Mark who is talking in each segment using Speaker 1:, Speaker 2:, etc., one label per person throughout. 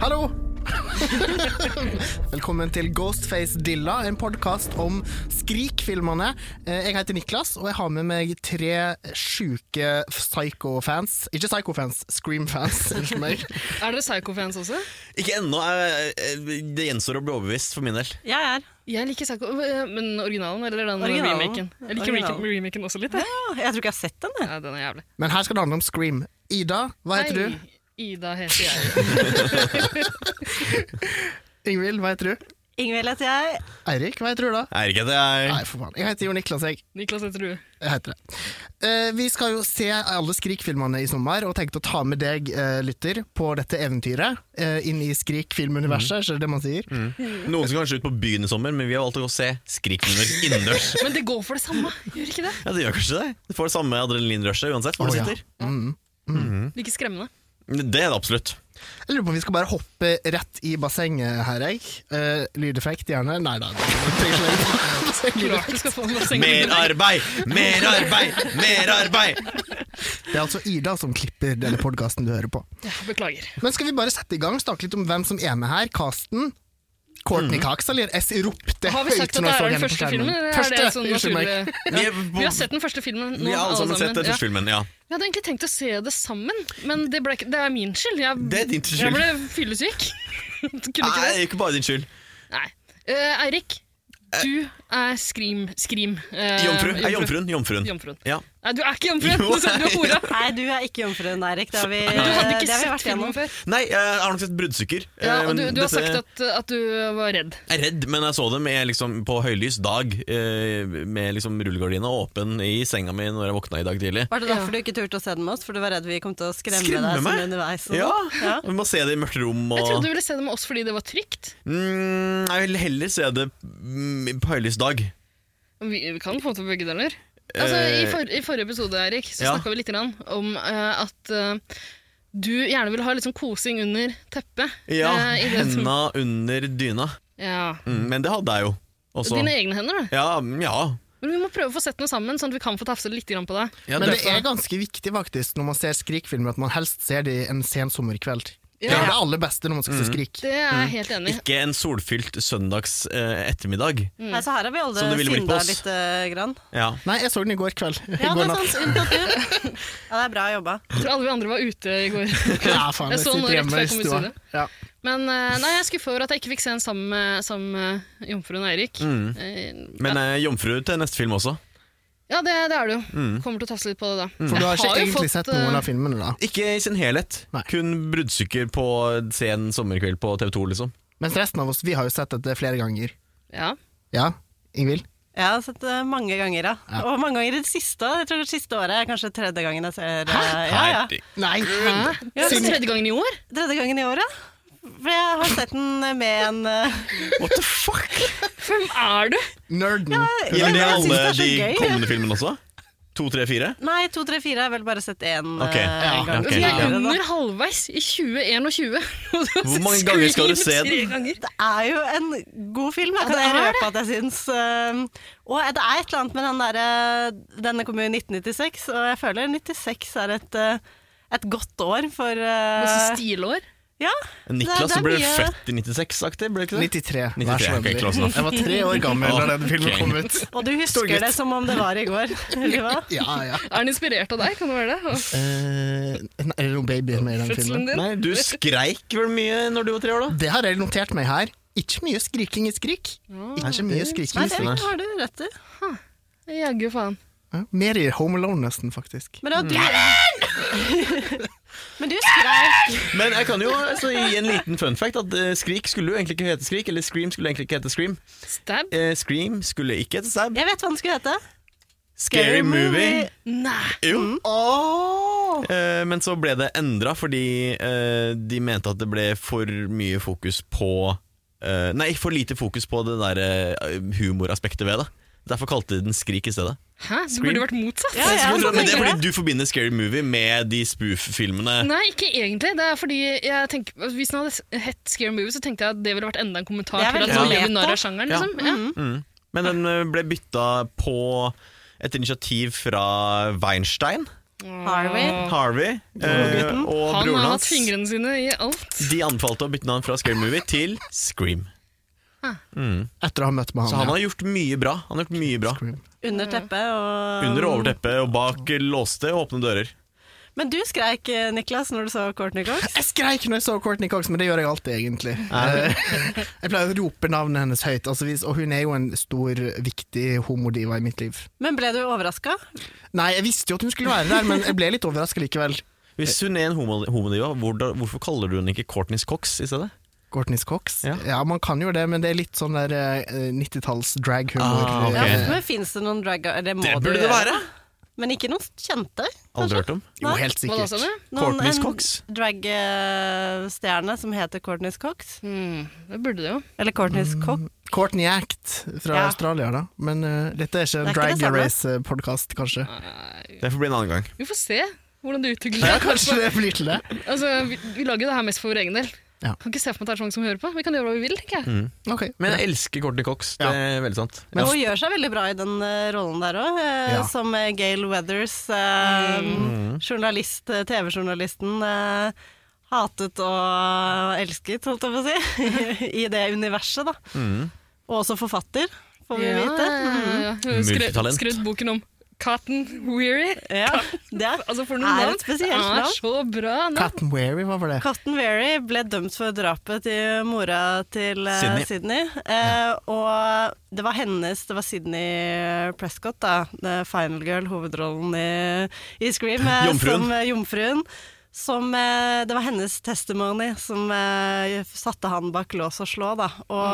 Speaker 1: Hallo! Velkommen til Ghostface Dilla, en podkast om Skrik-filmene. Eh, Jeg heter Niklas, og jeg har med meg tre sjuke psycho-fans. Ikke psycho-fans, Scream-fans. Unnskyld meg.
Speaker 2: Er dere psycho-fans også?
Speaker 3: Ikke ennå. jeg- jeg- Det gjenstår å bli overbevist for min del.
Speaker 4: Jeg er.
Speaker 2: Jeg liker psycho, men originalen eller den
Speaker 4: Originalen.
Speaker 2: remaken? Jeg liker
Speaker 4: Originalen.
Speaker 2: remaken, remaken også litt.
Speaker 4: Ja,
Speaker 2: Jeg.
Speaker 4: jeg tror ikke jeg har sett den. Jeg.
Speaker 2: Ja, den er jævlig.
Speaker 1: Men her skal det handle om Scream. Ida, hva heter
Speaker 2: Hei,
Speaker 1: du?
Speaker 2: Ida heter jeg.
Speaker 1: Ingvild, hva heter du?
Speaker 4: Ingvild heter jeg.
Speaker 1: Eirik, hva heter du da?
Speaker 3: Er ikke det jeg
Speaker 1: Nei, for faen. Jeg heter jo Niklas, jeg.
Speaker 2: Niklas heter du.
Speaker 1: Jeg heter det. Eh, vi skal jo se alle Skrik-filmene i sommer, og tenkte å ta med deg, eh, lytter, på dette eventyret. eh, inn i Skrik-filmuniverset, er det det man sier?
Speaker 2: Mm.
Speaker 3: Noen skal kanskje ut på byen i sommer, men vi har valgt å gå og se Skrikfilmer innendørs.
Speaker 2: Men det går for det samme, gjør ikke det?
Speaker 3: Ja, det gjør kanskje det. Du får det samme adrenalinrushet uansett
Speaker 1: Å,
Speaker 3: hvor du
Speaker 1: ja.
Speaker 3: sitter.
Speaker 1: Mm.
Speaker 2: Like skremmende.
Speaker 3: Det er det absolutt.
Speaker 1: Jeg lurer på om vi skal bare hoppe rett i bassenget her, jeg. Eh, lydeffekt gjerne? Nei da. det trenger ikke være bassenglyd.
Speaker 2: Klart du skal få en basseng.
Speaker 3: Mer arbeid! Mer arbeid! Mer arbeid!
Speaker 1: Det er altså Ida som klipper denne podkasten du hører på.
Speaker 2: Ja, beklager.
Speaker 1: Men skal vi bare sette i gang, snakke litt om hvem som er med her? Casten? Courtney Cox, eller jeg ropte
Speaker 2: Mm. Har vi sagt
Speaker 1: høyt
Speaker 2: at
Speaker 1: når
Speaker 2: det
Speaker 1: jeg så
Speaker 2: er den
Speaker 1: henne på
Speaker 2: første
Speaker 1: skjermen.
Speaker 2: filmen? Eller
Speaker 1: Første,
Speaker 2: er det sånn
Speaker 1: unnskyld meg.
Speaker 2: naturlig?
Speaker 3: Vi er
Speaker 2: Vi har
Speaker 3: på-
Speaker 2: sett den første filmen nå,
Speaker 3: Vi har alle sammen sett den
Speaker 2: ja.
Speaker 3: første filmen, ja.
Speaker 2: Jeg hadde egentlig tenkt å se det sammen, men det, ble ikke, det er min skyld. Jeg,
Speaker 3: Det er din skyld.
Speaker 2: Jeg ble fyllesyk. Kunne ikke det.
Speaker 3: Nei, ikke bare din skyld.
Speaker 2: Nei. Eh, Eirik, du er Scream. Scream. Eh,
Speaker 3: Jomfru. Er jomfruen. Jomfruen.
Speaker 2: Jomfruen.
Speaker 3: Ja.
Speaker 2: Nei, du er ikke jomfruen!
Speaker 3: Jo,
Speaker 2: Du sa du er hora!
Speaker 4: Nei, du er ikke jomfruen, Eirik. Det har vi,
Speaker 2: Du hadde
Speaker 4: Eh, det
Speaker 2: ikke
Speaker 4: har vi
Speaker 2: sett
Speaker 4: vært
Speaker 2: filmen
Speaker 4: gjennom.
Speaker 2: før.
Speaker 3: Nei, eh, jeg har nok sett bruddstykker.
Speaker 2: Ja,
Speaker 3: eh,
Speaker 2: og
Speaker 3: men
Speaker 2: du, du har
Speaker 3: dette-
Speaker 2: sagt at, at du var redd.
Speaker 3: Jeg er redd, men jeg så dem med, liksom, på høylys dag eh, med liksom, rullegardina åpen i senga mi når jeg våkna i dag tidlig.
Speaker 4: Var det
Speaker 2: Ja.
Speaker 4: derfor du ikke turte å se den med oss? For du var redd vi kom til å skremme,
Speaker 3: Skremme
Speaker 4: deg
Speaker 3: meg?
Speaker 4: sånn underveis? og
Speaker 3: Ja,
Speaker 4: sånn? Ja.
Speaker 3: Vi må se det i mørkt rom.
Speaker 2: Jeg trodde
Speaker 3: Og...
Speaker 2: du ville se det med oss fordi det var trygt.
Speaker 3: Mm, jeg vil heller se det mm, på høylys dag.
Speaker 2: Vi, vi kan få til begge deler. Altså, i,
Speaker 3: Eh,
Speaker 2: for, I forrige episode Erik, så
Speaker 3: ja.
Speaker 2: snakka vi litt grann om eh, at eh, du gjerne vil ha litt sånn kosing under teppet.
Speaker 3: Ja,
Speaker 2: eh, i det som-
Speaker 3: Henda under dyna.
Speaker 2: ja.
Speaker 3: Mm, men det hadde jeg jo også.
Speaker 2: Dine egne hender, da.
Speaker 3: Ja, mm, ja.
Speaker 2: Men vi må prøve å få sett noe sammen, sånn at vi kan få tafse litt grann på deg.
Speaker 3: ja
Speaker 1: Men det
Speaker 3: derfor.
Speaker 1: er ganske viktig faktisk når man ser skrikfilmer, at man helst ser det en sen sommerkveld. Det
Speaker 2: Ja.
Speaker 1: er det aller beste når man skal se
Speaker 3: Mm.
Speaker 1: skrik.
Speaker 2: Det er jeg helt enig i.
Speaker 3: Ikke en solfylt søndags eh, ettermiddag.
Speaker 4: Nei, så her har vi alle
Speaker 3: Som du ville blitt på
Speaker 4: synda
Speaker 3: oss.
Speaker 4: litt. eh, grann.
Speaker 3: Ja.
Speaker 1: Nei, jeg så den i går kveld. I
Speaker 4: Ja,
Speaker 1: går
Speaker 4: det er
Speaker 1: natt.
Speaker 4: sant. Unntatt du. Ja, det er bra jobba.
Speaker 2: Jeg tror alle vi andre var ute i går.
Speaker 1: Ja, faen,
Speaker 2: Jeg
Speaker 1: jeg
Speaker 2: så den
Speaker 1: sitter
Speaker 2: nå rett
Speaker 1: hjemme
Speaker 2: før
Speaker 1: i
Speaker 2: jeg kom ut i
Speaker 1: stua.
Speaker 2: studio.
Speaker 1: Ja.
Speaker 2: Men eh, nei, jeg er skuffa over at jeg ikke fikk se den sammen med, sammen med jomfruen Eirik. Eh,
Speaker 3: Mm. Men eh, jomfru til neste film også.
Speaker 2: Ja, det, det er det jo.
Speaker 3: Mm.
Speaker 2: Kommer til å tafse litt på det da.
Speaker 1: For du har ikke
Speaker 2: Jeg har jo
Speaker 1: egentlig
Speaker 2: fått,
Speaker 1: sett noen
Speaker 2: eh,
Speaker 1: av filmene, da.
Speaker 3: Ikke i sin helhet.
Speaker 1: Nei.
Speaker 3: Kun bruddstykker på eh, sen sommerkveld på TV 2, liksom.
Speaker 1: Mens resten av oss vi har jo sett dette flere ganger.
Speaker 2: eh, Ja.
Speaker 1: Ja, Ingvild?
Speaker 4: Jeg har sett det mange ganger, ja. Og mange ganger i det siste. også. Jeg tror det siste året er kanskje tredje gangen jeg ser eh, Ja, ja.
Speaker 3: Herregud.
Speaker 1: Nei!
Speaker 2: Hæ? Det er
Speaker 1: Siden-
Speaker 2: tredje gangen i år?
Speaker 4: Tredje gangen i året. For jeg har sett den med en eh,
Speaker 3: What the fuck?
Speaker 2: Hvem er du?
Speaker 1: Nerden.
Speaker 4: Ja,
Speaker 3: Gjelder det
Speaker 4: jeg synes
Speaker 3: alle
Speaker 4: det er så
Speaker 3: de
Speaker 4: gøy,
Speaker 3: kommende filmene også? To, tre, fire?
Speaker 4: Nei, to, tre, fire. Jeg har vel bare sett én
Speaker 3: Ok.
Speaker 4: eh,
Speaker 1: Ja,
Speaker 4: gang.
Speaker 3: ok.
Speaker 2: Vi er
Speaker 3: Ja.
Speaker 4: tidligere, da.
Speaker 2: under halvveis i 2021. og du har
Speaker 3: Hvor
Speaker 2: sett
Speaker 3: mange ganger skal
Speaker 2: Scream
Speaker 3: du se den?
Speaker 2: tre ganger.
Speaker 4: Det er jo en god film, jeg
Speaker 2: det
Speaker 4: kan jeg
Speaker 2: er
Speaker 4: røpe at jeg syns. ehm, og det er et eller annet med den derre Denne kom jo i 1996, og jeg føler 96 er et, eh, et godt år for eh,
Speaker 2: Masse stilår.
Speaker 4: Ja.
Speaker 3: Niklas
Speaker 4: det er
Speaker 3: ble
Speaker 4: mye-
Speaker 3: født i 96-aktig, ble det ikke det?
Speaker 1: 93. Vær
Speaker 3: 93,
Speaker 1: så
Speaker 3: ok, close
Speaker 1: vennlig.
Speaker 3: enough.
Speaker 1: Jeg var tre år gammel da den filmen
Speaker 3: Ok.
Speaker 1: kom ut.
Speaker 4: Og du husker
Speaker 1: Storgutt.
Speaker 4: det som om det var i går, eller hva?
Speaker 1: Ja, ja.
Speaker 2: Er den inspirert av deg? Kan det være det? Og
Speaker 1: Eh, nei, er det noen babyer med i den filmen?
Speaker 2: fødselen din?
Speaker 3: Nei, du skreik vel mye når du var tre år, da?
Speaker 1: Det har jeg notert meg her. Ikke mye skriking i skrik. Ikke så mye skriking
Speaker 4: Nei,
Speaker 1: i
Speaker 4: det
Speaker 1: skrik.
Speaker 4: har du rett i.
Speaker 2: Jaggu faen.
Speaker 1: Ja, Mer i Home Alone, nesten, faktisk.
Speaker 4: Men, at du, men du skreik
Speaker 3: Men jeg kan jo altså, gi en liten fun fact at eh, Skrik skulle jo egentlig ikke hete Skrik, eller Scream skulle egentlig ikke hete Scream.
Speaker 2: Stab?
Speaker 3: Eh, Scream skulle ikke hete Stab.
Speaker 4: Jeg vet hva den skulle hete.
Speaker 3: Scary Movie.
Speaker 2: Nei.
Speaker 3: Jo.
Speaker 1: Oh!
Speaker 3: Eh, men så ble det endra fordi eh, de mente at det ble for mye fokus på eh, Nei, for lite fokus på det der eh, humoraspektet ved det. Derfor kalte de den Skrik i stedet.
Speaker 2: Hæ? Det burde vært motsatt.
Speaker 4: Ja, ja,
Speaker 3: men
Speaker 4: sånn
Speaker 3: det er
Speaker 4: tenker jeg.
Speaker 3: fordi du forbinder Scary Movie med de spoof-filmene.
Speaker 2: Nei, ikke egentlig. Det er fordi jeg tenker, Hvis den hadde hett Scary Movie, så tenkte jeg at det ville vært enda en kommentar
Speaker 4: Det
Speaker 2: til
Speaker 4: er
Speaker 2: at nå
Speaker 4: veldig meta.
Speaker 2: gjør vi narr av sjangeren.
Speaker 3: Ja.
Speaker 2: Liksom. Ja.
Speaker 3: Mm. Men den eh, ble bytta på et initiativ fra Weinstein.
Speaker 4: Mm. Harvey.
Speaker 3: Harvey eh,
Speaker 4: gutten.
Speaker 3: og
Speaker 2: Han
Speaker 3: broren
Speaker 2: har hatt
Speaker 3: hans
Speaker 2: fingrene sine i alt.
Speaker 3: De anbefalte å bytte navn fra Scary Movie til Scream.
Speaker 1: Etter å ha møtt med han.
Speaker 3: Så han
Speaker 1: ja.
Speaker 3: har gjort mye bra. Han har gjort mye bra
Speaker 1: Scream.
Speaker 4: Under teppet og
Speaker 3: Under og over teppet og bak låste og åpne dører.
Speaker 4: Men du skreik, eh, Niklas, når du så Courtney Cox.
Speaker 1: Jeg skreik når jeg så Courtney Cox, men det gjør jeg alltid, egentlig. Eh, jeg pleier å rope navnet hennes høyt, altså, hvis- og hun er jo en stor, viktig homodiva i mitt liv.
Speaker 4: Men ble du overraska?
Speaker 1: Nei, jeg visste jo at hun skulle være der, men jeg ble litt overraska likevel.
Speaker 3: Hvis hun er en homo- homodiva, hvordan- hvorfor kaller du henne ikke Courtney's Cox i stedet?
Speaker 1: Courtney Cox? Ja.
Speaker 3: Ja.
Speaker 1: man kan jo det, men det er litt sånn der eh, 90-talls draghumor.
Speaker 3: Ah, ok.
Speaker 4: Ja,
Speaker 1: Eh,
Speaker 4: men fins det noen drag Det må
Speaker 3: Det
Speaker 4: du
Speaker 3: burde det
Speaker 4: gjøre.
Speaker 3: være!
Speaker 4: Men ikke noen kjente?
Speaker 3: Aldri hørt om.
Speaker 1: Jo, helt
Speaker 2: Hva da,
Speaker 1: sikkert.
Speaker 2: sa du?
Speaker 4: Noen,
Speaker 3: Courtney's
Speaker 4: en
Speaker 3: Cox.
Speaker 4: Dragstjerne som heter Courtney's Cox.
Speaker 2: Hmm, det burde det jo.
Speaker 4: Eller Courtney's Cox.
Speaker 1: Mm. Courtney Act fra
Speaker 4: Ja.
Speaker 1: Australia, da. Men eh, dette er ikke en
Speaker 4: Det er ikke det
Speaker 1: drag
Speaker 4: samme.
Speaker 1: race-podkast, kanskje.
Speaker 3: Det får bli en annen gang.
Speaker 2: Vi får se hvordan det utvikler
Speaker 1: Ja,
Speaker 2: seg.
Speaker 1: kanskje det blir til det.
Speaker 2: Altså, vi, vi lager jo det her mest for vår egen del.
Speaker 1: Ja.
Speaker 2: Kan ikke se for meg at det er så mange som hører på. Vi kan gjøre hva vi vil, tenker jeg.
Speaker 1: Ok,
Speaker 3: Men jeg elsker Courtney Cox. Det
Speaker 1: Ja.
Speaker 3: er veldig sant.
Speaker 1: Men-
Speaker 4: hun gjør seg veldig bra i den eh, rollen der òg,
Speaker 1: Ja.
Speaker 4: som eh, Gail Weathers. eh, Journalist, eh, TV-journalisten. eh, hatet og elsket, holdt jeg på å si, i det universet, da.
Speaker 3: mm.
Speaker 4: Og også forfatter, får vi
Speaker 2: Ja,
Speaker 4: vite. Mhm.
Speaker 2: ja, ja. Skrevet,
Speaker 3: Multitalent.
Speaker 2: skrevet boken om Cotton Weary.
Speaker 4: Ja, det er,
Speaker 2: Altså for noen
Speaker 4: er
Speaker 2: navn.
Speaker 4: et
Speaker 2: Det
Speaker 4: spesielt
Speaker 2: er
Speaker 4: navn.
Speaker 2: så bra navn.
Speaker 1: Cotton Weary, hva var det?
Speaker 4: Cotton Weary ble dømt for drapet til mora til eh,
Speaker 3: Sydney.
Speaker 4: Sydney. Eh, og det var hennes, det var Sydney Prescott, da, the final girl, hovedrollen i, i Scream, eh,
Speaker 3: Jomfruen.
Speaker 4: som eh, jomfruen. Som, eh, det var hennes testimony som eh, satte han bak lås og slå. Da. Og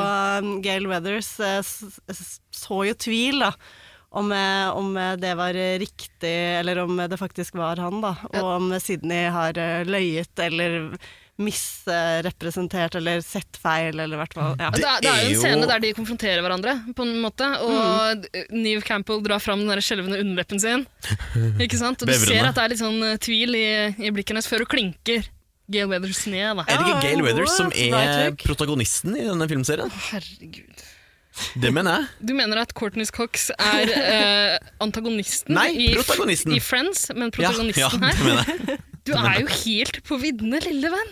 Speaker 2: Mm.
Speaker 4: eh, Gail Weathers eh, s- s- så jo tvil da, om, eh, om eh, det var eh, riktig, eller om eh, det faktisk var han. Da. Og om eh, Sydney har eh, løyet eller misrepresentert eller sett feil, eller i hvert fall ja.
Speaker 2: Det er, det er jo
Speaker 3: er
Speaker 2: en
Speaker 3: jo- Mm.
Speaker 2: scene der de konfronterer hverandre, på en måte. Og Neve Campbell drar fram den der skjelvende underleppen sin. Ikke sant? Og du
Speaker 3: Bevrende.
Speaker 2: ser at det er litt sånn eh, tvil i, i blikket hennes før hun klinker Gail Weathers ned. Da.
Speaker 3: Er det ikke Gail Weathers som
Speaker 4: Ja,
Speaker 3: er
Speaker 4: right, Luke.
Speaker 3: protagonisten i denne filmserien?
Speaker 2: Herregud.
Speaker 3: Det mener jeg.
Speaker 2: Du mener at Courtney Cox er eh, antagonisten
Speaker 3: Nei,
Speaker 2: i,
Speaker 3: protagonisten.
Speaker 2: i Friends, men
Speaker 3: Ja,
Speaker 2: protagonisten
Speaker 3: ja, det mener jeg.
Speaker 2: her Du er jo helt på viddene, lille venn!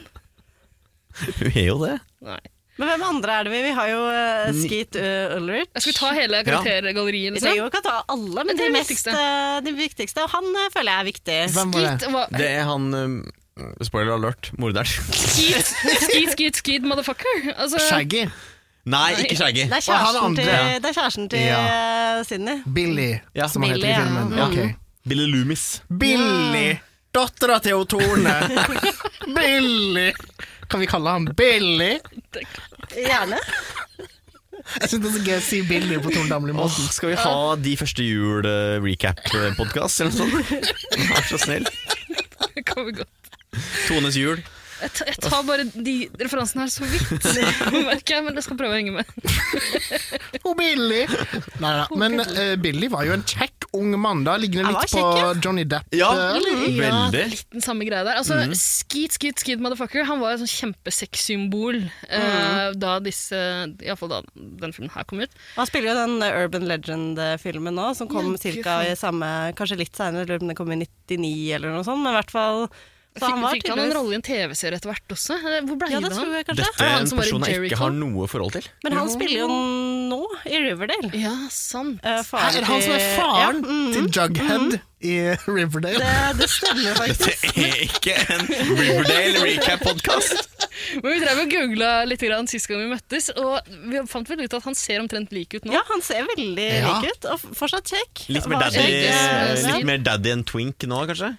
Speaker 3: Hun er jo det.
Speaker 2: Nei.
Speaker 4: Men hvem andre er det vi? Vi har jo eh, Skeet eh, Ulrich.
Speaker 2: Jeg skal vi ta hele karaktergalleriet,
Speaker 4: Vi
Speaker 2: liksom.
Speaker 4: trenger jo ikke å ta alle, men
Speaker 2: Men det
Speaker 4: de,
Speaker 2: er det
Speaker 4: mest,
Speaker 2: viktigste.
Speaker 4: eh, de viktigste. Og han eh, føler jeg er viktig.
Speaker 1: Hvem var det?
Speaker 2: Skeet, hva,
Speaker 3: Det er han um, Spoiler alert, morderen.
Speaker 2: skeet, skeet, skeet, skeet, motherfucker. Altså,
Speaker 1: Shaggy.
Speaker 3: Nei, ikke Shaggy.
Speaker 4: Det er
Speaker 1: Og han
Speaker 4: kjæresten
Speaker 1: andre,
Speaker 4: til,
Speaker 1: ja.
Speaker 4: det er kjæresten til
Speaker 1: Ja.
Speaker 4: eh, Sydney.
Speaker 1: Billy,
Speaker 3: Ja.
Speaker 1: som han heter i
Speaker 4: Billy, ja. Mm.
Speaker 1: filmen.
Speaker 4: Ja.
Speaker 1: Ok.
Speaker 3: Billy Loomis.
Speaker 1: Billy! Dattera til hun Torne. Billy! Kan vi kalle han Billy?
Speaker 4: Gjerne.
Speaker 1: Jeg syns det er så gøy å si Billy på Torne Damli-måten.
Speaker 3: skal vi ha de første eh, jul-recap-podkast eller noe sånt? Vær så snill.
Speaker 2: det kan vi godt.
Speaker 3: Tones jul.
Speaker 2: Jeg, ta, jeg tar bare de referansene her så vidt, merker jeg, men jeg skal prøve å henge med.
Speaker 1: Og Billy! Nei, nei, men eh, Billy var jo en kjekk ung mann, da. Ligner
Speaker 4: Han var
Speaker 1: litt på
Speaker 4: kjekk, ja.
Speaker 1: Johnny Depp.
Speaker 3: Ja,
Speaker 1: eh,
Speaker 3: Mm-hmm. veldig.
Speaker 2: Litt den samme greia der. Altså,
Speaker 4: Mhm.
Speaker 2: Skeet, skeet, skeet, motherfucker, han var et sånn kjempesexsymbol eh,
Speaker 4: Mhm.
Speaker 2: da disse Iallfall da den filmen her kom ut.
Speaker 4: Han spiller jo den eh, Urban Legend-filmen nå, som kom
Speaker 2: Ja, fy
Speaker 4: cirka i samme Kanskje litt seinere, lurer på om den kom i 99 eller noe sånt, men i hvert fall Så
Speaker 2: Fikk
Speaker 4: han
Speaker 2: han,
Speaker 4: var
Speaker 2: fikk han en
Speaker 4: tydeligvis
Speaker 2: rolle i en TV-serie etter hvert også? Eh, Hvor ble
Speaker 4: Ja,
Speaker 2: det
Speaker 4: det
Speaker 2: av
Speaker 4: tror
Speaker 2: han?
Speaker 4: jeg kanskje.
Speaker 2: Er
Speaker 3: Dette
Speaker 2: det
Speaker 3: er
Speaker 2: han
Speaker 3: en
Speaker 2: som var i
Speaker 3: person jeg
Speaker 2: Jericho?
Speaker 3: ikke har noe forhold til.
Speaker 4: Men han spiller jo nå i Riverdale.
Speaker 2: Ja, sant.
Speaker 4: Eh,
Speaker 1: Her er det han som er
Speaker 4: til-
Speaker 1: faren
Speaker 4: Ja, mm,
Speaker 1: til Jughead i Riverdale.
Speaker 4: det, det stemmer faktisk.
Speaker 3: Det er ikke en Riverdale recap-podkast.
Speaker 2: Men vi drev og googla litt grann sist gang vi møttes, og vi fant vel ut at han ser omtrent lik ut nå.
Speaker 4: Ja, han ser veldig
Speaker 1: Ja.
Speaker 4: lik ut, og f- fortsatt kjekk.
Speaker 3: Litt mer
Speaker 4: Var
Speaker 3: daddy,
Speaker 4: kjekk, eh,
Speaker 2: Yes.
Speaker 3: litt mer daddy enn twink nå, kanskje?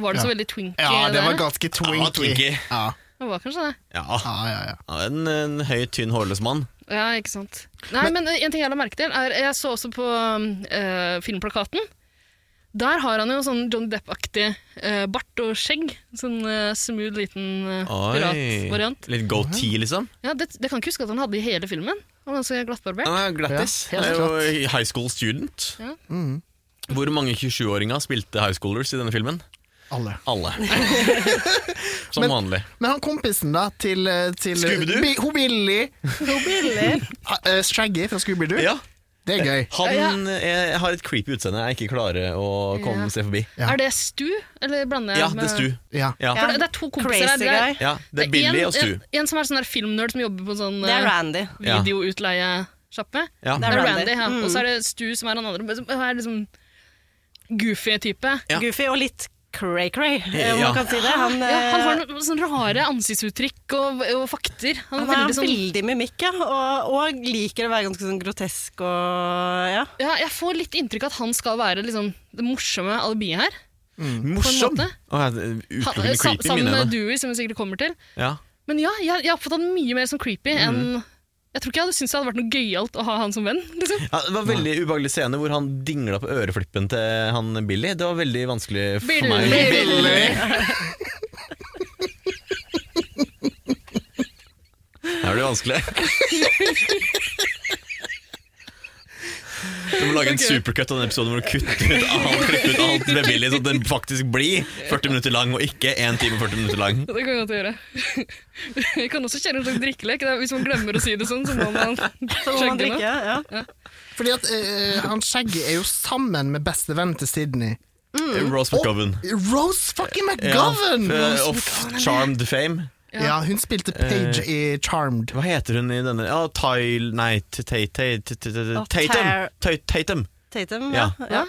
Speaker 2: Var det så
Speaker 1: Ja.
Speaker 2: veldig twinky?
Speaker 1: Ja, det
Speaker 2: der,
Speaker 1: var
Speaker 2: da?
Speaker 1: ganske
Speaker 3: var
Speaker 1: twinky.
Speaker 3: twinky.
Speaker 1: Ja,
Speaker 2: Det var kanskje det.
Speaker 3: Ja.
Speaker 1: ja, ja. ja.
Speaker 3: Ja, En, en høy, tynn, hårløs mann.
Speaker 2: Ja, ikke sant. Nei, men, en ting jeg la merke til, er Jeg så også på eh, filmplakaten. Der har han jo sånn Johnny Depp-aktig eh, bart og skjegg. Sånn eh, smooth liten eh, piratvariant.
Speaker 3: Litt
Speaker 1: Mhm.
Speaker 3: goatee, liksom.
Speaker 2: Ja, det, det kan ikke huske at han hadde i hele filmen. Han var ganske glattbarbert.
Speaker 3: Han er glattis.
Speaker 1: Ja,
Speaker 3: Han
Speaker 1: helt Mm.
Speaker 3: er jo high school student.
Speaker 2: Ja.
Speaker 3: Hvor mange 27-åringer spilte high schoolers i denne filmen?
Speaker 1: Alle.
Speaker 3: Alle. Som
Speaker 1: Men-
Speaker 3: vanlig.
Speaker 1: Men han kompisen, da, til, eh, til
Speaker 3: Scooby-Doo?
Speaker 1: Bi- Hun Billy.
Speaker 4: Billig.
Speaker 1: eh, Shaggy fra Scooby-Doo.
Speaker 3: Ja.
Speaker 1: Det er gøy.
Speaker 3: Han eh, har et creepy utseende jeg ikke klarer å komme
Speaker 2: Ja.
Speaker 3: seg forbi.
Speaker 1: Ja.
Speaker 2: Er det Stu, eller blander jeg
Speaker 3: Ja, det er Stu.
Speaker 1: Ja.
Speaker 3: Ja.
Speaker 2: For det, det er to kompiser her.
Speaker 4: Crazy
Speaker 2: Det er,
Speaker 4: guy.
Speaker 3: Ja, det er Billy
Speaker 2: en-
Speaker 3: og Stu.
Speaker 2: En, en som er sånn der filmnerd som jobber på en sånn
Speaker 4: Det er
Speaker 2: eh,
Speaker 4: Randy.
Speaker 3: Ja.
Speaker 2: videoutleiesjappe.
Speaker 3: Ja.
Speaker 2: Det er
Speaker 4: Randy.
Speaker 2: Randy, ja.
Speaker 4: Mm.
Speaker 2: Og så er det Stu som er han andre. men Som er liksom goofy type.
Speaker 3: Ja.
Speaker 4: Goofy og litt cray-cray, om
Speaker 3: Ja.
Speaker 4: man kan si det. Han,
Speaker 2: Ja, han
Speaker 4: eh,
Speaker 2: har noen sånne rare ansiktsuttrykk og, og fakter. Han
Speaker 4: Han
Speaker 2: er
Speaker 4: er
Speaker 2: veldig
Speaker 4: veldig,
Speaker 2: sånn
Speaker 4: mimikk, ja. Og, og liker å være ganske sånn grotesk og ja.
Speaker 2: ja, Jeg får litt inntrykk av at han skal være liksom, det morsomme alibiet her.
Speaker 3: Mm.
Speaker 2: På en
Speaker 3: Morsom!
Speaker 2: måte.
Speaker 3: Åh, det er
Speaker 2: Han,
Speaker 3: Utelukkende
Speaker 2: sa,
Speaker 3: creepy,
Speaker 2: sammen
Speaker 3: mine
Speaker 2: med
Speaker 3: øyne.
Speaker 2: Dewey, som vi sikkert kommer til.
Speaker 3: Ja.
Speaker 2: Men ja, jeg, jeg oppfattet han mye mer som creepy
Speaker 3: Mhm.
Speaker 2: enn Jeg tror ikke jeg hadde syntes det hadde vært noe gøyalt å ha han som venn. Liksom.
Speaker 3: Ja, det var en veldig ubehagelig scene hvor han dingla på øreflippen til han Billy. Det var veldig vanskelig for meg.
Speaker 2: Billy.
Speaker 3: Her er det vanskelig. Du må lage en
Speaker 2: Ok.
Speaker 3: supercut av den episoden hvor du kutter ut alt, klipper ut alt med Billy, sånn at den faktisk blir 40 minutter lang, og ikke 1 time og 40 minutter lang.
Speaker 2: Det kan jeg godt gjøre. Jeg kan også kjenne en slags drikkelek. Det er- Hvis man glemmer å si det sånn, så må man
Speaker 4: Så må man
Speaker 2: skjegge
Speaker 4: drikke.
Speaker 2: noe.
Speaker 4: Ja.
Speaker 1: Fordi at eh, han Shaggy er jo sammen med bestevennen til Sydney.
Speaker 3: Rose McGowan.
Speaker 1: Rose fucking
Speaker 3: Eh, Ja,
Speaker 1: McGovern!
Speaker 3: f- of Charmed fame.
Speaker 1: Ja, hun spilte Page i Charmed.
Speaker 3: Hva heter hun i denne Ja, Tyle Nei, t- Tay- Tay- t- t- t-
Speaker 4: Å,
Speaker 3: Tatum!
Speaker 4: Tare.
Speaker 3: Tay- Tatum.
Speaker 4: Tatum, ja.
Speaker 3: Ja.
Speaker 4: ja.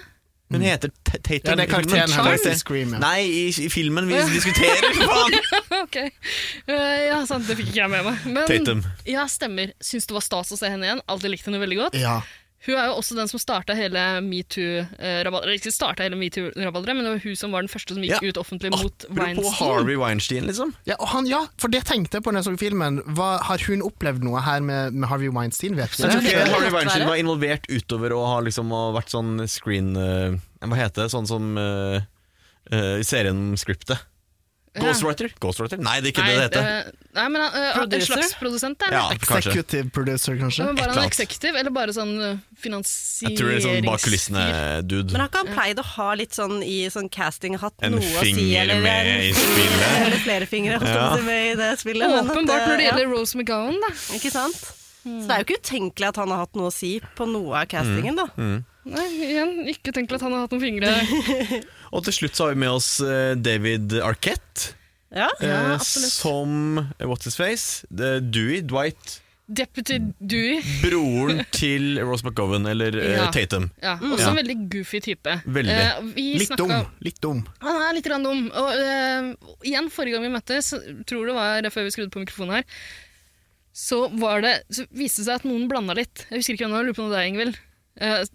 Speaker 3: Hun heter T- Tatum.
Speaker 1: Ja, det er
Speaker 3: i filmen.
Speaker 1: karakteren
Speaker 3: Charmed.
Speaker 1: hennes i Scream, ja.
Speaker 3: Nei, i, i filmen vi diskuterer, for faen!
Speaker 2: Ok. Eh, ja, sant, det fikk ikke jeg med meg. Men
Speaker 3: Tatum.
Speaker 2: ja, stemmer. Syns det var stas å se henne igjen. Alltid likte henne veldig godt.
Speaker 1: Ja.
Speaker 2: Hun er jo også den som starta hele metoo-rabalderet. Ikke starta hele metoo-rabalderet, men det var hun som var den første som gikk
Speaker 3: Ja.
Speaker 2: ut offentlig mot
Speaker 3: Apropos
Speaker 2: Weinstein.
Speaker 3: Harvey Weinstein, liksom.
Speaker 1: Ja, og han, ja, for det tenkte jeg på når jeg så filmen. Hva, har hun opplevd noe her med, med Harvey Weinstein? Vet
Speaker 3: Jeg
Speaker 1: du det?
Speaker 3: tror
Speaker 2: det
Speaker 3: ikke
Speaker 2: kan
Speaker 3: Harvey
Speaker 2: godt
Speaker 3: Weinstein
Speaker 2: være.
Speaker 3: var involvert utover å ha liksom å ha vært sånn screen eh, Hva heter det? Sånn som eh, eh, i serien om skriptet. Ghostwriter? Ghostwriter? Nei, det er ikke det det heter.
Speaker 2: nei, men eh, en
Speaker 4: Producer?
Speaker 2: slags produsent, der.
Speaker 3: Ja, kanskje.
Speaker 1: Executive producer,
Speaker 2: Ja,
Speaker 1: kanskje?
Speaker 2: men
Speaker 3: et
Speaker 2: bare
Speaker 3: eller
Speaker 2: han
Speaker 3: annet.
Speaker 2: eksekutiv, eller bare sånn eh,
Speaker 3: Jeg tror det er sånn bak kulissene-dude.
Speaker 4: Men har ikke han pleid å ha litt sånn i sånn casting-hatt
Speaker 3: En
Speaker 4: noe å si?
Speaker 3: finger
Speaker 4: Eller,
Speaker 3: med i spillet.
Speaker 4: eller flere fingre holdt jeg
Speaker 3: Ja.
Speaker 4: på å si, med i det spillet. men at,
Speaker 2: Åpenbart når det Hmm.
Speaker 4: eh,
Speaker 2: gjelder Rose McGowan, da.
Speaker 4: ja, Ikke sant? Så det er jo ikke utenkelig at han har hatt noe å si på
Speaker 2: Hmm.
Speaker 4: noe av castingen, da.
Speaker 2: Nei, igjen, ikke tenk at han har hatt noen fingre.
Speaker 3: Og til slutt så har vi med oss eh, David Arquette.
Speaker 4: Ja.
Speaker 2: Ja,
Speaker 3: eh,
Speaker 2: absolutt.
Speaker 3: som eh, What's His Face? Eh, Dewey, Dwight.
Speaker 2: Deputy Dewey.
Speaker 3: Broren til Rose McGowan, eller eh,
Speaker 2: Ja.
Speaker 3: Tatum.
Speaker 2: Ja, også
Speaker 3: Ja.
Speaker 2: en veldig goofy type.
Speaker 3: Veldig.
Speaker 2: Eh, vi
Speaker 1: Litt
Speaker 2: snakka-
Speaker 1: dum. Litt dum.
Speaker 2: Han er litt grann dum. Og eh, igjen, forrige gang vi møttes, tror det var før vi skrudde på mikrofonen her, så, var det, så viste det seg at noen blanda litt. Jeg husker ikke hvem det var, lurer på om det er Ingvild. Eh,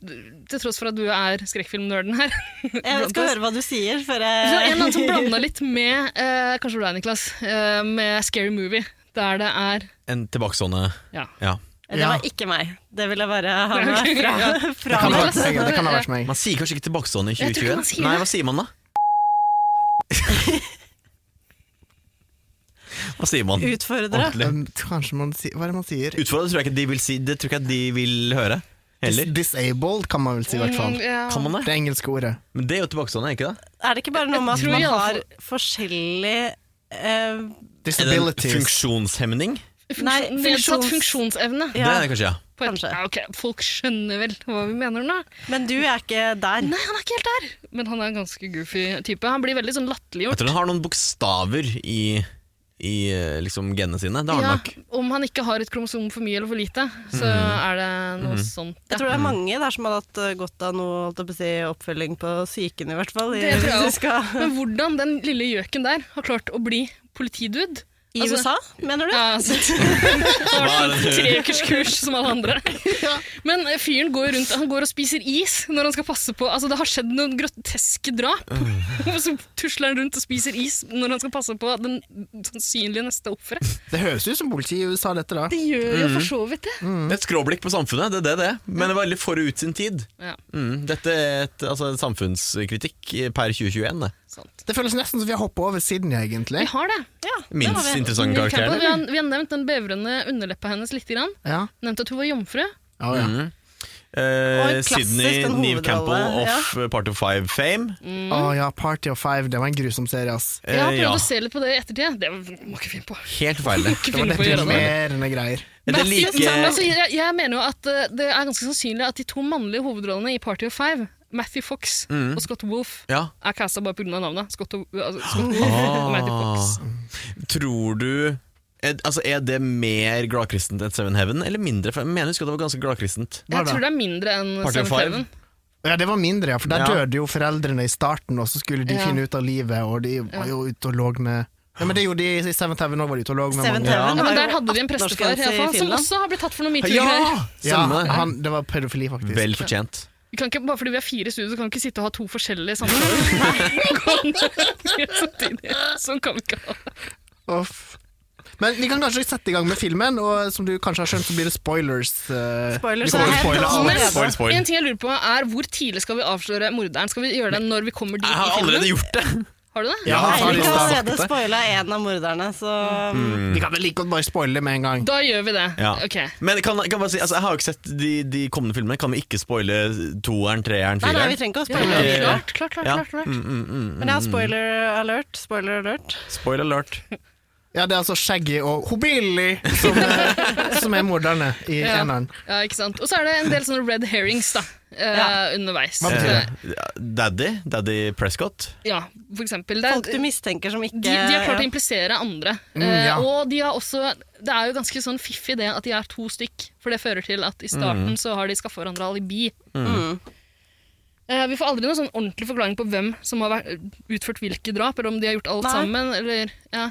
Speaker 2: til tross for at du er skrekkfilmnerden her.
Speaker 4: Jeg
Speaker 2: Blant
Speaker 4: skal
Speaker 2: oss.
Speaker 4: høre hva du sier
Speaker 2: Så
Speaker 4: før
Speaker 2: en
Speaker 4: jeg
Speaker 2: eller annen som blanda litt med eh, Kanskje det var deg, Niklas. eh, med Scary Movie, der det er
Speaker 3: En tilbakestående
Speaker 2: Ja.
Speaker 3: ja.
Speaker 4: Det var ikke meg. Det vil jeg bare ha med fra,
Speaker 1: Det
Speaker 4: fra
Speaker 1: kan ha
Speaker 4: meg.
Speaker 1: vært meg. Det kan ha vært meg.
Speaker 3: Man sier kanskje ikke tilbakestående i
Speaker 2: Jeg tror ikke man
Speaker 3: 2021?
Speaker 2: sier
Speaker 3: Nei,
Speaker 2: det.
Speaker 3: hva sier man da? hva sier man?
Speaker 4: Utfordre.
Speaker 3: Ordentlig.
Speaker 1: Um, kanskje man sier Hva er det man sier?
Speaker 3: Utfordret tror jeg ikke de vil si, det tror jeg ikke de vil høre. Heller.
Speaker 1: Dis disabled kan man vel si, i hvert fall.
Speaker 2: Mm, ja.
Speaker 3: Kan man
Speaker 1: Det
Speaker 3: det?
Speaker 1: engelske ordet.
Speaker 3: Men det er jo tilbakestående, er ikke det?
Speaker 4: Er det ikke bare noe
Speaker 2: Jeg
Speaker 4: med at
Speaker 2: tror
Speaker 4: man
Speaker 2: i alle
Speaker 4: har forskjellig eh,
Speaker 3: Er det en
Speaker 1: Disabilities.
Speaker 3: funksjonshemning?
Speaker 2: Funksjon,
Speaker 4: Nei,
Speaker 2: nedsatt
Speaker 4: funksjons-
Speaker 2: sånn- funksjonsevne.
Speaker 4: Ja.
Speaker 3: Det er det kanskje, ja.
Speaker 2: På et,
Speaker 4: kanskje.
Speaker 2: ja, ok, folk skjønner vel hva vi mener nå?
Speaker 4: Men du er ikke der.
Speaker 2: Nei, han er ikke helt der! Men han er en ganske goofy type. Han blir veldig sånn
Speaker 3: Jeg
Speaker 2: latterliggjort.
Speaker 3: tror den har noen bokstaver i, i eh, liksom genene sine. Det har den
Speaker 2: Ja,
Speaker 3: nok.
Speaker 2: om han ikke har et kromosom for mye eller for lite, så er det noe sånt.
Speaker 4: Jeg
Speaker 2: Ja.
Speaker 4: tror det er mange der som har hatt eh, godt av noe holdt jeg på å si, oppfølging på psyken, i hvert fall. i-
Speaker 2: Det tror jeg
Speaker 4: hvis de
Speaker 2: også.
Speaker 4: skal-
Speaker 2: Men hvordan den lille gjøken der har klart å bli politidude
Speaker 4: I
Speaker 2: Altså-
Speaker 4: USA, mener du?
Speaker 2: Ja, altså, Han har vært på treukerskurs som alle andre. Men eh, fyren går rundt Han går og spiser is når han skal passe på Altså Det har skjedd noen groteske drap, og så tusler han rundt og spiser is når han skal passe på den sannsynlige neste offeret.
Speaker 1: Det høres ut som politi i USA, dette da.
Speaker 2: Det gjør jo for så vidt det.
Speaker 3: Det er et skråblikk på samfunnet, det er det det er. Men det var veldig forut sin tid.
Speaker 2: Ja,
Speaker 3: Mm, dette er et, altså, samfunnskritikk per 2021, det.
Speaker 2: sant.
Speaker 1: Det føles nesten som vi har hoppa over Sydney, egentlig.
Speaker 2: Vi har det.
Speaker 4: Ja, det har
Speaker 3: Minst
Speaker 4: vi.
Speaker 3: interessante
Speaker 2: Neil Campbell,
Speaker 3: karakterer.
Speaker 2: vi, har, vi har nevnt den bevrende underleppa hennes litt. Grann.
Speaker 1: Ja.
Speaker 2: Nevnt at hun var jomfru.
Speaker 1: Ja, ja.
Speaker 3: Eh,
Speaker 4: Og en klassisk,
Speaker 3: Sydney,
Speaker 4: den
Speaker 3: Neve
Speaker 4: hovedrolle,
Speaker 3: Campbell of eh, Party of Five Fame.
Speaker 1: Å ja, Party of Five, det var en grusom serie, ass.
Speaker 3: Eh,
Speaker 2: Jeg har prøvd
Speaker 3: ja.
Speaker 2: å se litt på det i ettertid. Det må ikke finne på.
Speaker 3: Helt feil, det.
Speaker 2: Ikke
Speaker 1: Det var
Speaker 2: finne på å gjøre det.
Speaker 1: deprimerende greier.
Speaker 3: Er det
Speaker 2: Men
Speaker 3: like-
Speaker 2: altså, altså, jeg, jeg mener jo at eh, det er ganske sannsynlig at de to mannlige hovedrollene i Party of Five, Matthew Fox
Speaker 3: Mm.
Speaker 2: og Scott Wolf,
Speaker 3: Ja.
Speaker 2: er casta bare pga. navnet. Scott, og- altså, Scott
Speaker 3: Ah.
Speaker 2: Wolf og Matthew Fox.
Speaker 3: Tror du er, altså, er det mer gladkristent enn Seven Heaven, eller mindre? For jeg mener jeg husker at det var ganske gladkristent.
Speaker 1: Hva
Speaker 2: Jeg
Speaker 1: da?
Speaker 2: tror det er mindre enn
Speaker 3: Party of
Speaker 2: Seven
Speaker 3: Five?
Speaker 2: Seven.
Speaker 1: Ja, det var mindre, ja, for der
Speaker 3: Ja.
Speaker 1: døde jo foreldrene i starten, og så skulle de
Speaker 2: Ja.
Speaker 1: finne ut av livet, og de var jo ute og lå med ja, men det gjorde de i Seventh Heaven òg, var de ute og lå med
Speaker 4: Seventh
Speaker 1: mange.
Speaker 4: Heaven
Speaker 2: Ja, men
Speaker 4: har
Speaker 2: der
Speaker 4: jo
Speaker 2: hadde de en prestefar
Speaker 4: 18-årsgrense i
Speaker 2: i hvert fall, som
Speaker 4: Finland.
Speaker 2: også har blitt tatt for noe metoo-greier.
Speaker 3: Ja!
Speaker 1: Ja,
Speaker 3: Stemmer det.
Speaker 1: han, det var pedofili, faktisk.
Speaker 3: Vel fortjent.
Speaker 2: Vi kan ikke, bare fordi vi er fire i studio, så kan vi ikke sitte og ha to forskjellige samtaler. Samtidig. sånn kan vi ikke ha det.
Speaker 1: Uff. Men vi kan kanskje sette i gang med filmen, og som du kanskje har skjønt, så blir det spoilers. eh,
Speaker 4: Spoilers
Speaker 1: vi kommer til å
Speaker 4: er
Speaker 1: spoile
Speaker 4: helt
Speaker 1: alt.
Speaker 4: allerede.
Speaker 3: Spoil, spoil.
Speaker 2: En ting jeg lurer på er Hvor tidlig skal vi avsløre morderen? Skal vi gjøre det når vi kommer dit? i
Speaker 3: Jeg har
Speaker 2: filmen?
Speaker 3: allerede gjort det!
Speaker 2: Har du det?
Speaker 1: Ja, han har
Speaker 4: Eirik har
Speaker 1: lista.
Speaker 4: allerede spoila en av morderne, så
Speaker 1: Vi kan vel like godt bare spoile det med en gang.
Speaker 2: Da gjør vi det.
Speaker 3: Ja.
Speaker 2: Ok.
Speaker 3: Men kan, kan jeg bare si, altså, jeg har jo ikke sett de, de kommende filmene. Kan vi ikke spoile toeren, treeren,
Speaker 4: Nei, nei, vi
Speaker 3: fireren?
Speaker 4: trenger ikke
Speaker 2: Ja,
Speaker 4: å spoile.
Speaker 3: Eh,
Speaker 2: klart, klart, klart,
Speaker 3: ja. Mm,
Speaker 2: klart, klart.
Speaker 4: Men ja, spoiler alert. Spoiler alert.
Speaker 3: Spoil alert.
Speaker 1: Ja, det er altså Shaggy og Hobilly som, eh, som er morderne i
Speaker 2: Ja.
Speaker 1: eneren.
Speaker 2: Ja, ikke sant? Og så er det en del sånne red herrings da, eh,
Speaker 4: Ja.
Speaker 2: underveis.
Speaker 1: Hva betyr
Speaker 3: Eh, Daddy? Daddy Prescott?
Speaker 2: Ja, for eksempel. Det er-
Speaker 4: Folk du mistenker som ikke
Speaker 2: de, de har klart å
Speaker 4: ja.
Speaker 2: implisere andre.
Speaker 1: Mm,
Speaker 2: Eh,
Speaker 1: ja.
Speaker 2: og de har også Det er jo ganske sånn fiffig det at de er to stykk, for det fører til at i starten så har de skaffa hverandre alibi.
Speaker 4: Mm.
Speaker 2: Eh, vi får aldri noen sånn ordentlig forklaring på hvem som har vært, utført hvilke drap, eller om de har gjort alt
Speaker 4: Nei.
Speaker 2: sammen, eller ja.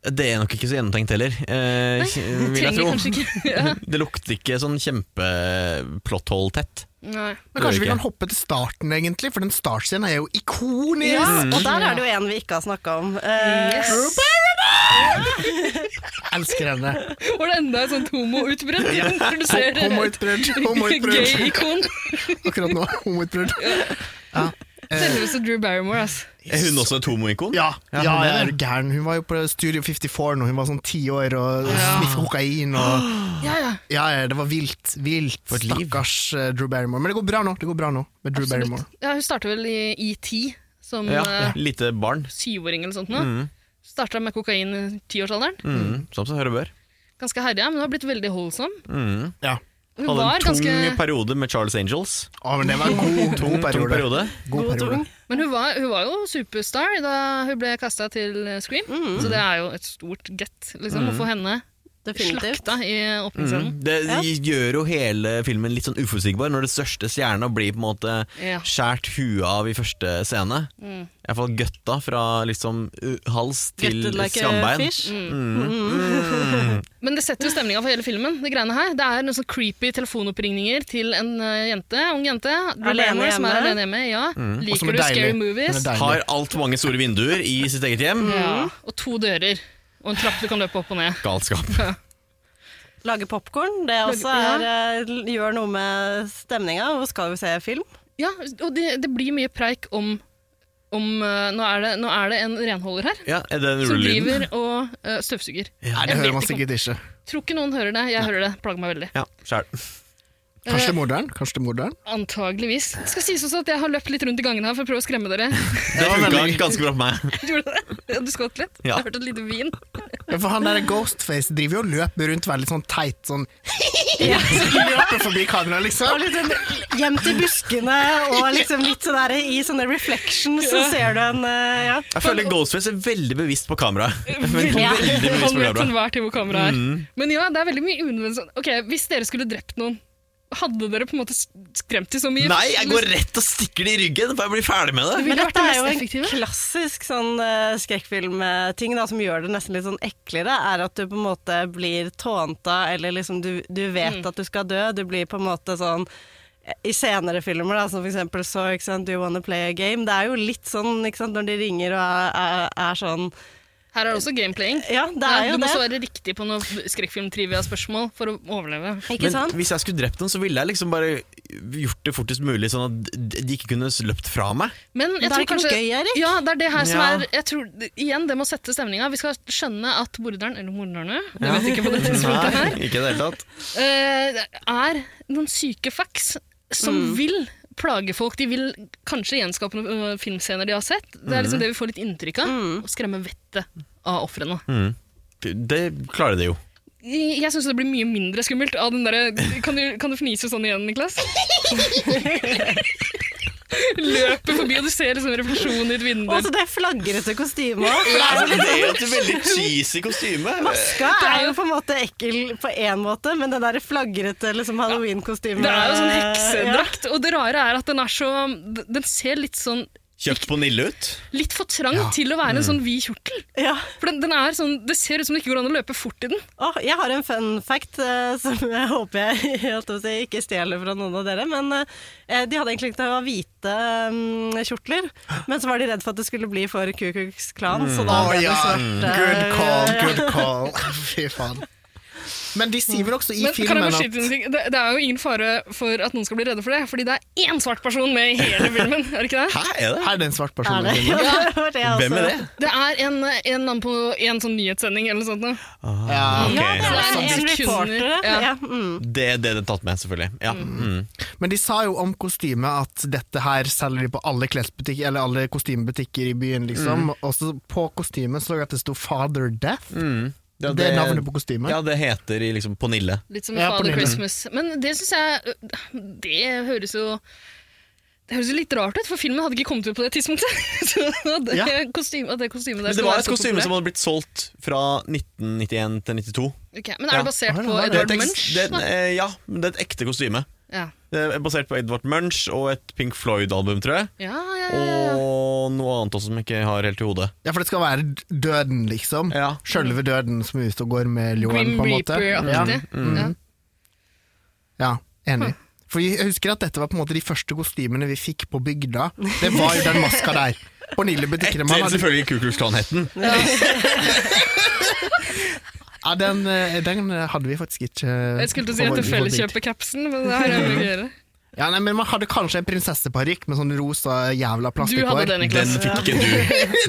Speaker 3: Det er nok ikke så gjennomtenkt heller,
Speaker 2: Vi
Speaker 3: eh, vil jeg
Speaker 2: trenger
Speaker 3: tro.
Speaker 2: kanskje ikke ja.
Speaker 3: Det lukter ikke sånn kjempeplotthole tett.
Speaker 2: Nei.
Speaker 1: Men kanskje vi
Speaker 3: Gjør
Speaker 1: kan
Speaker 3: ikke.
Speaker 1: hoppe til starten, egentlig, for den startscenen er jo ikonisk!
Speaker 4: ja, og der er det jo en vi ikke har snakka om. Eh,
Speaker 2: Yes.
Speaker 1: Elsker henne.
Speaker 2: Var det enda et sånt homoutbrudd? Ja. Du ser
Speaker 1: Homoutbrudd, homoutbrudd.
Speaker 2: gay-ikon.
Speaker 1: Akkurat nå, homoutbrudd.
Speaker 2: Selveste Drew Barrymore, ass.
Speaker 3: Er hun også et homoikon?
Speaker 1: Ja, ja,
Speaker 3: hun
Speaker 1: jeg
Speaker 3: er
Speaker 1: er gæren. Hun var jo på Studio 54 når hun var sånn ti år og sniffa kokain og
Speaker 2: Ja, ja.
Speaker 1: Ja, ja, det var vilt. Vilt.
Speaker 3: For et liv.
Speaker 1: Stakkars eh, Drew Barrymore. Men det går bra nå. Det går bra nå med Drew Barrymore.
Speaker 2: ja hun starter vel i ET, som
Speaker 3: Ja,
Speaker 2: eh,
Speaker 3: Lite barn.
Speaker 2: syvåring eller sånt nå.
Speaker 1: Mm.
Speaker 2: Starta med kokain i tiårsalderen.
Speaker 3: Mm, som seg hør og bør.
Speaker 2: Ganske herja, men hun har blitt veldig holdsom.
Speaker 3: Mm.
Speaker 1: Ja.
Speaker 2: Hun
Speaker 3: Hadde en
Speaker 2: var
Speaker 3: tung
Speaker 2: ganske
Speaker 3: periode med Charles Angels. Mm,
Speaker 1: Å, men det var en god,
Speaker 3: Tung,
Speaker 1: god
Speaker 3: tung
Speaker 1: periode.
Speaker 3: periode.
Speaker 1: God
Speaker 4: god
Speaker 1: periode.
Speaker 4: tung.
Speaker 2: Men hun var, hun var jo superstar da hun ble kasta til eh, Scream,
Speaker 1: Mm.
Speaker 2: så det er jo et stort get liksom, å få henne
Speaker 4: Definitivt.
Speaker 2: slakta i åpningsscenen.
Speaker 3: Mm. Det
Speaker 4: Ja.
Speaker 3: gjør jo hele filmen litt sånn uforutsigbar, når det største stjerna blir på en måte
Speaker 2: Ja.
Speaker 3: skjært huet av i første scene.
Speaker 4: Mm.
Speaker 3: I hvert fall gøtta fra liksom uh, hals til
Speaker 4: Gutted like a
Speaker 3: skambein. Mm.
Speaker 4: fish. Mm.
Speaker 2: Men det setter jo stemninga for hele filmen. Det greiene her. Det er noen sånn creepy telefonoppringninger til en eh, jente, ung jente. Drew
Speaker 4: Alene
Speaker 2: Barrymore, som er
Speaker 4: hjemme.
Speaker 2: alene hjemme. Ja.
Speaker 1: Mm. Og som er
Speaker 2: Liker du
Speaker 1: deilig.
Speaker 2: scary
Speaker 1: Som
Speaker 2: movies?
Speaker 1: er deilig.
Speaker 3: Har altfor mange store vinduer i sitt eget hjem.
Speaker 4: Mm.
Speaker 2: Ja. Og to dører. Og en trapp du kan løpe opp og ned.
Speaker 3: Galskap.
Speaker 4: Lage popkorn, det også er, eh, gjør noe med stemninga. Hvor skal vi se film?
Speaker 2: Ja, og det, det blir mye preik om, om eh, nå, er det, nå er det en renholder her
Speaker 3: Ja, er det den
Speaker 2: som
Speaker 3: rullelyden?
Speaker 2: driver og eh, støvsuger.
Speaker 1: Nei, det
Speaker 2: Jeg
Speaker 1: hører
Speaker 2: vet
Speaker 1: man
Speaker 2: ikke.
Speaker 1: sikkert ikke.
Speaker 2: Tror ikke noen hører det. Jeg hører det. Plager meg veldig.
Speaker 3: Ja, skjær.
Speaker 1: Kanskje det er morderen? Kanskje det er morderen?
Speaker 2: Antageligvis. Det skal sies også at jeg har løpt litt rundt i gangen her for å prøve å skremme dere.
Speaker 3: Det funka ganske bra på meg.
Speaker 2: Gjorde det? Ja, Du skvatt litt?
Speaker 3: Ja.
Speaker 2: Jeg hørte et lite hvin.
Speaker 1: Ja, for han der Ghostface driver jo og løper rundt veldig sånn teit, sånn Løper forbi kameraet, liksom.
Speaker 4: Hjem til buskene og liksom litt sånn der i sånne reflections, så ser du en eh, ja.
Speaker 3: Jeg føler Ghostface er veldig bevisst på kamera. Veldig
Speaker 2: Ja. Han vet til
Speaker 3: bevisst på kamera.
Speaker 2: enhver tid hvor kameraet er.
Speaker 3: Mm.
Speaker 2: Men ja, det er veldig mye unødvendig sånn. Ok, Hvis dere skulle drept noen, hadde dere på en måte skremt dem så mye?
Speaker 3: Nei, jeg går rett og stikker det i ryggen, for jeg blir ferdig med det.
Speaker 2: ville
Speaker 4: Men
Speaker 2: vært det
Speaker 4: dette er
Speaker 2: mest
Speaker 4: jo en
Speaker 2: effektive.
Speaker 4: klassisk sånn eh, skrekkfilmting da, som gjør det nesten litt sånn eklere, er at du på en måte blir tånta, eller liksom du, du vet
Speaker 2: Mm.
Speaker 4: at du skal dø. Du blir på en måte sånn eh, i senere filmer, da, som for eksempel så, ikke sant, Do you wanna play a game? Det er jo litt sånn ikke sant, når de ringer og er, er, er sånn
Speaker 2: Her er det også gameplaying.
Speaker 4: Ja, det er
Speaker 2: Nei,
Speaker 4: jo
Speaker 2: du må
Speaker 4: det.
Speaker 2: svare riktig på noen skrekkfilm-trivia-spørsmål for å overleve.
Speaker 4: Ikke
Speaker 3: Men
Speaker 4: sant?
Speaker 3: hvis jeg skulle drept noen, så ville jeg liksom bare gjort det fortest mulig, sånn at d- de ikke kunne løpt fra meg.
Speaker 2: Men jeg
Speaker 4: Det er
Speaker 2: tror
Speaker 4: ikke noe
Speaker 2: kanskje,
Speaker 4: gøy, Erik.
Speaker 2: Ja, det er det her som
Speaker 3: Ja.
Speaker 2: er jeg tror, Igjen, det må sette stemninga. Vi skal skjønne at morderen, eller morderne, det vet vi ikke på det tidspunktet her,
Speaker 3: Nei, ikke i det hele tatt.
Speaker 2: eh, er noen syke facts som
Speaker 4: Mm.
Speaker 2: vil plage folk. De vil kanskje gjenskape noen øh, filmscener de har sett. Det er liksom det vi får litt inntrykk av.
Speaker 4: Mm.
Speaker 2: Og skremme vettet av ofrene.
Speaker 3: Mm. Det klarer de jo.
Speaker 2: Jeg syns det blir mye mindre skummelt av den derre kan, du- kan du fnise sånn igjen, Niklas? Løper forbi, og du ser liksom refleksjonen i et vindu.
Speaker 4: Og så det flagrete kostymet òg.
Speaker 3: Det er jo et veldig cheesy kostyme.
Speaker 4: Maska er jo på en måte ekkel på én måte, men det der flagrete liksom, halloween-kostymet eh,
Speaker 2: Det er jo sånn heksedrakt, og det rare er at den er så Den ser litt sånn
Speaker 3: Kjøpt på Nille ut.
Speaker 2: Litt for trang til å
Speaker 1: Mm.
Speaker 2: være en sånn vid kjortel.
Speaker 4: Ja.
Speaker 2: For den, den er sånn, Det ser ut som det ikke går an å løpe fort i den.
Speaker 4: Å, jeg har en fun fact eh, som jeg håper jeg, holdt på å si, ikke stjeler fra noen av dere. Men eh, de hadde egentlig tenkt å ha hvite mm, kjortler, men så var de redd for at det skulle bli for Ku Klux Klan, så da
Speaker 3: Mm.
Speaker 1: Å
Speaker 4: ble det
Speaker 1: ja, Mm.
Speaker 4: svart. eh,
Speaker 1: good call,
Speaker 4: ja.
Speaker 1: good call. Fy faen. Men de sier vel også i
Speaker 2: Men kan jeg
Speaker 1: filmen
Speaker 2: bare
Speaker 1: at
Speaker 2: skyte inn en ting? Det, det er jo ingen fare for at noen skal bli redde for det, fordi det er én svart person med i hele filmen. er det ikke det?
Speaker 3: Hæ, er det?
Speaker 1: Her er det en svart person.
Speaker 4: Er det? Ja, det var det, altså.
Speaker 3: Hvem er det?
Speaker 2: Det er en, en mann på en sånn nyhetssending eller noe sånt. nå.
Speaker 1: Ja, sånn. ok.
Speaker 3: Ok.
Speaker 4: Ja, det er
Speaker 2: Som
Speaker 4: en
Speaker 2: de
Speaker 4: reporter.
Speaker 2: kunne-
Speaker 4: Ja.
Speaker 2: ja.
Speaker 4: mm.
Speaker 3: Det er det det er tatt med, selvfølgelig. Ja. Mm.
Speaker 1: Men de sa jo om kostyme at dette her selger de på alle klesbutikker Eller alle kostymebutikker i byen,
Speaker 2: Mm.
Speaker 1: liksom. Og så på kostymet så jeg at det sto 'Father Death'.
Speaker 3: Mm. Ja,
Speaker 1: det, er navnet på kostymet.
Speaker 3: Ja, det heter i liksom på Nille.
Speaker 2: Litt som
Speaker 1: Ja, på
Speaker 2: Father
Speaker 1: nyheten.
Speaker 2: Christmas. Men det syns jeg Det høres jo det høres jo litt rart ut, for filmen hadde ikke kommet ut på det tidspunktet. Så det
Speaker 1: Ja.
Speaker 2: kostyme, at det kostymet der
Speaker 3: Men det
Speaker 2: skulle være
Speaker 3: var et
Speaker 2: så
Speaker 3: kostyme
Speaker 2: populært.
Speaker 3: som hadde blitt solgt fra 1991 til 92.
Speaker 2: Ok, Men er
Speaker 3: Ja.
Speaker 2: det basert
Speaker 1: Her
Speaker 2: på
Speaker 1: har du det.
Speaker 3: Det er
Speaker 2: Edvard
Speaker 3: et
Speaker 2: Munch?
Speaker 3: ekst- det, eh, ja, men det er et ekte kostyme.
Speaker 2: Ja.
Speaker 3: Det er basert på Edvard Munch og et Pink Floyd-album, tror jeg.
Speaker 2: Ja, ja, ja, ja.
Speaker 3: Og noe annet også som jeg ikke har helt i hodet.
Speaker 1: Ja, for det skal være d- døden, liksom.
Speaker 3: Ja.
Speaker 1: Sjølve døden som er ute og går med ljåen,
Speaker 2: Grim
Speaker 1: på en måte. Ja. Mm.
Speaker 2: Reaper-aktig. Ja.
Speaker 1: ja, enig.
Speaker 2: Hm.
Speaker 1: For jeg husker at dette var på en måte de første kostymene vi fikk på bygda. Det var jo den maska der. På Nillebutikken.
Speaker 3: Etter selvfølgelig Ku Klux Klan-hetten.
Speaker 1: Ja, den, eh, den hadde vi faktisk ikke eh,
Speaker 2: Jeg skulle til å si
Speaker 1: på
Speaker 2: at
Speaker 1: vår-
Speaker 2: du
Speaker 1: vår bygd.
Speaker 2: felleskjøper capsen, men det har jeg mye å gjøre.
Speaker 1: Ja, nei, men Man hadde kanskje en prinsesseparykk med sånn rosa jævla
Speaker 2: Du
Speaker 1: plastikkhår.
Speaker 2: hadde det,
Speaker 3: Den
Speaker 2: Niklas.
Speaker 3: fikk ikke du.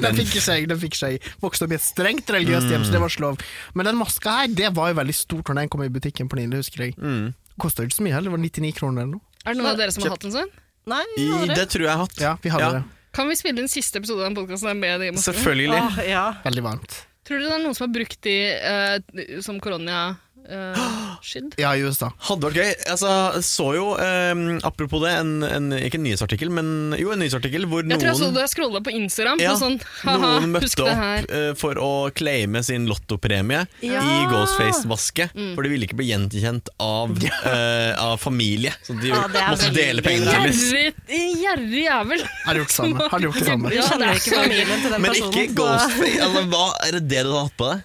Speaker 1: Den fikk ikke seg, den fikk seg. Vokste opp i et strengt religiøst hjem,
Speaker 3: Mm.
Speaker 1: så det var ikke lov. Men den maska her, det var jo veldig stort når den kom i butikken på Nille, husker jeg.
Speaker 3: Mm.
Speaker 1: Kosta jo ikke så mye heller, det var 99 kroner eller noe.
Speaker 2: Er det noen av dere som har hatt en sånn?
Speaker 4: Nei,
Speaker 3: I,
Speaker 4: vi har det.
Speaker 3: det tror jeg jeg har hatt.
Speaker 1: Ja, vi hadde
Speaker 3: Ja.
Speaker 1: det.
Speaker 2: Kan vi spille inn siste episode av den podkasten med de maskene?
Speaker 3: Selvfølgelig.
Speaker 4: Åh, ja.
Speaker 1: Veldig varmt.
Speaker 2: Tror dere det er noen som har brukt de eh, som eh, koronaskydd?
Speaker 1: Ja, i USA.
Speaker 3: Hadde vært gøy. Altså, så jo, eh, apropos det, en, en, ikke en nyhetsartikkel, men jo, en nyhetsartikkel hvor
Speaker 2: jeg tror jeg så
Speaker 3: noen
Speaker 2: det jeg scrolla på Instagram.
Speaker 3: Ja,
Speaker 2: på sånn, haha,
Speaker 3: Noen
Speaker 2: husk
Speaker 3: møtte
Speaker 2: det
Speaker 3: opp
Speaker 2: her.
Speaker 3: eh, for å claime sin lottopremie
Speaker 4: Ja.
Speaker 3: i Ghostface-vasket.
Speaker 2: Mm.
Speaker 3: For de ville ikke bli gjenkjent av, eh, av familie. Så de
Speaker 4: Ja, det er
Speaker 3: måtte
Speaker 4: veldig
Speaker 3: dele pengene deres.
Speaker 2: Gjerrig gjerrig jævel!
Speaker 1: Hadde gjort det samme. Hadde gjort det samme.
Speaker 4: Du
Speaker 2: Ja, det
Speaker 4: kjenner
Speaker 2: er
Speaker 4: ikke familien til den
Speaker 3: Men
Speaker 4: personen.
Speaker 3: ikke
Speaker 4: så-
Speaker 3: Ghostface. Altså, hva er det det du har hatt på deg?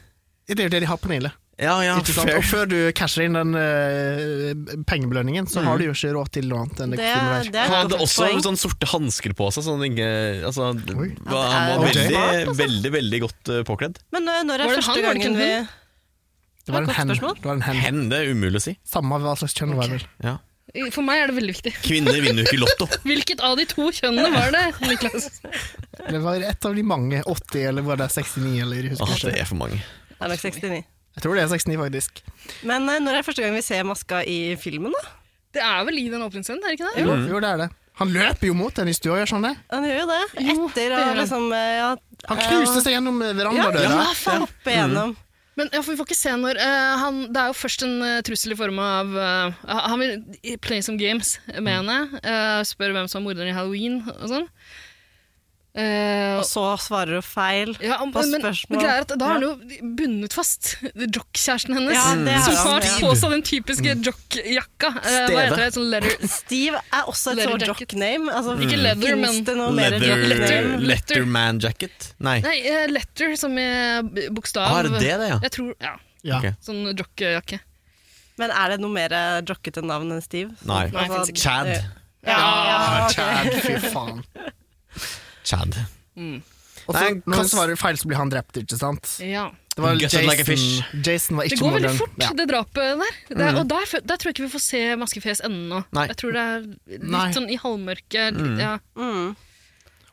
Speaker 1: Det er jo det de har på Nille.
Speaker 3: Ja, ja,
Speaker 1: Ikke sant? Og før du casher inn den eh, pengebelønningen, så har du jo ikke råd til noe annet enn det
Speaker 4: Det-
Speaker 1: kostymet
Speaker 4: det
Speaker 1: der.
Speaker 4: er-
Speaker 3: Han hadde også
Speaker 4: Poeng.
Speaker 3: sånn sorte hansker på seg. Sånn ikke, altså,
Speaker 1: Oi.
Speaker 3: hva, han var
Speaker 1: Ja, det er
Speaker 3: veldig,
Speaker 4: smart,
Speaker 3: veldig veldig godt eh, påkledd.
Speaker 4: Men eh, når
Speaker 2: Var
Speaker 4: er
Speaker 2: det
Speaker 4: første
Speaker 2: han, var det ikke
Speaker 4: gangen vi
Speaker 2: en
Speaker 1: Det var en
Speaker 4: Godt
Speaker 1: hen.
Speaker 4: spørsmål.
Speaker 1: Det var en hen.
Speaker 3: Hen, det er umulig å si.
Speaker 1: Samme hva slags kjønn det var vel.
Speaker 3: Ja.
Speaker 2: For meg er det veldig viktig.
Speaker 3: Kvinner vinner jo ikke Lotto.
Speaker 2: Hvilket av de to kjønnene var det, Niklas?
Speaker 1: Det var et av de mange. 80, eller var det 69, eller jeg
Speaker 3: Åh,
Speaker 1: husker
Speaker 3: Ah, det
Speaker 1: ikke.
Speaker 3: er for mange.
Speaker 4: Det er nok 69.
Speaker 1: Jeg tror det er 69, faktisk.
Speaker 4: Men eh, når er første gang vi ser maska i filmen, da?
Speaker 2: Det er vel i den åpningsscenen, er det ikke det?
Speaker 1: Jo, jo, det er det. Han løper jo mot den i stua, gjør han det?
Speaker 4: Han gjør jo det.
Speaker 2: Jo, det
Speaker 4: Etter
Speaker 2: gjør
Speaker 4: å
Speaker 2: han.
Speaker 4: liksom eh, ja,
Speaker 1: Han knuste seg gjennom verandadøra.
Speaker 4: ja, faen opp igjennom.
Speaker 2: Men ja, for vi får ikke se når eh, han, Det er jo først en eh, trussel i form av eh, Han vil play some games med henne. eh, spør hvem som er morderen i halloween og sånn. Eh,
Speaker 4: Og så svarer hun feil.
Speaker 2: ja, men,
Speaker 4: på
Speaker 2: men, men
Speaker 4: spørsmål.
Speaker 2: greier at da er
Speaker 4: Ja.
Speaker 2: han jo bundet fast. Jock-kjæresten hennes.
Speaker 4: Ja, det er
Speaker 2: som
Speaker 4: han,
Speaker 2: har
Speaker 4: ja.
Speaker 2: på seg den typiske jock-jakka. Eh, hva
Speaker 3: Mm. Steve.
Speaker 2: heter det? Sånn letter,
Speaker 4: Steve er også et
Speaker 2: Leather
Speaker 4: sånt
Speaker 2: jacket.
Speaker 4: jock-name. Altså,
Speaker 2: Ikke leather,
Speaker 4: finnes
Speaker 2: men-
Speaker 4: det noe mer
Speaker 3: Leather,
Speaker 4: jock-name?
Speaker 3: letterman jacket. Nei.
Speaker 2: nei, eh, letter som er b- bokstav.
Speaker 3: Ah, er det det, det, ja?
Speaker 2: Jeg tror, ja.
Speaker 1: Ja.
Speaker 3: Ok.
Speaker 2: Sånn jock-jakke.
Speaker 4: Men er det noe mer jockete navn enn Steve? altså,
Speaker 3: Nei.
Speaker 2: Nei, finnes ikke.
Speaker 3: Chad.
Speaker 4: Ja, ja, ok.
Speaker 1: Chad, fy faen.
Speaker 3: Chad.
Speaker 1: Og
Speaker 3: Nei,
Speaker 1: så, når han
Speaker 3: kast-
Speaker 1: svarer feil, så blir han drept, ikke sant?
Speaker 2: Ja.
Speaker 1: Det var
Speaker 3: Gutted
Speaker 1: Jason,
Speaker 3: like a fish.
Speaker 1: Jason var
Speaker 2: Det
Speaker 1: ikke
Speaker 2: går veldig
Speaker 1: moderen.
Speaker 2: fort,
Speaker 1: Ja.
Speaker 2: det drapet der. Det er, og der, fø- der tror jeg ikke vi får se maskefjes ennå.
Speaker 3: Mm. Nei. Mm.
Speaker 2: Jeg tror det er litt
Speaker 1: Nei.
Speaker 2: sånn i halvmørket. litt- Ja.
Speaker 4: Mm.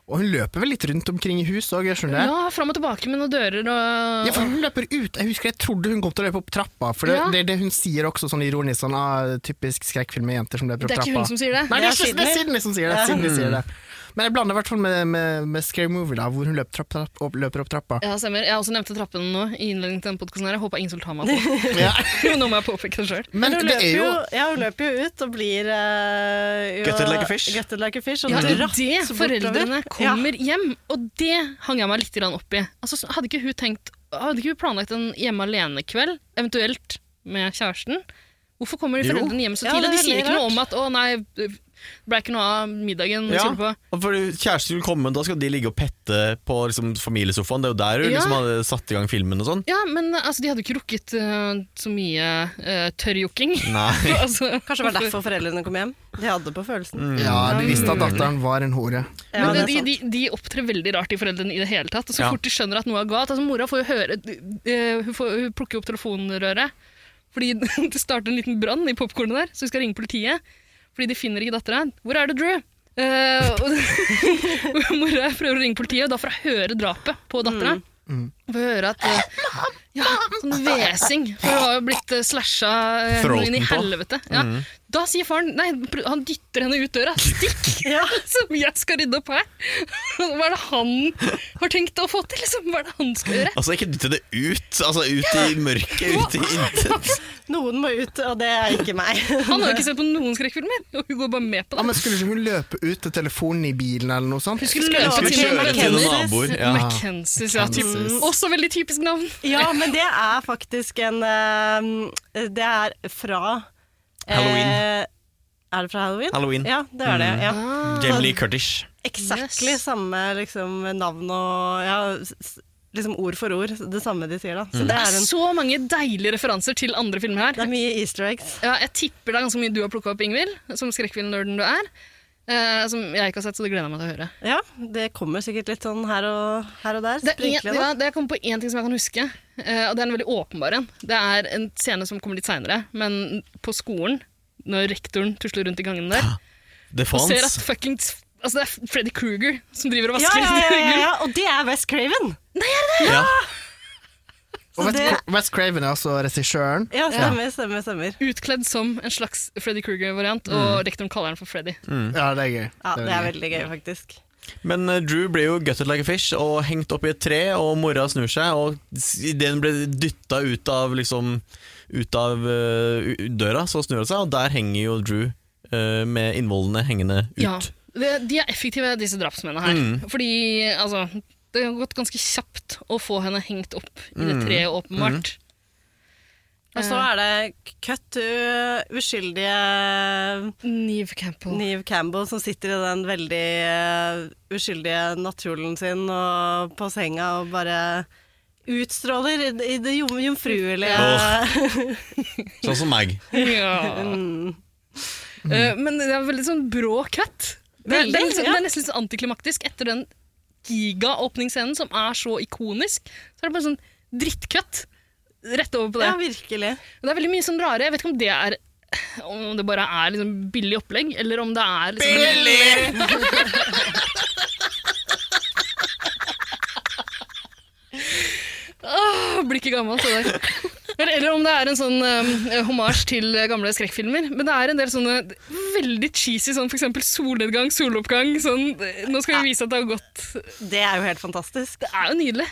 Speaker 1: Og hun løper vel litt rundt omkring i hus òg, skjønner jeg.
Speaker 2: Ja, fram og tilbake med noen dører og
Speaker 1: Ja, for hun løper ut. Jeg husker jeg trodde hun kom til å løpe opp trappa, for det,
Speaker 2: Ja.
Speaker 1: det er det hun sier også sånn ironisk. Sånn, ah, typisk skrekkfilm med jenter som løper opp
Speaker 2: Det er
Speaker 1: trappa.
Speaker 2: ikke hun som sier det.
Speaker 1: Nei, det er,
Speaker 4: Det er
Speaker 1: ikke- det er Sydney som sier det.
Speaker 4: Ja.
Speaker 1: Sydney sier det. Men jeg blander i hvert fall med, med, med Scary Movie, da, hvor hun løper, trapp, trapp, opp, løper opp trappa.
Speaker 2: Ja, stemmer. Jeg har også nevnte trappene nå i innledningen til denne podcasten her. Jeg håper ingen vil ta meg på.
Speaker 1: Ja.
Speaker 2: nå må jeg påpeke det sjøl.
Speaker 1: Men
Speaker 4: hun
Speaker 1: det
Speaker 4: løper
Speaker 1: er
Speaker 4: jo,
Speaker 1: jo
Speaker 4: ja, hun løper jo ut og blir uh, jo,
Speaker 3: Gutted like a fish.
Speaker 4: gutted like a fish, og
Speaker 2: Ja, det er
Speaker 4: dratt
Speaker 2: det
Speaker 4: bortover.
Speaker 2: foreldrene
Speaker 4: Ja.
Speaker 2: kommer hjem, og det hang jeg meg litt grann opp i. Altså, så hadde ikke hun tenkt, hadde ikke hun planlagt en hjemme alene-kveld, eventuelt med kjæresten? Hvorfor kommer de
Speaker 3: Jo.
Speaker 2: foreldrene hjem så
Speaker 4: Ja,
Speaker 2: tidlig?
Speaker 4: det
Speaker 2: de
Speaker 4: er
Speaker 2: sier
Speaker 4: veldig
Speaker 2: ikke noe
Speaker 4: rart.
Speaker 2: om at 'å nei, det ble ikke noe av middagen'.
Speaker 3: Ja,
Speaker 2: skylder på.
Speaker 3: og fordi Kjæresten skulle komme, da skal de ligge og pette på liksom, familiesofaen. Det er jo der hun
Speaker 2: Ja.
Speaker 3: liksom, hadde satt i gang filmen og sånn.
Speaker 2: ja men altså, de hadde ikke rukket eh, så mye uh, tørrjokking.
Speaker 3: Nei.
Speaker 2: altså,
Speaker 4: Kanskje det var derfor foreldrene kom hjem. De hadde på følelsen.
Speaker 1: Ja, de visste at datteren var en hore.
Speaker 4: Ja,
Speaker 2: men
Speaker 4: det er
Speaker 2: de,
Speaker 4: sant.
Speaker 2: de, de opptrer veldig rart, de foreldrene, i det hele tatt. Og så
Speaker 3: Ja.
Speaker 2: fort de skjønner at noe er galt altså, Mora får jo høre eh, hun, får, hun plukker jo opp telefonrøret. Fordi det starter en liten brann i popkornet der, så hun skal ringe politiet. Fordi de finner ikke dattera. 'Hvor er du, Drew?' Eh, og mora prøver å ringe politiet, og da får hun høre drapet på dattera. Får høre at eh, Ja, sånn hvesing. For hun har jo blitt eh, slasha eh,
Speaker 3: Throaten
Speaker 2: inn i
Speaker 3: på.
Speaker 2: helvete. Ja. Da sier faren Nei, pr- han dytter henne ut døra. Stikk!
Speaker 4: Ja.
Speaker 2: som jeg skal rydde opp her. Hva er det han har tenkt å få til? Liksom? Hva er det han skal gjøre?
Speaker 3: Altså, ikke dytte det ut. Altså, ut i mørket, ut i intet.
Speaker 4: Noen må ut, og det er ikke meg.
Speaker 2: Han har jo ikke sett på noen skrekkfilmer, og hun går bare med
Speaker 1: Ja,
Speaker 2: på det.
Speaker 1: Ah, men Skulle ikke hun løpe ut til telefonen i bilen eller noe sånt?
Speaker 2: Hun skulle løpe
Speaker 4: Skulle
Speaker 2: til
Speaker 4: kjøre til
Speaker 2: McKenzies.
Speaker 4: noen
Speaker 3: naboer, ja.
Speaker 2: McKenzies, ja. typ.
Speaker 1: McKenzies.
Speaker 2: Også veldig typisk navn.
Speaker 4: Ja, men det er faktisk en eh, Det er fra eh,
Speaker 3: Halloween.
Speaker 4: Er det fra Halloween? Mm.
Speaker 3: Halloween.
Speaker 4: Ja, det er det. Ja.
Speaker 3: Jamie Lee Curtis.
Speaker 2: Ah,
Speaker 4: Exactly
Speaker 2: Yes.
Speaker 4: samme liksom, navn og ja, s- s- liksom ord for ord. Det samme de sier, da. Så det
Speaker 2: Det
Speaker 4: er
Speaker 2: er
Speaker 4: en
Speaker 2: så mange deilige referanser til andre filmer her.
Speaker 4: det er mye easter eggs.
Speaker 2: Ja, jeg tipper det er ganske mye du har plukka opp, Ingvild, som skrekkfilmnerden du er. eh, som jeg ikke har sett, så det gleder jeg meg til å høre.
Speaker 4: Ja, det kommer sikkert litt sånn her og, her og der.
Speaker 2: Det er en,
Speaker 4: sprinkle,
Speaker 2: ja,
Speaker 4: da.
Speaker 2: det jeg kom på én ting som jeg kan huske, eh, og det er en veldig åpenbar en. Det er en scene som kommer litt seinere, men på skolen, når rektoren tusler rundt i gangen der
Speaker 3: Det
Speaker 2: og ser at
Speaker 3: fantes.
Speaker 2: fuckings Altså, det er Freddy Kruger som driver og
Speaker 4: Ja,
Speaker 2: vasker
Speaker 4: ja,
Speaker 2: rundt i
Speaker 4: ja, ja,
Speaker 2: gulvet.
Speaker 4: ja, og det er West Craven!
Speaker 3: Ja.
Speaker 1: Og Wes,
Speaker 4: det-
Speaker 1: Wes Craven er altså regissøren.
Speaker 4: Ja, stemmer, stemmer, stemmer.
Speaker 2: Utkledd som en slags Freddy Kruger-variant, og rektoren kaller den for Freddy.
Speaker 1: Ja, det er gøy.
Speaker 4: Ja, det er
Speaker 1: gøy.
Speaker 4: veldig gøy, faktisk.
Speaker 3: Men eh, Drew ble jo gutted like a fish og hengt opp i et tre, og mora snur seg, og s- idet hun ble dytta ut av, liksom, ut av eh, u- døra, så snur hun seg, og der henger jo Drew eh, med innvollene hengende ut.
Speaker 2: Ja, det, de er effektive, disse drapsmennene her. Fordi, altså Det har gått ganske kjapt å få henne hengt opp i det treet, åpenbart.
Speaker 4: Og
Speaker 2: Eh.
Speaker 4: så er det cut to uskyldige
Speaker 2: Eh, Neve Campbell.
Speaker 4: Neve Campbell som sitter i den veldig eh, uskyldige nattkjolen sin og på senga og bare utstråler i, i det jom- jomfruelige
Speaker 3: Sånn som meg.
Speaker 2: Ja.
Speaker 4: Mm.
Speaker 2: Eh, men det er veldig sånn brå cut. Det, er- det, er
Speaker 4: Veldig,
Speaker 2: liksom,
Speaker 4: ja.
Speaker 2: det er nesten litt sånn antiklimaktisk etter den giga-åpningsscenen som er så ikonisk. Så er det bare sånn drittkutt rett over på det.
Speaker 4: Ja, virkelig.
Speaker 2: Det er veldig mye sånn rare Jeg vet ikke om det er om det bare er liksom billig opplegg, eller om det er liksom
Speaker 3: Billig!
Speaker 2: Åh, blir ikke gammelt, det der. Eller, eller om det er en sånn um, hommage til eh, gamle skrekkfilmer. Men det er en del sånne veldig cheesy, sånn for eksempel solnedgang, soloppgang. Sånn, eh, nå skal vi vise at det har gått
Speaker 4: Det er jo helt fantastisk.
Speaker 2: Det er jo nydelig.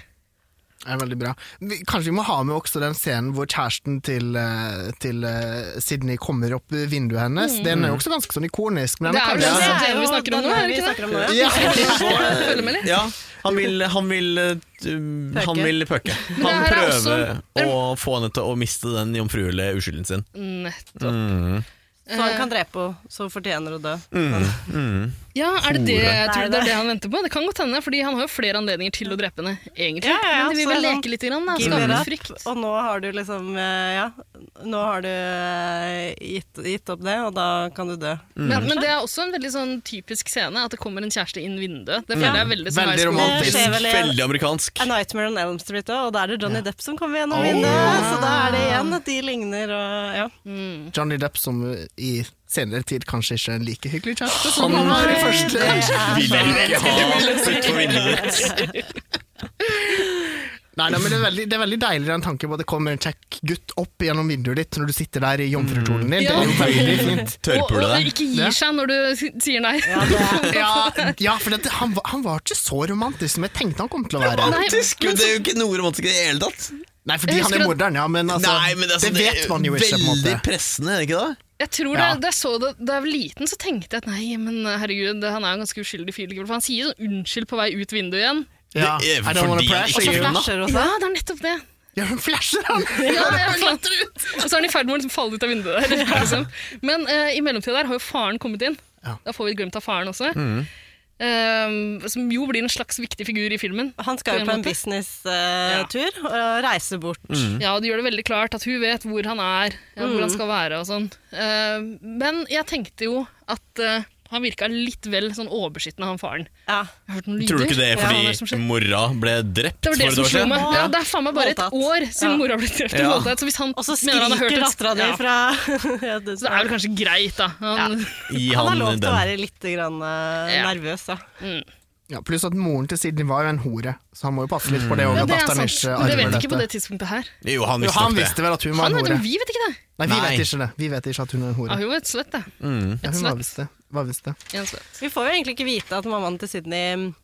Speaker 1: Det er veldig bra. Vi, kanskje vi må ha med også den scenen hvor kjæresten til, eh, til eh, Sydney kommer opp i vinduet hennes. Den er jo også ganske sånn ikonisk. Men den
Speaker 2: Mm.
Speaker 1: kan vi-
Speaker 2: Det er vel
Speaker 1: ja.
Speaker 2: den som- det vi snakker om nå, er det
Speaker 4: vi
Speaker 2: ikke det?
Speaker 4: snakker om nå, ja.
Speaker 1: Ja.
Speaker 2: Følg med litt.
Speaker 3: eh, Ja, han vil Han vil, eh, t- han vil pøke. Han
Speaker 2: her er
Speaker 3: prøver
Speaker 2: også-
Speaker 3: å få henne til å miste den jomfruelige uskylden sin. Mm.
Speaker 2: Nettopp.
Speaker 4: Så
Speaker 2: Eh.
Speaker 4: han kan drepe henne, så fortjener hun å dø.
Speaker 3: Mm.
Speaker 2: Ja, er det det, tror
Speaker 3: Hore.
Speaker 4: Nei,
Speaker 2: du det er det han venter på? Det kan godt hende, fordi han har jo flere anledninger til å drepe henne, egentlig.
Speaker 4: Ja, ja, ja,
Speaker 2: Men de vil
Speaker 4: så
Speaker 2: vel
Speaker 4: det er sånn,
Speaker 2: leke litt, grann, da.
Speaker 4: Give
Speaker 2: skape
Speaker 4: it
Speaker 2: litt
Speaker 4: up,
Speaker 2: frykt.
Speaker 4: Og nå har du liksom eh, Ja, nå har du eh, gitt, gitt opp det, og da kan du dø.
Speaker 2: Men, men det er også en veldig sånn typisk scene, at det kommer en kjæreste inn vinduet. Det
Speaker 1: Ja.
Speaker 2: føler jeg er veldig som
Speaker 1: Veldig
Speaker 2: high school.
Speaker 1: romantisk.
Speaker 4: Det skjer vel i-
Speaker 3: Veldig amerikansk.
Speaker 4: A Nightmare on Elm Street òg, og da er det Johnny Depp som kommer
Speaker 2: Mm.
Speaker 4: gjennom vinduet. Så da er det igjen at de ligner og ja.
Speaker 1: Johnny Depp som i senere tid kanskje ikke en like hyggelig kjæreste
Speaker 3: Han
Speaker 1: som han var i
Speaker 4: Nei,
Speaker 1: første.
Speaker 4: det er-
Speaker 3: Vil ikke ha sitt for vinduet ditt.
Speaker 1: Nei, nei, men det er, veldig, det er veldig deilig den tanken på at det kommer en kjekk gutt opp gjennom vinduet ditt når du sitter der i jomfrutolen din. Det er jo
Speaker 2: Mm. Ja.
Speaker 1: veldig fint.
Speaker 2: Og, og
Speaker 3: Tørrpule deg.
Speaker 2: ikke gir seg når du si- sier nei.
Speaker 1: Ja, ja for dette, han, var- han var ikke så romantisk som jeg tenkte han kom til å være.
Speaker 2: Nei,
Speaker 3: Tysk,
Speaker 2: men
Speaker 3: det er jo ikke noe romantisk i det hele tatt.
Speaker 1: Nei, fordi han er
Speaker 2: Jeg husker at-
Speaker 1: morderen, ja, men, altså,
Speaker 3: Nei, men altså,
Speaker 1: det vet man jo ikke. på en
Speaker 3: Veldig
Speaker 1: måte.
Speaker 3: pressende, er det ikke det?
Speaker 2: Jeg tror
Speaker 1: Ja.
Speaker 2: det, da jeg så det da jeg var liten, så tenkte jeg at nei, men herregud, han er jo en ganske uskyldig fyr. likevel, For han sier jo sånn unnskyld på vei ut vinduet igjen.
Speaker 1: Ja.
Speaker 3: Det er
Speaker 1: I don't wanna
Speaker 3: fordi jeg
Speaker 1: press
Speaker 3: ikke
Speaker 4: Så
Speaker 1: you.
Speaker 3: vil-
Speaker 4: flasher sånn. også.
Speaker 2: Ja, det er nettopp det.
Speaker 1: Ja, hun flasher han!
Speaker 2: Ja, jeg klatrer ut. Og så er han i ferd med å liksom falle ut av vinduet. Der, liksom. Men eh, i mellomtida der har jo faren kommet inn.
Speaker 1: Ja.
Speaker 2: Da får vi glemt av faren også.
Speaker 3: Mm.
Speaker 2: Eh, som jo blir en slags viktig figur i filmen.
Speaker 4: Han skal jo
Speaker 2: en
Speaker 4: på en
Speaker 2: måte. Ja.
Speaker 4: business-tur og reise bort.
Speaker 2: Ja, og de gjør det veldig klart at hun vet hvor han er, ja, hvor
Speaker 4: Mm.
Speaker 2: han skal være og sånn. Eh, men jeg tenkte jo at eh, han virka litt vel sånn overbeskyttende, han faren.
Speaker 4: Ja.
Speaker 2: Jeg har hørt noen lyder.
Speaker 3: Tror du ikke det er
Speaker 2: Ja, hva er det som
Speaker 3: fordi
Speaker 2: skjer?
Speaker 3: mora ble drept
Speaker 2: det var det
Speaker 3: for et
Speaker 2: som
Speaker 3: år
Speaker 2: slo
Speaker 3: siden?
Speaker 2: meg. Ja,
Speaker 4: Ja.
Speaker 2: det er faen meg bare et
Speaker 4: Voldtatt.
Speaker 2: år siden
Speaker 4: Ja.
Speaker 2: mora ble drept. i
Speaker 3: Ja.
Speaker 2: voldtekt, Så hvis han
Speaker 4: Og så
Speaker 2: mener han har hørt
Speaker 4: skriker
Speaker 2: et-
Speaker 4: dattera di
Speaker 2: Ja.
Speaker 4: fra ja, det,
Speaker 2: Så det er vel kanskje greit, da. Han,
Speaker 3: Gi
Speaker 4: Han har lov
Speaker 3: han
Speaker 4: til å
Speaker 3: den.
Speaker 4: være litt grann, eh,
Speaker 2: Ja.
Speaker 4: nervøs, da.
Speaker 1: Ja, pluss at moren til Sidney var jo en hore, så han må jo passe litt på det òg.
Speaker 2: Mm. Ja,
Speaker 1: at
Speaker 2: det er
Speaker 1: datteren
Speaker 2: sant.
Speaker 1: ikke
Speaker 2: Men det vet
Speaker 1: arver
Speaker 2: ikke på det
Speaker 1: dette.
Speaker 2: tidspunktet her.
Speaker 3: Jo, han
Speaker 1: Jo,
Speaker 3: visste
Speaker 1: han
Speaker 3: nok det.
Speaker 1: visste vel at hun var
Speaker 2: Han
Speaker 1: en
Speaker 2: vet det,
Speaker 1: hore.
Speaker 2: men vi vet ikke det.
Speaker 1: Nei, vi
Speaker 3: Nei.
Speaker 1: vet ikke det. Vi vet ikke at hun er en
Speaker 2: Ja,
Speaker 1: hore.
Speaker 2: hun var et svett, da.
Speaker 3: Mm.
Speaker 1: Ja,
Speaker 2: Et
Speaker 1: hun var
Speaker 2: svett.
Speaker 1: visst det. Var visst det.
Speaker 2: En svett.
Speaker 4: Vi får jo egentlig ikke vite at mammaen til Sydney mm,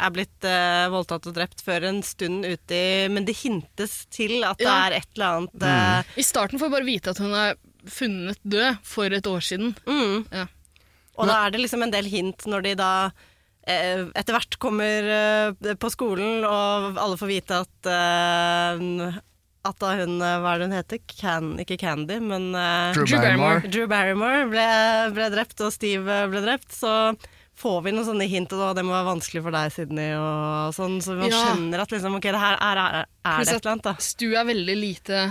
Speaker 4: er blitt eh, voldtatt og drept før en stund uti, men det hintes til at det
Speaker 2: Ja.
Speaker 4: er et eller annet eh,
Speaker 2: I starten får vi bare vite at hun er funnet død for et år siden.
Speaker 4: mm.
Speaker 2: Ja.
Speaker 4: Og da er det liksom en del hint når de da eh, etter hvert kommer eh, på skolen, og alle får vite at eh, at da hun, eh, hva er det hun heter? Can, ikke Candy, men eh,
Speaker 1: Drew
Speaker 2: Drew Barrymore.
Speaker 1: Barrymore.
Speaker 4: Drew Barrymore ble, ble drept, og Steve eh, ble drept, så får vi noen sånne hint, og det må være vanskelig for deg, Sydney, og sånn, så man
Speaker 2: Ja.
Speaker 4: skjønner at liksom, ok, det her er, er, er
Speaker 2: Pluss
Speaker 4: det
Speaker 2: at
Speaker 4: et eller annet, da.
Speaker 2: Stu er veldig lite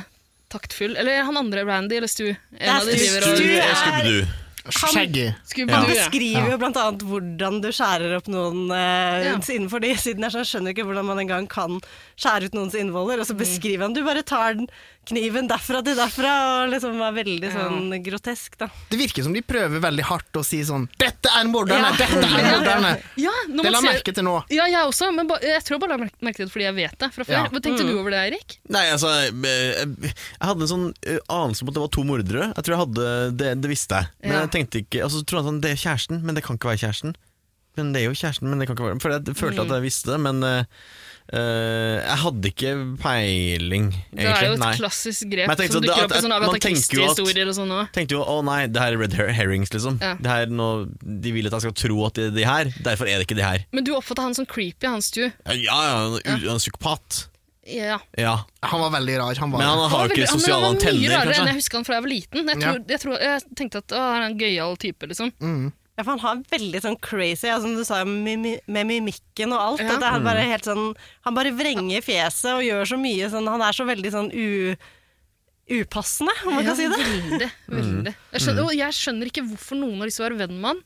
Speaker 2: taktfull. Eller han andre, Randy eller Stu. En av de
Speaker 4: Stu.
Speaker 2: driver
Speaker 3: Du
Speaker 2: og
Speaker 4: Stu.
Speaker 3: er Scooby-Doo.
Speaker 1: Shaggy.
Speaker 2: Scooby-Doo,
Speaker 4: Han
Speaker 2: ja.
Speaker 4: beskriver jo blant annet hvordan du skjærer opp noen eh,
Speaker 2: Ja.
Speaker 4: innenfor de sidene. Jeg skjønner ikke hvordan man engang kan skjære ut noens innvoller,
Speaker 2: Mm.
Speaker 4: og så beskriver han Du bare tar den kniven derfra til derfra, og liksom er veldig sånn grotesk, da.
Speaker 1: Det virker som de prøver veldig hardt å si sånn 'Dette er morderne!
Speaker 4: Ja.
Speaker 1: Dette er morderne!'
Speaker 2: Ja, når
Speaker 1: Det
Speaker 2: man
Speaker 1: la
Speaker 2: ser-
Speaker 1: merke til nå.
Speaker 2: Ja, jeg også, men ba, jeg tror jeg bare la merke merke til det fordi jeg vet det fra før.
Speaker 1: Ja.
Speaker 2: Hva tenkte
Speaker 4: Mm.
Speaker 2: du over det, Eirik?
Speaker 3: Nei, altså eh, Jeg hadde en sånn eh, anelse om at det var to mordere. Jeg tror jeg hadde Det, det visste jeg. Men
Speaker 2: Ja.
Speaker 3: jeg tenkte ikke Altså, så trodde jeg sånn Det er kjæresten, men det kan ikke være kjæresten. Men det er jo kjæresten, men det kan ikke være For jeg
Speaker 2: Mm.
Speaker 3: følte at jeg visste det, men eh, eh, jeg hadde ikke peiling, egentlig.
Speaker 2: Det er jo et
Speaker 3: Nei.
Speaker 2: klassisk
Speaker 3: Men
Speaker 2: grep
Speaker 3: jeg tenkte
Speaker 2: som
Speaker 3: at det-
Speaker 2: dukker opp
Speaker 3: at-
Speaker 2: i sånne
Speaker 3: at
Speaker 2: Agatha
Speaker 3: man tenker jo at-
Speaker 2: Christie-historier og sånn òg.
Speaker 3: Tenkte jo å nei, det her er red her- herrings, liksom.
Speaker 2: Ja.
Speaker 3: Det her er noe, de vil at jeg skal tro at det er de her, derfor er det ikke de her.
Speaker 2: Men du oppfatta han som creepy, han Stu.
Speaker 3: Ja, ja, han er u- han er psykopat.
Speaker 2: Ja.
Speaker 3: Ja.
Speaker 1: Han var veldig rar. Han var
Speaker 3: Men han har jo ikke
Speaker 2: veldig- men
Speaker 3: sosiale antenner,
Speaker 2: Han var mye rarere enn
Speaker 3: kanskje.
Speaker 2: jeg husker han fra jeg var liten. Jeg,
Speaker 1: Ja.
Speaker 2: tror, jeg, tror, jeg tenkte at å, han er en gøyal type, liksom.
Speaker 4: Ja, for han har veldig sånn crazy, ja, som du sa, mimi- med mimikken og alt.
Speaker 2: Ja.
Speaker 4: At det er bare helt sånn, han bare vrenger fjeset og gjør så mye sånn Han er så veldig sånn u, upassende, om man kan si det. Mm.
Speaker 2: Veldig, veldig. Jeg skjønner,
Speaker 3: Mm.
Speaker 2: og jeg skjønner ikke hvorfor noen har lyst til å være venn med han.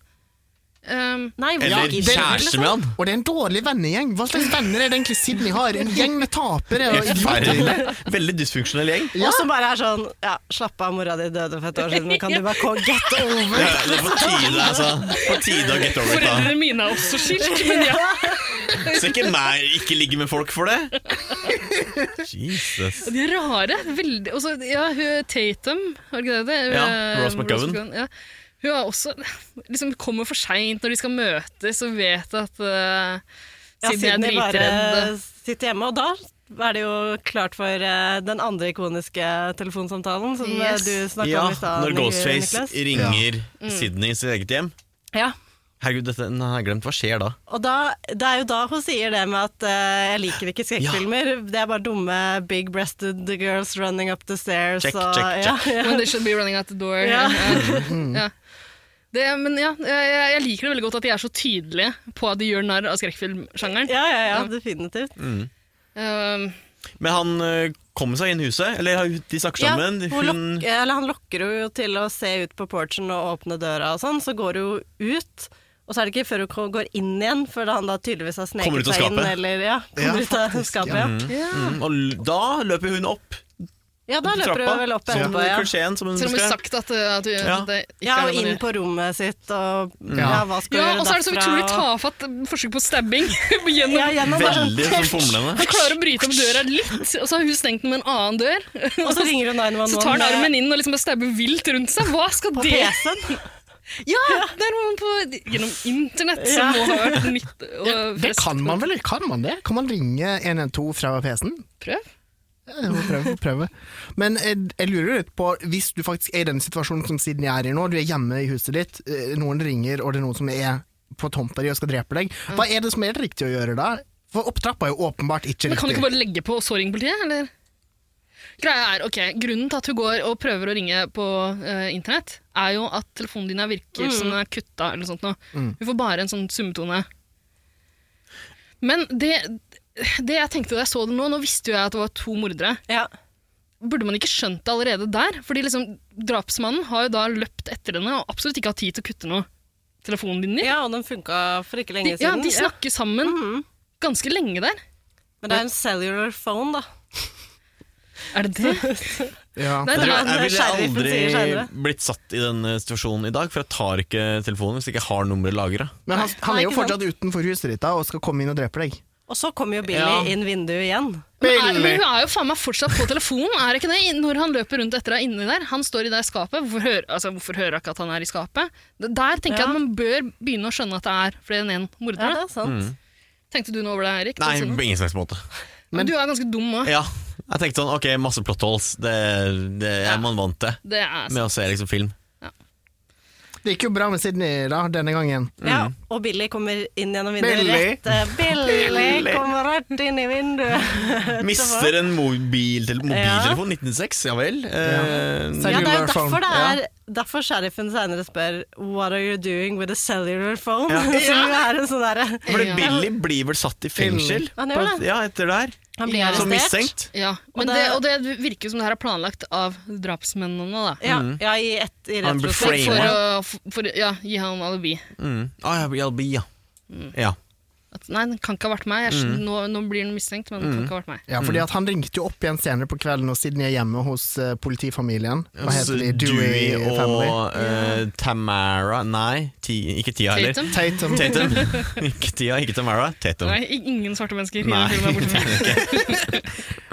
Speaker 2: Um,
Speaker 4: Nei, hvor
Speaker 3: Eller
Speaker 4: gidder du,
Speaker 3: kjæreste med han.
Speaker 1: Og det er en dårlig vennegjeng. Hva slags venner er det egentlig Sydney har? En gjeng med tapere og idioter.
Speaker 3: Forferdelig. Veldig dysfunksjonell gjeng.
Speaker 1: Ja.
Speaker 4: Og som bare er sånn Ja, slapp av, mora di døde for et år siden, men kan du bare gå get over?
Speaker 3: Det er det er på tide, altså. På tide å get over it. da.
Speaker 2: foreldrene mine er også skilt, men ja.
Speaker 3: Så ikke meg ikke ligge med folk for det. Jesus.
Speaker 2: De er rare. Veldig. Også, ja, hun Tatum, var det ikke det? det?
Speaker 3: Ja,
Speaker 2: Eh,
Speaker 3: Rose McGowan.
Speaker 2: ja. Hun er også liksom, kommer for seint når de skal møtes og vet at eh,
Speaker 4: Ja,
Speaker 2: Siden jeg er
Speaker 4: siden jeg bare
Speaker 2: dritredd.
Speaker 4: sitter hjemme. Og da er det jo klart for eh, den andre ikoniske telefonsamtalen som eh,
Speaker 2: Yes.
Speaker 4: du snakka
Speaker 3: Ja,
Speaker 4: om i stad.
Speaker 3: når Ghostface
Speaker 4: Niklas. Mm.
Speaker 3: ringer Sydney i sitt eget hjem
Speaker 4: Ja.
Speaker 3: Herregud, dette nei, jeg har glemt. Hva skjer da?
Speaker 4: Og da, det er jo da hun sier det med at eh, jeg liker ikke skrekkfilmer. Det er bare dumme big-breasted girls running up the stairs.
Speaker 3: Check,
Speaker 4: og,
Speaker 3: check,
Speaker 4: ja, ja.
Speaker 2: When they should be running out the door.
Speaker 4: Ja.
Speaker 2: Ja. Det, men ja, jeg, jeg liker det veldig godt at de er så tydelige på at de gjør narr av skrekkfilmsjangeren.
Speaker 4: Ja, ja, ja, definitivt.
Speaker 2: Um,
Speaker 3: Men han ø, kom seg inn i huset, eller de snakker
Speaker 4: Ja,
Speaker 3: sammen.
Speaker 4: hun
Speaker 3: hun,
Speaker 4: lok- eller han lokker henne jo til å se ut på porchen og åpne døra og sånn, så går hun jo ut. Og så er det ikke før hun går inn igjen, før han da tydeligvis har
Speaker 3: Kommer ut av
Speaker 4: sneket seg inn.
Speaker 3: skapet.
Speaker 4: Eller, ja,
Speaker 1: Ja,
Speaker 4: kommer ut av
Speaker 1: faktisk,
Speaker 4: skapet,
Speaker 1: ja.
Speaker 4: ja.
Speaker 2: ja.
Speaker 3: mm, og l- da løper hun opp
Speaker 4: Ja, da løper du vel opp
Speaker 3: som
Speaker 4: etterpå, ja.
Speaker 3: klisjeen
Speaker 1: Mm.
Speaker 3: som hun
Speaker 2: Selv om hun har
Speaker 3: husker.
Speaker 2: sagt at, uh, at, du,
Speaker 3: Ja.
Speaker 2: at det ikke
Speaker 4: Ja,
Speaker 2: er
Speaker 4: og
Speaker 2: noe
Speaker 4: inn
Speaker 2: man gjør.
Speaker 4: på rommet sitt, og ja,
Speaker 1: Ja.
Speaker 4: hva
Speaker 2: Ja,
Speaker 4: skal
Speaker 2: og
Speaker 4: du gjøre
Speaker 2: så er det så
Speaker 4: derfra,
Speaker 2: utrolig
Speaker 4: og-
Speaker 2: tafatt forsøk på stabbing. gjennom
Speaker 4: Ja, gjennom bare sånn-
Speaker 3: Veldig sånn fomlende.
Speaker 2: Han klarer å bryte opp døra litt, og så har hun stengt den med en annen dør.
Speaker 4: Og så ringer du 911
Speaker 2: Så tar han
Speaker 4: med-
Speaker 2: armen inn og liksom bare stabber vilt rundt seg. Hva skal
Speaker 4: på
Speaker 2: det
Speaker 4: PC-en.
Speaker 2: Ja, der må man på Gjennom internett, som
Speaker 4: Ja.
Speaker 2: må ha vært nytt. Og
Speaker 1: Det kan man vel? Kan man det? Kan man ringe 112 fra PC-en?
Speaker 2: Prøv.
Speaker 1: Jeg må prøve, prøve. Men jeg, jeg lurer jo litt på, hvis du faktisk er i den situasjonen som Sydney er i nå, du er hjemme i huset ditt, eh, noen ringer, og det er noen som er på tomta di og skal drepe deg, hva er det som er det riktige å gjøre da? For opptrappa er jo åpenbart ikke
Speaker 2: Men kan du
Speaker 1: riktig.
Speaker 2: ikke bare legge på og så ringe politiet, eller? Greia er, ok, Grunnen til at hun går og prøver å ringe på eh, internett, er jo at telefonen din er
Speaker 4: Mm.
Speaker 2: virker som den er kutta eller noe sånt. Nå. Hun får bare en sånn summetone. Men det, det jeg tenkte da jeg så det nå, nå visste jo jeg at det var to mordere.
Speaker 4: Ja.
Speaker 2: Burde man ikke skjønt det allerede der? Fordi liksom, drapsmannen har jo da løpt etter henne og absolutt ikke hatt tid til å kutte noe telefonlinjer.
Speaker 4: ja, og den funka for ikke
Speaker 2: De,
Speaker 4: lenge
Speaker 2: ja,
Speaker 4: siden.
Speaker 2: de snakker sammen
Speaker 4: Mhm.
Speaker 2: ganske lenge der.
Speaker 4: Men det er en cellular phone, da.
Speaker 2: Er det det?
Speaker 1: Ja.
Speaker 2: Nei, det
Speaker 3: Jeg,
Speaker 2: var,
Speaker 3: tror jeg, jeg ville
Speaker 4: Sheriffen sier
Speaker 3: aldri
Speaker 4: senere.
Speaker 3: blitt satt i den eh, situasjonen i dag, for jeg tar ikke telefonen hvis jeg ikke har nummeret lagra.
Speaker 1: Men han, han
Speaker 4: Nei,
Speaker 1: er jo
Speaker 4: ikke sant.
Speaker 1: fortsatt utenfor huset ditt da, og skal komme inn og drepe deg.
Speaker 4: Og så kommer jo Billy
Speaker 3: Ja.
Speaker 4: inn vinduet igjen.
Speaker 2: men, er, men
Speaker 1: Billig!
Speaker 2: hun er jo faen meg fortsatt på telefonen, er det ikke det? Når han løper rundt etter deg inni der. Han står i det skapet. Hvorfor hører, altså, hvorfor hører jeg ikke at han er i skapet? D- Der tenker
Speaker 4: Ja.
Speaker 2: jeg at man bør begynne å skjønne at det er flere enn én
Speaker 4: Ja, det
Speaker 2: mordere.
Speaker 4: er sant.
Speaker 3: Mm.
Speaker 2: Tenkte du noe over det, Erik?
Speaker 3: Nei,
Speaker 2: Sånn.
Speaker 3: på ingen slags måte.
Speaker 2: Men du er ganske dum òg.
Speaker 3: Ja, jeg tenkte sånn, ok, masse plot holes. Det, det er
Speaker 2: Ja.
Speaker 3: man vant til
Speaker 2: Det er
Speaker 3: med å se liksom film.
Speaker 1: Det gikk jo bra med Sydney da, denne gangen.
Speaker 4: Ja,
Speaker 3: Mm.
Speaker 4: og Billy kommer inn gjennom vinduet
Speaker 1: Billy.
Speaker 4: rett. eh, Billy
Speaker 3: Billy.
Speaker 4: kommer rett inn i vinduet.
Speaker 3: Mister en mobiltelefon, mobiltelefon 1906, ja vel. Eh,
Speaker 1: Selv-
Speaker 4: Ja, det er
Speaker 1: Cellular
Speaker 4: jo
Speaker 1: phone.
Speaker 4: derfor det er Derfor sheriffen senere spør What are you doing with a cellular phone?
Speaker 3: Ja.
Speaker 4: Som jo er en sånn derre
Speaker 3: for
Speaker 2: Ja.
Speaker 3: Billy blir vel satt i fengsel
Speaker 4: Han gjør
Speaker 3: på-
Speaker 4: det.
Speaker 3: ja, etter det her,
Speaker 4: Han blir
Speaker 2: Ja.
Speaker 3: som
Speaker 4: arrestert.
Speaker 3: mistenkt.
Speaker 2: Ja,
Speaker 4: Og
Speaker 2: men
Speaker 4: det-
Speaker 2: det, og det virker jo som det her er planlagt av drapsmennene, da.
Speaker 4: Ja, ja, i, et, i
Speaker 3: Mm. Han blir
Speaker 4: retrospekt.
Speaker 2: For
Speaker 3: Frame.
Speaker 2: å for- for, ja, gi han alibi.
Speaker 3: Mm. Ah, ja, ja, ja. ja.
Speaker 2: At, nei, den kan ikke ha vært meg. Jeg, skjønner- nå, nå blir den mistenkt, men den kan ikke ha vært meg.
Speaker 1: Ja,
Speaker 3: Mm.
Speaker 1: fordi at han ringte jo opp igjen senere på kvelden, og Sydney er hjemme hos eh, politifamilien. Hva heter
Speaker 3: Så
Speaker 1: de?
Speaker 3: Dewey
Speaker 1: Dewey Family.
Speaker 3: og eh, Tamara Nei, ti, ikke Tia heller.
Speaker 2: Tatum?
Speaker 1: Tatum.
Speaker 3: Tatum. ikke Tia, ikke Tamara. Tatum.
Speaker 2: Nei, i- ingen svarte mennesker. i
Speaker 3: Nei.
Speaker 2: den filmen er borte.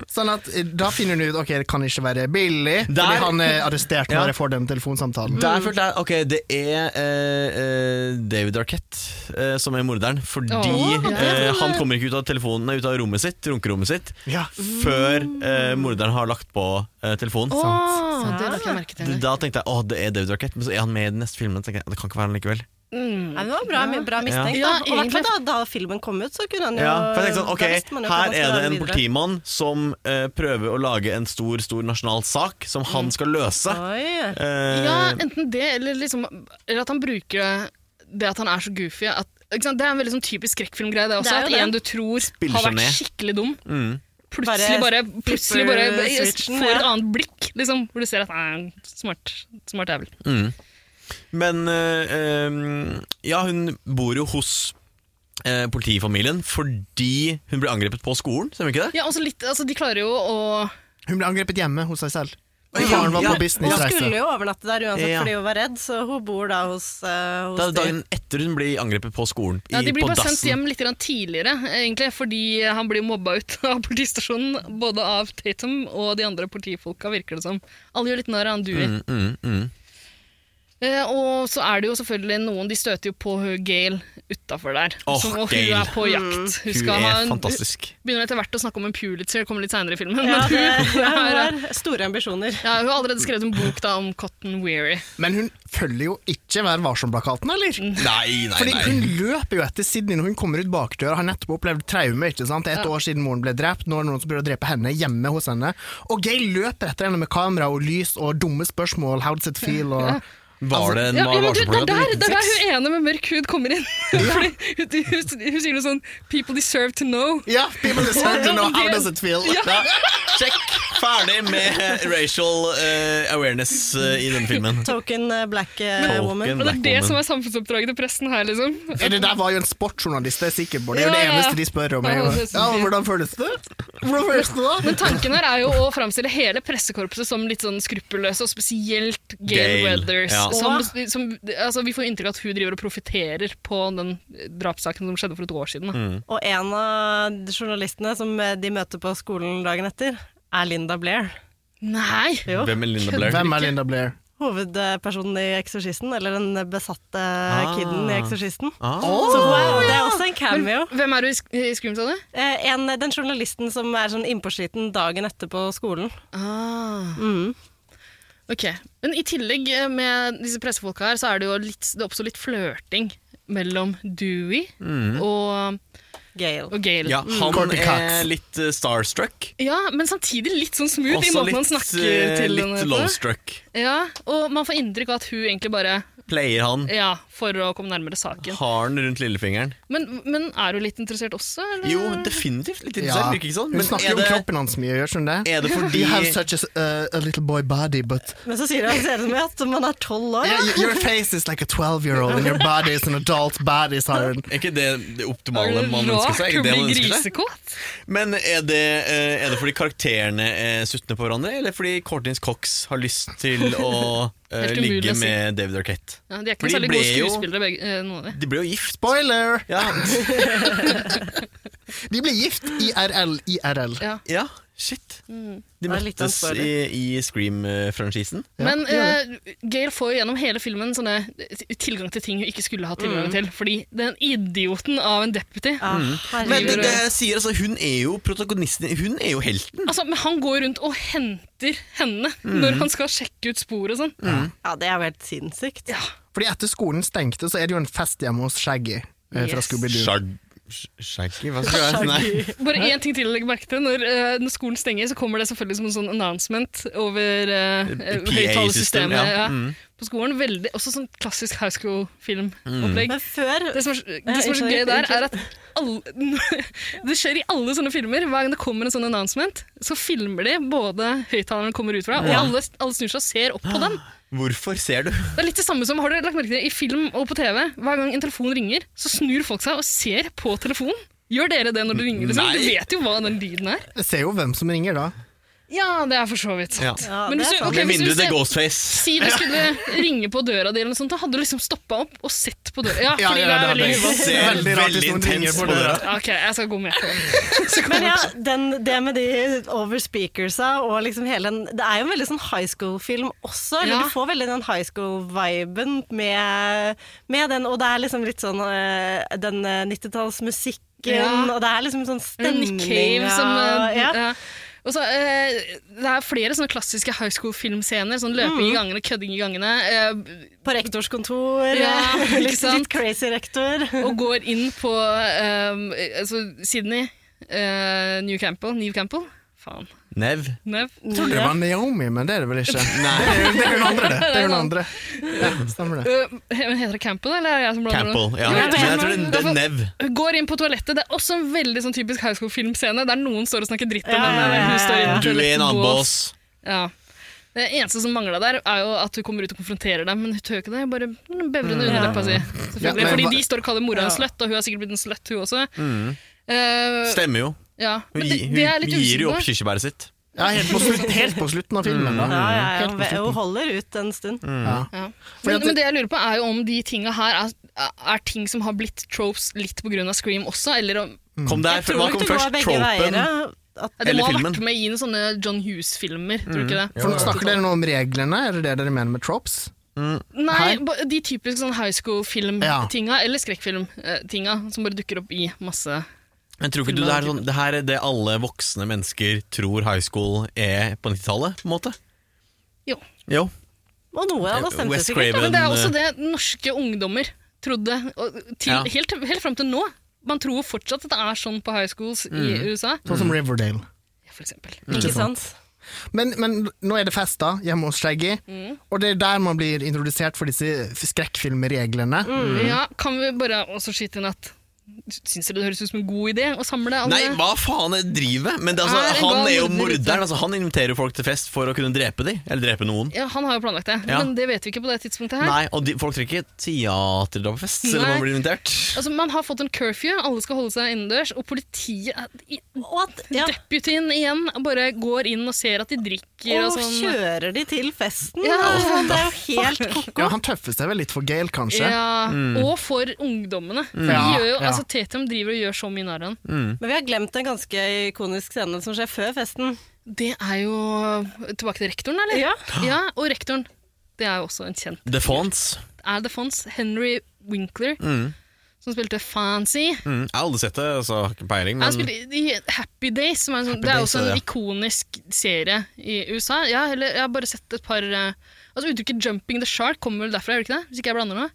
Speaker 1: Sånn at eh, Da finner hun ut ok, det kan ikke være Billy,
Speaker 3: Der-
Speaker 1: fordi han er arrestert
Speaker 3: Ja.
Speaker 1: når jeg får den telefonsamtalen.
Speaker 3: Der følte jeg Ok, det er eh, eh, David Arquette eh, som er morderen, fordi
Speaker 2: Åh, det
Speaker 3: eh, han kommer ikke ut av telefonen Nei, ut av rommet sitt, runkerommet sitt
Speaker 1: Ja.
Speaker 3: før eh, morderen har lagt på eh, telefonen.
Speaker 2: Å,
Speaker 1: Sant.
Speaker 2: det la ikke jeg merke til.
Speaker 3: D-
Speaker 2: engang.
Speaker 3: Da tenkte jeg åh, det er David Arquette, men så er han med i den neste filmen. Tenkte jeg, det kan ikke være han likevel
Speaker 2: Mm.
Speaker 4: Ja, men det var bra, bra mistenkt.
Speaker 2: Ja,
Speaker 4: da. Og i hvert
Speaker 2: egentlig.
Speaker 4: fall da, da filmen kom ut, så kunne han jo
Speaker 3: ja, for jeg tenkte sånn,
Speaker 4: da visste man
Speaker 3: ok,
Speaker 4: jo hvordan
Speaker 3: Her
Speaker 4: man
Speaker 3: er
Speaker 4: skulle
Speaker 3: det
Speaker 4: ha
Speaker 3: en
Speaker 4: videre.
Speaker 3: politimann som eh, prøver å lage en stor stor nasjonal sak som han skal løse.
Speaker 4: Oi.
Speaker 3: Eh,
Speaker 2: Ja, enten det, eller, liksom, eller at han bruker det at han er så goofy. At, ikke sant? Det er en veldig sånn typisk skrekkfilmgreie, det også.
Speaker 4: Det er jo
Speaker 2: at
Speaker 4: det.
Speaker 2: en du tror
Speaker 3: Spiller
Speaker 2: har
Speaker 3: seg
Speaker 2: vært
Speaker 3: ned.
Speaker 2: skikkelig dum,
Speaker 3: mm.
Speaker 2: plutselig bare,
Speaker 4: Bare
Speaker 2: plutselig
Speaker 4: flipper
Speaker 2: bare
Speaker 4: switchen,
Speaker 2: får et
Speaker 4: ja.
Speaker 2: annet blikk, liksom, hvor du ser at nei, smart, smart jævel.
Speaker 3: Men eh, eh, Ja, hun bor jo hos eh, politifamilien fordi hun ble angrepet på skolen, stemmer ikke det?
Speaker 2: Ja, også litt, altså, de klarer jo å
Speaker 1: Hun ble angrepet hjemme hos seg selv.
Speaker 3: Ja,
Speaker 1: Faren var
Speaker 3: ja.
Speaker 1: på
Speaker 4: Hun
Speaker 1: businessreise.
Speaker 4: skulle jo overnatte der uansett
Speaker 3: Ja.
Speaker 4: fordi hun var redd, så hun bor da hos, eh, hos
Speaker 3: Det er
Speaker 4: de.
Speaker 3: dagen etter hun blir angrepet på skolen.
Speaker 2: ja, De blir
Speaker 3: på
Speaker 2: bare sendt hjem litt grann tidligere, egentlig, fordi han blir mobba ut av politistasjonen. Både av Tatum og de andre politifolka, virker det som. Alle gjør litt narr av han Dewey.
Speaker 3: Mm, mm, mm.
Speaker 2: Eh, og så er det jo selvfølgelig noen De støter jo på hun Gail utafor der.
Speaker 3: Åh,
Speaker 2: som, og
Speaker 3: Gail.
Speaker 2: hun er på
Speaker 4: Mm.
Speaker 2: jakt. Hun,
Speaker 3: Hun
Speaker 2: skal ha
Speaker 3: er
Speaker 2: en,
Speaker 3: fantastisk.
Speaker 2: begynner etter hvert å snakke om en Pulitzer, det kommer litt seinere i filmen.
Speaker 4: Ja,
Speaker 2: men
Speaker 4: det,
Speaker 2: hun,
Speaker 4: ja, hun
Speaker 2: er,
Speaker 4: har store ambisjoner.
Speaker 2: ja, hun har allerede skrevet en bok da om Cotton Weary. Mm.
Speaker 1: Men hun følger jo ikke Vær varsom-plakaten, eller?
Speaker 3: Nei, nei,
Speaker 1: Fordi hun
Speaker 3: nei.
Speaker 1: løper jo etter Sydney når hun kommer ut bakdøra, har nettopp opplevd traume. ikke sant? Det er Et
Speaker 2: Ja.
Speaker 1: år siden moren ble drept, nå er det noen som prøver å drepe henne hjemme hos henne. Og Gail løper etter henne med kamera og lys og dumme spørsmål, how does it feel, og
Speaker 3: Var det en
Speaker 2: Altså, Ja, ja, men du, det, er
Speaker 3: varselplakat
Speaker 2: der,
Speaker 3: i
Speaker 2: det er der
Speaker 3: 1906?
Speaker 2: hun ene med mørk hud kommer inn. Fordi hun, hun, hun sier noe sånn 'People deserve to know'.
Speaker 1: Ja, people deserve to know how does it feel.
Speaker 2: Ja.
Speaker 1: Ja.
Speaker 3: Sjekk! Ferdig med racial eh, awareness eh, i denne filmen.
Speaker 4: Token eh, black eh,
Speaker 3: Token
Speaker 4: woman.
Speaker 2: Og det er
Speaker 3: Black
Speaker 2: det
Speaker 3: woman.
Speaker 2: som er samfunnsoppdraget til pressen her, liksom.
Speaker 1: Eh, Det der var jo en sportsjournalist, det er jeg sikker på. Det er jo
Speaker 2: Ja,
Speaker 1: det
Speaker 2: ja.
Speaker 1: eneste de spør om. er jo,
Speaker 2: Ja, det er så
Speaker 1: Ja,
Speaker 2: fint.
Speaker 1: hvordan føles det? Hvordan føles det da?
Speaker 2: Men tanken her er jo å framstille hele pressekorpset som litt sånn skruppelløse, og spesielt Gail
Speaker 3: Gail,
Speaker 2: Weathers.
Speaker 3: ja.
Speaker 2: Som,
Speaker 4: Og-
Speaker 2: som, altså, vi får inntrykk av at hun driver og profitterer på den drapssaken som skjedde for et år siden. Da.
Speaker 4: Og en av journalistene som eh, de møter på skolen dagen etter, er Linda Blair.
Speaker 2: Nei!
Speaker 4: Jo.
Speaker 3: Hvem er Linda Blair?
Speaker 1: Hvem er Linda Blair?
Speaker 4: Hovedpersonen i Eksorsisten, eller den besatte kiden i Eksorsisten.
Speaker 3: Ah,
Speaker 4: Så hun er, det er også en cameo.
Speaker 2: Hvem er du i, sk i Scream, sa du?
Speaker 4: Eh, en, den journalisten som er sånn innpåsliten dagen etter på skolen.
Speaker 2: Ah. Ok. Men i tillegg eh, med disse pressefolka her, så er det jo litt, det oppstår litt flørting mellom Dewey og,
Speaker 4: Gale.
Speaker 2: og Gail.
Speaker 3: Mm. ja, han
Speaker 1: Courtney Cox.
Speaker 3: er litt eh, starstruck.
Speaker 2: Ja, men samtidig litt sånn smooth i
Speaker 3: Også
Speaker 2: måten han
Speaker 3: litt,
Speaker 2: snakker
Speaker 3: eh,
Speaker 2: til
Speaker 3: litt
Speaker 2: henne på.
Speaker 3: lowstruck.
Speaker 2: Ja, og man får inntrykk av at hun egentlig bare
Speaker 3: Player han.
Speaker 2: Ja, for å komme nærmere saken.
Speaker 3: Har han rundt lillefingeren?
Speaker 2: Men, men er hun litt interessert også, eller?
Speaker 3: Jo, definitivt. Litt
Speaker 1: Ja.
Speaker 3: interessant, virker ikke sånn?
Speaker 1: Hun snakker jo om kroppen hans mye, gjør hun det?
Speaker 3: er det fordi
Speaker 1: You have such a, uh, a little boy body, but
Speaker 4: Men så sier han ser det med at man er tolv år.
Speaker 1: Yeah, y- your face is like a 12-year-old, and your body is an adult body, sa hun.
Speaker 3: Er ikke det det
Speaker 2: Er
Speaker 3: optimale
Speaker 2: det
Speaker 3: man ønsker seg?
Speaker 2: rart å
Speaker 3: Er ikke det man
Speaker 2: bli
Speaker 3: ønsker seg?
Speaker 2: grisekåt?
Speaker 3: Men er det, eh, er det fordi karakterene er suttende på hverandre, eller fordi Courtney Cox har lyst til å eh,
Speaker 2: Helt umulig
Speaker 3: ligge
Speaker 2: å si.
Speaker 3: med David Arquette?
Speaker 2: Ja, de er ikke
Speaker 3: For
Speaker 2: noe
Speaker 3: de
Speaker 2: særlig
Speaker 3: ble
Speaker 2: gode
Speaker 3: jo-
Speaker 2: skuespillere, begge, eh, noen av de.
Speaker 3: De ble jo gift.
Speaker 1: Spoiler!
Speaker 3: Ja,
Speaker 1: De ble gift IRL, IRL.
Speaker 2: Ja.
Speaker 3: ja shit.
Speaker 2: Mm.
Speaker 3: De
Speaker 4: Det er litt
Speaker 3: møttes
Speaker 4: ansvarlig.
Speaker 3: i, i Scream-franchisen.
Speaker 2: Men
Speaker 1: det gjør
Speaker 2: eh, Gail får jo gjennom hele filmen sånne eh, tilgang til ting hun ikke skulle hatt
Speaker 3: Mm.
Speaker 2: tilgang til. Fordi den idioten av en deputy
Speaker 4: Ja,
Speaker 3: Men det,
Speaker 4: herregud.
Speaker 3: det jeg sier, altså, hun er jo protagonisten, hun er jo helten.
Speaker 2: Altså, men Han går rundt og henter henne når han skal sjekke ut spor og sånn.
Speaker 4: Ja, det er jo helt sinnssykt.
Speaker 2: Ja.
Speaker 1: Fordi etter skolen stengte, så er det jo en fest hjemme hos Shaggy eh, fra
Speaker 4: Yes.
Speaker 1: Scooby-Doo.
Speaker 3: Shag- sh- Shaggy, hva skal jeg si? Nei.
Speaker 2: Bare én ting til å legge merke til. Når, eh, når skolen stenger, så kommer det selvfølgelig som en sånn announcement over uh,
Speaker 3: PA-system,
Speaker 2: høyttalersystemet
Speaker 3: ja. Mm.
Speaker 2: ja. på skolen. Veldig, også sånn klassisk high school-filmopplegg.
Speaker 4: Men før
Speaker 2: Det som er, det som er så
Speaker 4: unnskyld,
Speaker 2: gøy der,
Speaker 4: unnskyld.
Speaker 2: er at alle, det skjer i alle sånne filmer. Hver gang det kommer en sånn announcement, så filmer de både høyttaleren kommer ut fra, og alle, alle snur seg og ser opp på den.
Speaker 3: Hvorfor ser du?
Speaker 2: Det er litt det samme som har dere lagt merke til i film og på TV. Hver gang en telefon ringer, så snur folk seg og ser på telefonen. Gjør dere det når det ringer? Liksom?
Speaker 3: Nei.
Speaker 2: Du vet jo hva den lyden er.
Speaker 1: Jeg ser jo hvem som ringer da.
Speaker 2: Ja, det er for så vidt sant.
Speaker 3: Ja.
Speaker 4: Ja,
Speaker 2: Men
Speaker 4: det
Speaker 2: hvis
Speaker 4: er
Speaker 2: du-
Speaker 4: sant.
Speaker 2: ok,
Speaker 3: Med
Speaker 2: hvis du
Speaker 3: mindre det er
Speaker 2: ser-
Speaker 3: Ghostface.
Speaker 2: Si det skulle ringe på døra di, eller noe sånt, da hadde du liksom stoppa opp og sett på døra. Ja,
Speaker 1: Ja, ja,
Speaker 2: fordi det
Speaker 1: det
Speaker 2: er
Speaker 1: hadde
Speaker 2: veldig
Speaker 1: jeg.
Speaker 2: uvant.
Speaker 3: Ser
Speaker 1: Veldig rart hvis
Speaker 3: veldig
Speaker 1: noen ringer
Speaker 3: intens
Speaker 1: på
Speaker 3: på
Speaker 1: døra.
Speaker 3: døra.
Speaker 2: Ok, jeg skal gå med på den.
Speaker 4: Men ja, den, det med de overspeakersa og liksom hele den Det er jo en veldig sånn high school-film også. Eller
Speaker 2: Ja.
Speaker 4: Du får veldig den high school-viben med, med den, og det er liksom litt sånn eh, den eh, 90-tallsmusikken,
Speaker 2: Ja.
Speaker 4: og det er liksom sånn
Speaker 2: Det er
Speaker 4: stemning
Speaker 2: Nick Cave som
Speaker 4: av-
Speaker 2: eh,
Speaker 4: ja.
Speaker 2: ja. Og så, eh, det er flere sånne klassiske high school-filmscener. Sånn løping i gangene, kødding i gangene. Eh,
Speaker 4: På rektors kontor.
Speaker 2: Ja, ikke
Speaker 4: litt,
Speaker 2: sant?
Speaker 4: litt crazy rektor.
Speaker 2: og går inn på um, altså Sydney, eh, New Campbell, Neve Campbell. Faen.
Speaker 3: Nev.
Speaker 2: Nev.
Speaker 1: Jeg trodde det var Naomi, men det er det vel ikke. Det er det er hun andre, det. Det er hun andre. Ja, stemmer det.
Speaker 2: Eh, heter det Campbell, eller er det jeg som blander
Speaker 3: Campbell. Ja.
Speaker 2: Ja,
Speaker 3: Men jeg tror
Speaker 2: men-
Speaker 3: det er Nev.
Speaker 2: Hun Går inn på toalettet. Det er også en veldig sånn typisk high school-filmscene der noen står og snakker dritt om
Speaker 4: Ja,
Speaker 2: henne. eller Hun står inne på
Speaker 3: Du er en
Speaker 2: toalettet,
Speaker 3: annen
Speaker 2: bås.
Speaker 3: bås.
Speaker 2: Ja. Det eneste som mangla der, er jo at hun kommer ut og konfronterer dem, men hun tør ikke det. Hun Bare bevrer under
Speaker 4: Mm. Ja.
Speaker 2: leppa si.
Speaker 1: Ja,
Speaker 2: Selvfølgelig.
Speaker 1: men
Speaker 2: Fordi
Speaker 1: hva-
Speaker 2: de står og kaller mora
Speaker 4: Ja.
Speaker 2: en sløtt, og hun er sikkert blitt en sløtt, hun også. Eh,
Speaker 3: Stemmer jo.
Speaker 2: ja.
Speaker 3: Mm. Hun,
Speaker 2: Men det,
Speaker 3: gi-
Speaker 2: det er
Speaker 3: hun
Speaker 2: litt
Speaker 3: gir jo
Speaker 2: usikkert.
Speaker 3: opp kirsebæret sitt.
Speaker 1: Ja, helt på, slutt, helt på slutten av filmen, da.
Speaker 4: Mm. Ja, ja, ja.
Speaker 1: Helt Mm. på
Speaker 4: Hun
Speaker 1: slutten.
Speaker 4: holder ut en stund.
Speaker 1: Ja.
Speaker 2: Ja.
Speaker 1: Fordi
Speaker 2: Men,
Speaker 1: at det-
Speaker 2: men det jeg lurer på er jo om de tinga her er, er ting som har blitt tropes litt pga. Scream også, eller om
Speaker 3: Kom der,
Speaker 2: Jeg tror
Speaker 3: hva
Speaker 2: nok
Speaker 3: kom
Speaker 4: Det går
Speaker 3: først?
Speaker 4: begge
Speaker 3: Tropen?
Speaker 4: veier. At
Speaker 2: ja, Det
Speaker 3: Eller
Speaker 2: må ha vært
Speaker 3: filmen. Mm.
Speaker 2: med i noen sånne John Hughes-filmer, tror du ikke det?
Speaker 1: For nå snakker dere nå om reglene, er det det dere mener med tropes?
Speaker 2: Nei,
Speaker 1: Her?
Speaker 2: ba- de typiske sånn high school-film-tinga, eller skrekkfilm-tinga, som bare dukker opp i masse
Speaker 3: Men tror ikke du det er sånn, det her er det alle voksne mennesker tror high school er på 90-tallet? på en måte?
Speaker 2: Jo.
Speaker 3: Jo.
Speaker 4: Og noe av det stemte
Speaker 3: West
Speaker 4: sikkert.
Speaker 2: Ja, men
Speaker 3: Craven
Speaker 2: det er også det norske ungdommer trodde, og til,
Speaker 3: eh, Ja.
Speaker 2: helt, helt fram til nå. Man tror fortsatt at det er sånn på high schools
Speaker 3: Mm.
Speaker 2: i USA,
Speaker 1: Sånn
Speaker 4: Mm.
Speaker 1: som Riverdale.
Speaker 2: for eksempel.
Speaker 4: Ikke sant?
Speaker 1: Men, men nå er det fest da, hjemme hos Shaggy,
Speaker 4: Mm.
Speaker 1: og det er der man
Speaker 4: Mm.
Speaker 3: Mm.
Speaker 1: blir introdusert for disse skrekkfilmreglene.
Speaker 2: Ja, kan vi bare også skyte inn at Syns dere det høres ut som en god idé å samle alle
Speaker 3: Nei, hva faen er det driver med? Men det, er
Speaker 2: Er en
Speaker 3: altså, han
Speaker 2: gal
Speaker 3: er jo
Speaker 2: morder ute.
Speaker 3: morderen. Altså, han inviterer folk til fest for å kunne drepe dem. Eller drepe noen.
Speaker 2: ja, Han har jo planlagt det,
Speaker 3: Ja.
Speaker 2: men det vet vi ikke på det tidspunktet her.
Speaker 3: Nei, og de, folk trenger ikke teaterdrapefest selv om
Speaker 2: Nei.
Speaker 3: man blir invitert.
Speaker 2: Altså, Man har fått en curfew, alle skal holde seg innendørs, og politiet i-
Speaker 4: Ja.
Speaker 2: Deputyen igjen bare går inn og ser at de drikker og,
Speaker 4: Og
Speaker 2: sånn.
Speaker 4: kjører de til festen?
Speaker 2: Ja.
Speaker 4: altså, det er jo helt ko-ko.
Speaker 1: Ja, han tøffer seg vel litt for Gale, kanskje.
Speaker 2: Ja, Og for ungdommene. For
Speaker 1: Ja,
Speaker 2: de gjør jo,
Speaker 1: ja.
Speaker 2: altså Tetium driver og gjør så mye narr av han.
Speaker 4: Men vi har glemt en ganske ikonisk scene som skjer før festen.
Speaker 2: Det er jo Tilbake til rektoren, eller?
Speaker 4: Ja.
Speaker 2: Og rektoren. Det er jo også en kjent.
Speaker 3: The Fonts.
Speaker 2: Er det Fons? Henry Winkler,
Speaker 3: Mm.
Speaker 2: som spilte Fancy.
Speaker 3: Mm. Jeg har aldri sett det, så har ikke peiling,
Speaker 2: Han
Speaker 3: men
Speaker 2: spilte i Happy Days, som er en sånn, det er
Speaker 3: Days,
Speaker 2: også en
Speaker 3: ja.
Speaker 2: ikonisk serie i USA. Ja, eller, jeg har bare sett et par eh, Altså Uttrykket 'jumping the shark' kommer vel derfra, gjør det ikke det? Hvis ikke jeg blander meg?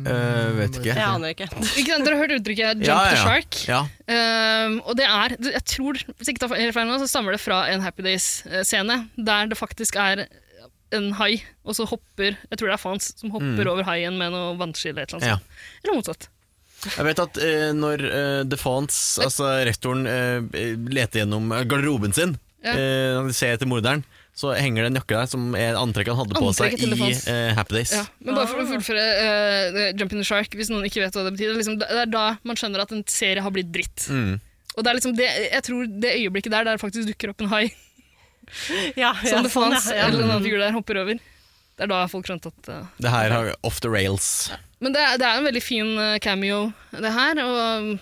Speaker 3: øh, vet ikke.
Speaker 4: Jeg aner ikke.
Speaker 2: Ikke sant? Dere har hørt uttrykket 'jump
Speaker 3: Ja, ja,
Speaker 2: the
Speaker 3: ja.
Speaker 2: shark'?
Speaker 3: Ja.
Speaker 2: Um, og det er, jeg tror, hvis jeg ikke tar feil feil nå, så stammer det fra en Happy Days-scene, der det faktisk er en hai, og så hopper, jeg tror det er Fans, som
Speaker 3: Mm.
Speaker 2: hopper over haien med noe vannski eller et eller annet. sånt. Eller motsatt.
Speaker 3: Jeg vet at eh, når eh, The Fonts, altså rektoren, eh, leter gjennom garderoben sin,
Speaker 2: Ja.
Speaker 3: eh, han ser etter morderen, så henger det en jakke der som er antrekket han hadde på
Speaker 2: Antrekket til The Fonz.
Speaker 3: seg i eh, Happy Days.
Speaker 2: Ja. Men bare for
Speaker 4: Ah.
Speaker 2: å fullføre eh, Jump in the Shark, hvis noen ikke vet hva det betyr, liksom, det er da man skjønner at en serie har blitt dritt.
Speaker 3: Mm.
Speaker 2: Og det er liksom det, jeg tror det øyeblikket der der faktisk dukker opp en hai,
Speaker 4: Ja,
Speaker 2: som
Speaker 4: ja,
Speaker 2: det
Speaker 4: sånn,
Speaker 2: fantes,
Speaker 4: ja,
Speaker 2: eller en
Speaker 4: ja.
Speaker 2: annen figur der hopper over. Det er da folk skjønte at eh,
Speaker 3: Det her har off the rails.
Speaker 2: Men det er, det er en veldig fin eh, cameo, det her. Og um,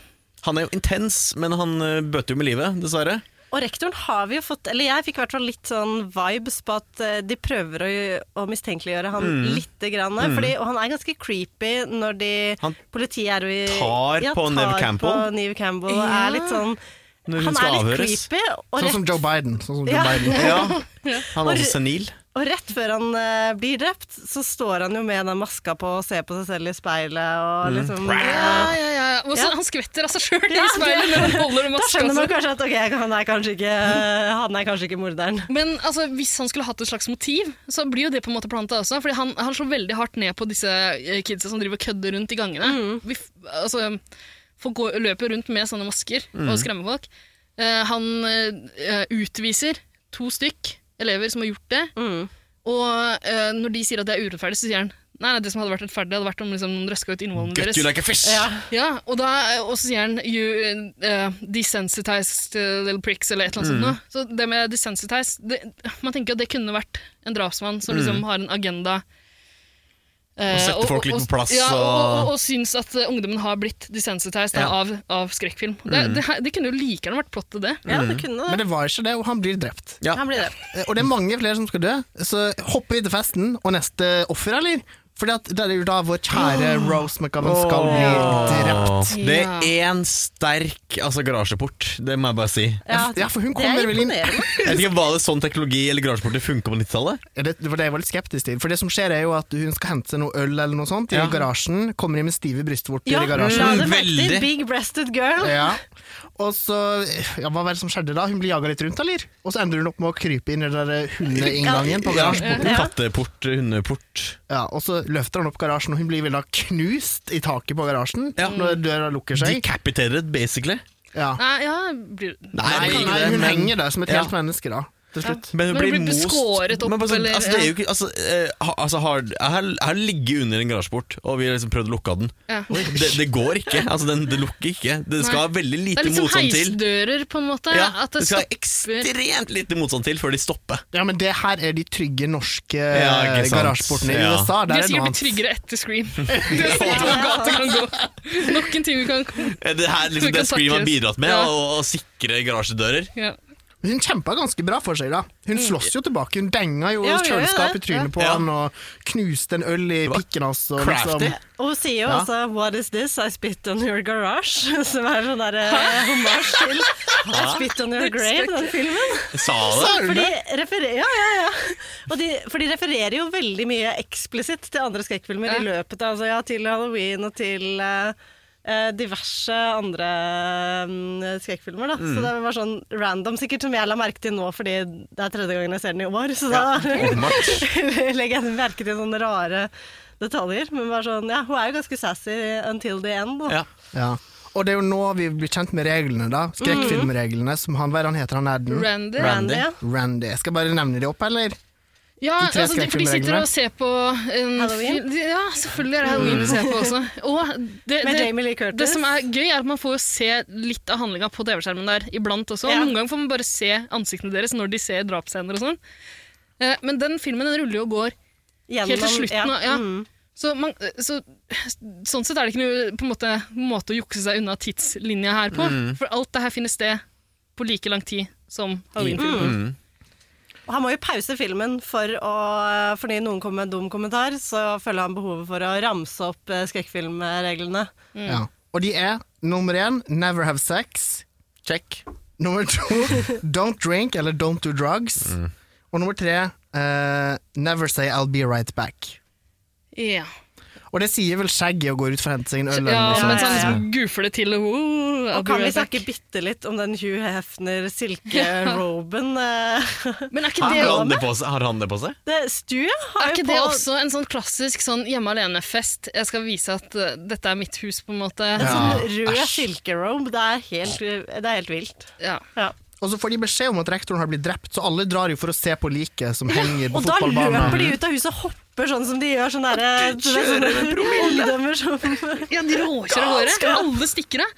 Speaker 3: Han er jo intens, men han eh, bøter jo med livet, dessverre.
Speaker 4: Og rektoren har vi jo fått Eller jeg fikk i hvert fall litt sånn vibes på at eh, de prøver å, å mistenkeliggjøre han
Speaker 3: Mm.
Speaker 4: lite grann. Fordi, og han er ganske creepy når de
Speaker 3: Han
Speaker 4: Politiet er jo i
Speaker 3: tar på Neve Campbell.
Speaker 4: På Neve Campbell og
Speaker 2: Ja.
Speaker 4: er litt sånn
Speaker 3: Når hun
Speaker 4: Han er
Speaker 3: skal
Speaker 4: litt
Speaker 3: avhøres.
Speaker 4: creepy, og
Speaker 1: Sånn
Speaker 4: rett,
Speaker 1: som Joe Biden. Sånn som Joe
Speaker 4: Ja.
Speaker 1: Biden.
Speaker 3: Ja. Han er
Speaker 4: Og-
Speaker 3: også senil.
Speaker 4: og rett før han eh, blir drept, så står han jo med den maska på og ser på seg selv i speilet
Speaker 1: Mm.
Speaker 4: og liksom
Speaker 2: Ja,
Speaker 4: eh,
Speaker 2: ja, ja. Og så
Speaker 4: Ja.
Speaker 2: Han skvetter av seg sjøl i
Speaker 4: Ja,
Speaker 2: speilet
Speaker 4: det-
Speaker 2: når han holder
Speaker 4: Da
Speaker 2: maska.
Speaker 4: skjønner man
Speaker 2: Altså.
Speaker 4: kanskje at ok, han er kanskje ikke, eh, han er kanskje ikke morderen.
Speaker 2: Men altså, hvis han skulle hatt et slags motiv, så blir jo det på en måte planta også. Fordi han, han slår veldig hardt ned på disse eh, kidsa som driver og kødder rundt i gangene.
Speaker 4: Mm.
Speaker 2: Vi, f- altså, folk går, løper rundt med sånne masker og skremmer folk. Eh, han eh, utviser to stykk elever som har gjort det.
Speaker 4: Mm.
Speaker 2: Og eh, når de sier at det er urettferdig, så sier han Nei, nei, det som hadde vært rettferdig, hadde vært om liksom, noen røska ut innvollene
Speaker 3: Gut
Speaker 2: deres.
Speaker 3: you like a fish!
Speaker 4: Ja.
Speaker 2: Ja, og, da, og så sier han you, uh, desensitized uh, little pricks, eller et eller annet
Speaker 3: Mm.
Speaker 2: sånt. Noe. Så det med desensitized det, Man tenker at det kunne vært en drapsmann som liksom har en agenda. eh,
Speaker 3: Mm. Og setter folk litt på plass,
Speaker 2: Ja, og, og,
Speaker 3: og-
Speaker 2: og, syns at eh, ungdommen har blitt desensitized da,
Speaker 3: Ja. Mm.
Speaker 2: av, av skrekkfilm. Det, det, her- det kunne jo like gjerne vært plott til det.
Speaker 4: Ja, det kunne
Speaker 1: Mm. Men
Speaker 4: det.
Speaker 1: det var ikke det, og han blir drept.
Speaker 3: Ja.
Speaker 4: Han blir drept.
Speaker 1: Eh, Og det er mange flere som skal dø, så hopper vi til festen og neste offer, eller? Fordi at det er jo da vår kjære Rose McGowan skal bli drept.
Speaker 3: Det er én sterk altså, garasjeport, det må jeg bare si.
Speaker 1: Ja, for hun
Speaker 4: det er
Speaker 1: kommer vel inn
Speaker 4: imponerende.
Speaker 3: Jeg vet ikke, Var det sånn teknologi eller garasjeporter funka på 90-tallet?
Speaker 1: Ja, Det det var det jeg var litt skeptisk til. For det som skjer, er jo at hun skal hente seg noe øl eller noe sånt i
Speaker 3: Ja.
Speaker 1: garasjen. Kommer inn med stive brystvorter
Speaker 4: Ja,
Speaker 1: i
Speaker 4: la
Speaker 1: garasjen.
Speaker 4: det merke til.
Speaker 3: Veldig.
Speaker 4: Big breasted girl.
Speaker 1: Ja. Og så ja, Hva var det som skjedde da? Hun blir jaga litt rundt, eller? Og så ender hun opp med å krype inn i den der eh, hundeinngangen på garasjen.
Speaker 3: Ja, Katteport, hundeport.
Speaker 1: Ja, og så løfter han opp garasjen, og hun blir vel da knust i taket på garasjen
Speaker 3: Ja.
Speaker 1: når døra lukker seg.
Speaker 3: Decapitated, basically.
Speaker 1: Ja.
Speaker 2: Nei, ja, blir,
Speaker 3: Nei,
Speaker 1: Nei,
Speaker 3: det blir ikke
Speaker 1: nei,
Speaker 3: det,
Speaker 1: hun
Speaker 3: men-
Speaker 1: henger der som et
Speaker 3: Ja.
Speaker 1: helt menneske, da. Til slutt.
Speaker 3: Men hun
Speaker 2: Men
Speaker 3: blir,
Speaker 2: blir du
Speaker 3: most
Speaker 2: skåret opp,
Speaker 3: men bare sånn,
Speaker 2: eller-
Speaker 3: altså, det er jo ikke, altså, eh, ha- altså, har, jeg, har, jeg har ligget under en garasjeport, og vi har liksom prøvd å lukke den.
Speaker 2: ja.
Speaker 3: Det, det går ikke. Altså, den, det lukker ikke. Det skal
Speaker 2: Nei.
Speaker 3: veldig
Speaker 2: Det
Speaker 3: lite
Speaker 2: er litt som
Speaker 3: motstand til.
Speaker 2: heisdører, på en måte.
Speaker 3: Ja,
Speaker 2: at det
Speaker 3: det skal
Speaker 2: stopper.
Speaker 3: ekstremt lite motstand til før de stopper.
Speaker 1: Ja, men det her er de trygge norske eh,
Speaker 3: Ja, ikke sant.
Speaker 1: garasjeportene i
Speaker 3: Ja.
Speaker 1: USA. Der er
Speaker 2: De har
Speaker 1: det
Speaker 2: sikkert
Speaker 1: noe
Speaker 2: blitt
Speaker 1: annet.
Speaker 2: tryggere etter Scream. Det er sikkert noen gater kan gå. Nok en time kan komme.
Speaker 3: Det her
Speaker 2: Vi
Speaker 3: liksom,
Speaker 2: kan
Speaker 3: det Scream har
Speaker 2: takkes.
Speaker 3: bidratt med,
Speaker 2: Ja.
Speaker 3: å, å sikre garasjedører.
Speaker 2: Ja.
Speaker 1: Hun kjempa ganske bra for seg, da. Hun
Speaker 3: Mm.
Speaker 1: slåss jo tilbake. Hun denga jo
Speaker 4: Ja, hun gjør jo
Speaker 1: kjøleskap i
Speaker 4: det.
Speaker 1: trynet på
Speaker 3: Ja.
Speaker 1: han, og knuste en øl i
Speaker 3: var
Speaker 1: pikken hans. Og
Speaker 3: Crafty.
Speaker 1: liksom,
Speaker 4: Og hun sier jo
Speaker 1: Ja.
Speaker 4: altså 'What is this? I spit on your garage', som er sånn derre hommage til 'I spit on your grave', den filmen.
Speaker 3: Sa det?
Speaker 4: For de, referer, ja, ja, ja. Og de, for de refererer jo veldig mye eksplisitt til andre skrekkfilmer i
Speaker 2: Ja.
Speaker 4: løpet av altså, ja, Til halloween og til eh, eh, diverse andre mm, skrekkfilmer. Da. Så det var sånn random, sikkert som jeg la merke til nå fordi det er tredje gangen jeg ser den i år. Så da legger jeg merke til sånne rare detaljer. Men bare sånn, ja, hun er jo ganske sassy until the end. Da.
Speaker 3: Ja.
Speaker 1: Ja. Og det er jo nå vi blir kjent med reglene, da. Skrekkfilmreglene, som han, hva er det han heter, han nerden?
Speaker 2: Randy.
Speaker 3: Randy.
Speaker 4: ja.
Speaker 1: Randy. Skal jeg bare nevne de opp, eller?
Speaker 2: Ja,
Speaker 1: De tre
Speaker 2: altså, de, for de sitter
Speaker 1: skrekkfilmreglene.
Speaker 2: og ser på en
Speaker 4: Halloween?
Speaker 2: fil- de- Ja, selvfølgelig er det halloween å se på også. Og det,
Speaker 4: Med
Speaker 2: det,
Speaker 4: Jamie Lee Curtis.
Speaker 2: det som er gøy, er at man får jo se litt av handlinga på TV-skjermen der iblant også.
Speaker 4: Ja.
Speaker 2: Noen ganger får man bare se ansiktene deres når de ser drapsscener og sånn. Eh, Men den filmen den ruller jo og går.
Speaker 4: Gjennom-
Speaker 2: Helt til slutten av- ja.
Speaker 4: Mm.
Speaker 2: Så, man, eh, så sånn sett er det ikke noe på en måte, måte å jukse seg unna tidslinja her på.
Speaker 1: Mm.
Speaker 2: For alt det her finner sted på like lang tid som Halloween-filmen.
Speaker 1: Mm.
Speaker 4: Og han må jo pause filmen for å, fordi noen kom med en dum kommentar, så føler han behovet for å ramse opp eh, skrekkfilmreglene.
Speaker 1: Ja. Og de er nummer én never have sex. Check. Nummer to don't drink eller don't do drugs. Og nummer tre eh, never say I'll be right back.
Speaker 2: Ja.
Speaker 1: Og det sier vel skjegget og går ut for å hente seg en øl. eller
Speaker 2: Ja,
Speaker 1: noe sånt.
Speaker 2: mens han
Speaker 4: ja, ja.
Speaker 3: sånn.
Speaker 2: liksom goofer det til og, «Wow, I'll
Speaker 4: Og
Speaker 2: be
Speaker 4: kan vi
Speaker 2: right back».
Speaker 4: snakke bitte litt om den Hugh Hefner-silkeroben? eh?
Speaker 2: Men er ikke
Speaker 4: Han
Speaker 2: det,
Speaker 3: Har
Speaker 4: går
Speaker 3: han det på seg? Har han det på seg?
Speaker 4: Det- Stu har
Speaker 2: er
Speaker 4: jo
Speaker 2: ikke
Speaker 4: på
Speaker 2: det også en sånn klassisk sånn hjemme alene-fest? Jeg skal vise at eh, dette er mitt hus, på en måte.
Speaker 4: en
Speaker 1: Ja.
Speaker 4: sånn rød silkerobe. Det er helt, det er helt vilt.
Speaker 2: Ja.
Speaker 4: Ja.
Speaker 1: Og så får de beskjed om at rektoren har blitt drept, så alle drar jo for å se på liket som henger på
Speaker 4: Og da løper
Speaker 1: fotballbanen.
Speaker 4: de ut av huset og hopper sånn som de gjør. Sånn derre ungdommer som
Speaker 2: Ja, de råkjører av gårde. Alle stikker av.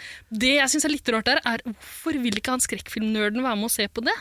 Speaker 2: Det jeg syns er litt rart der, er hvorfor vil ikke han skrekkfilmnerden være med og se på det?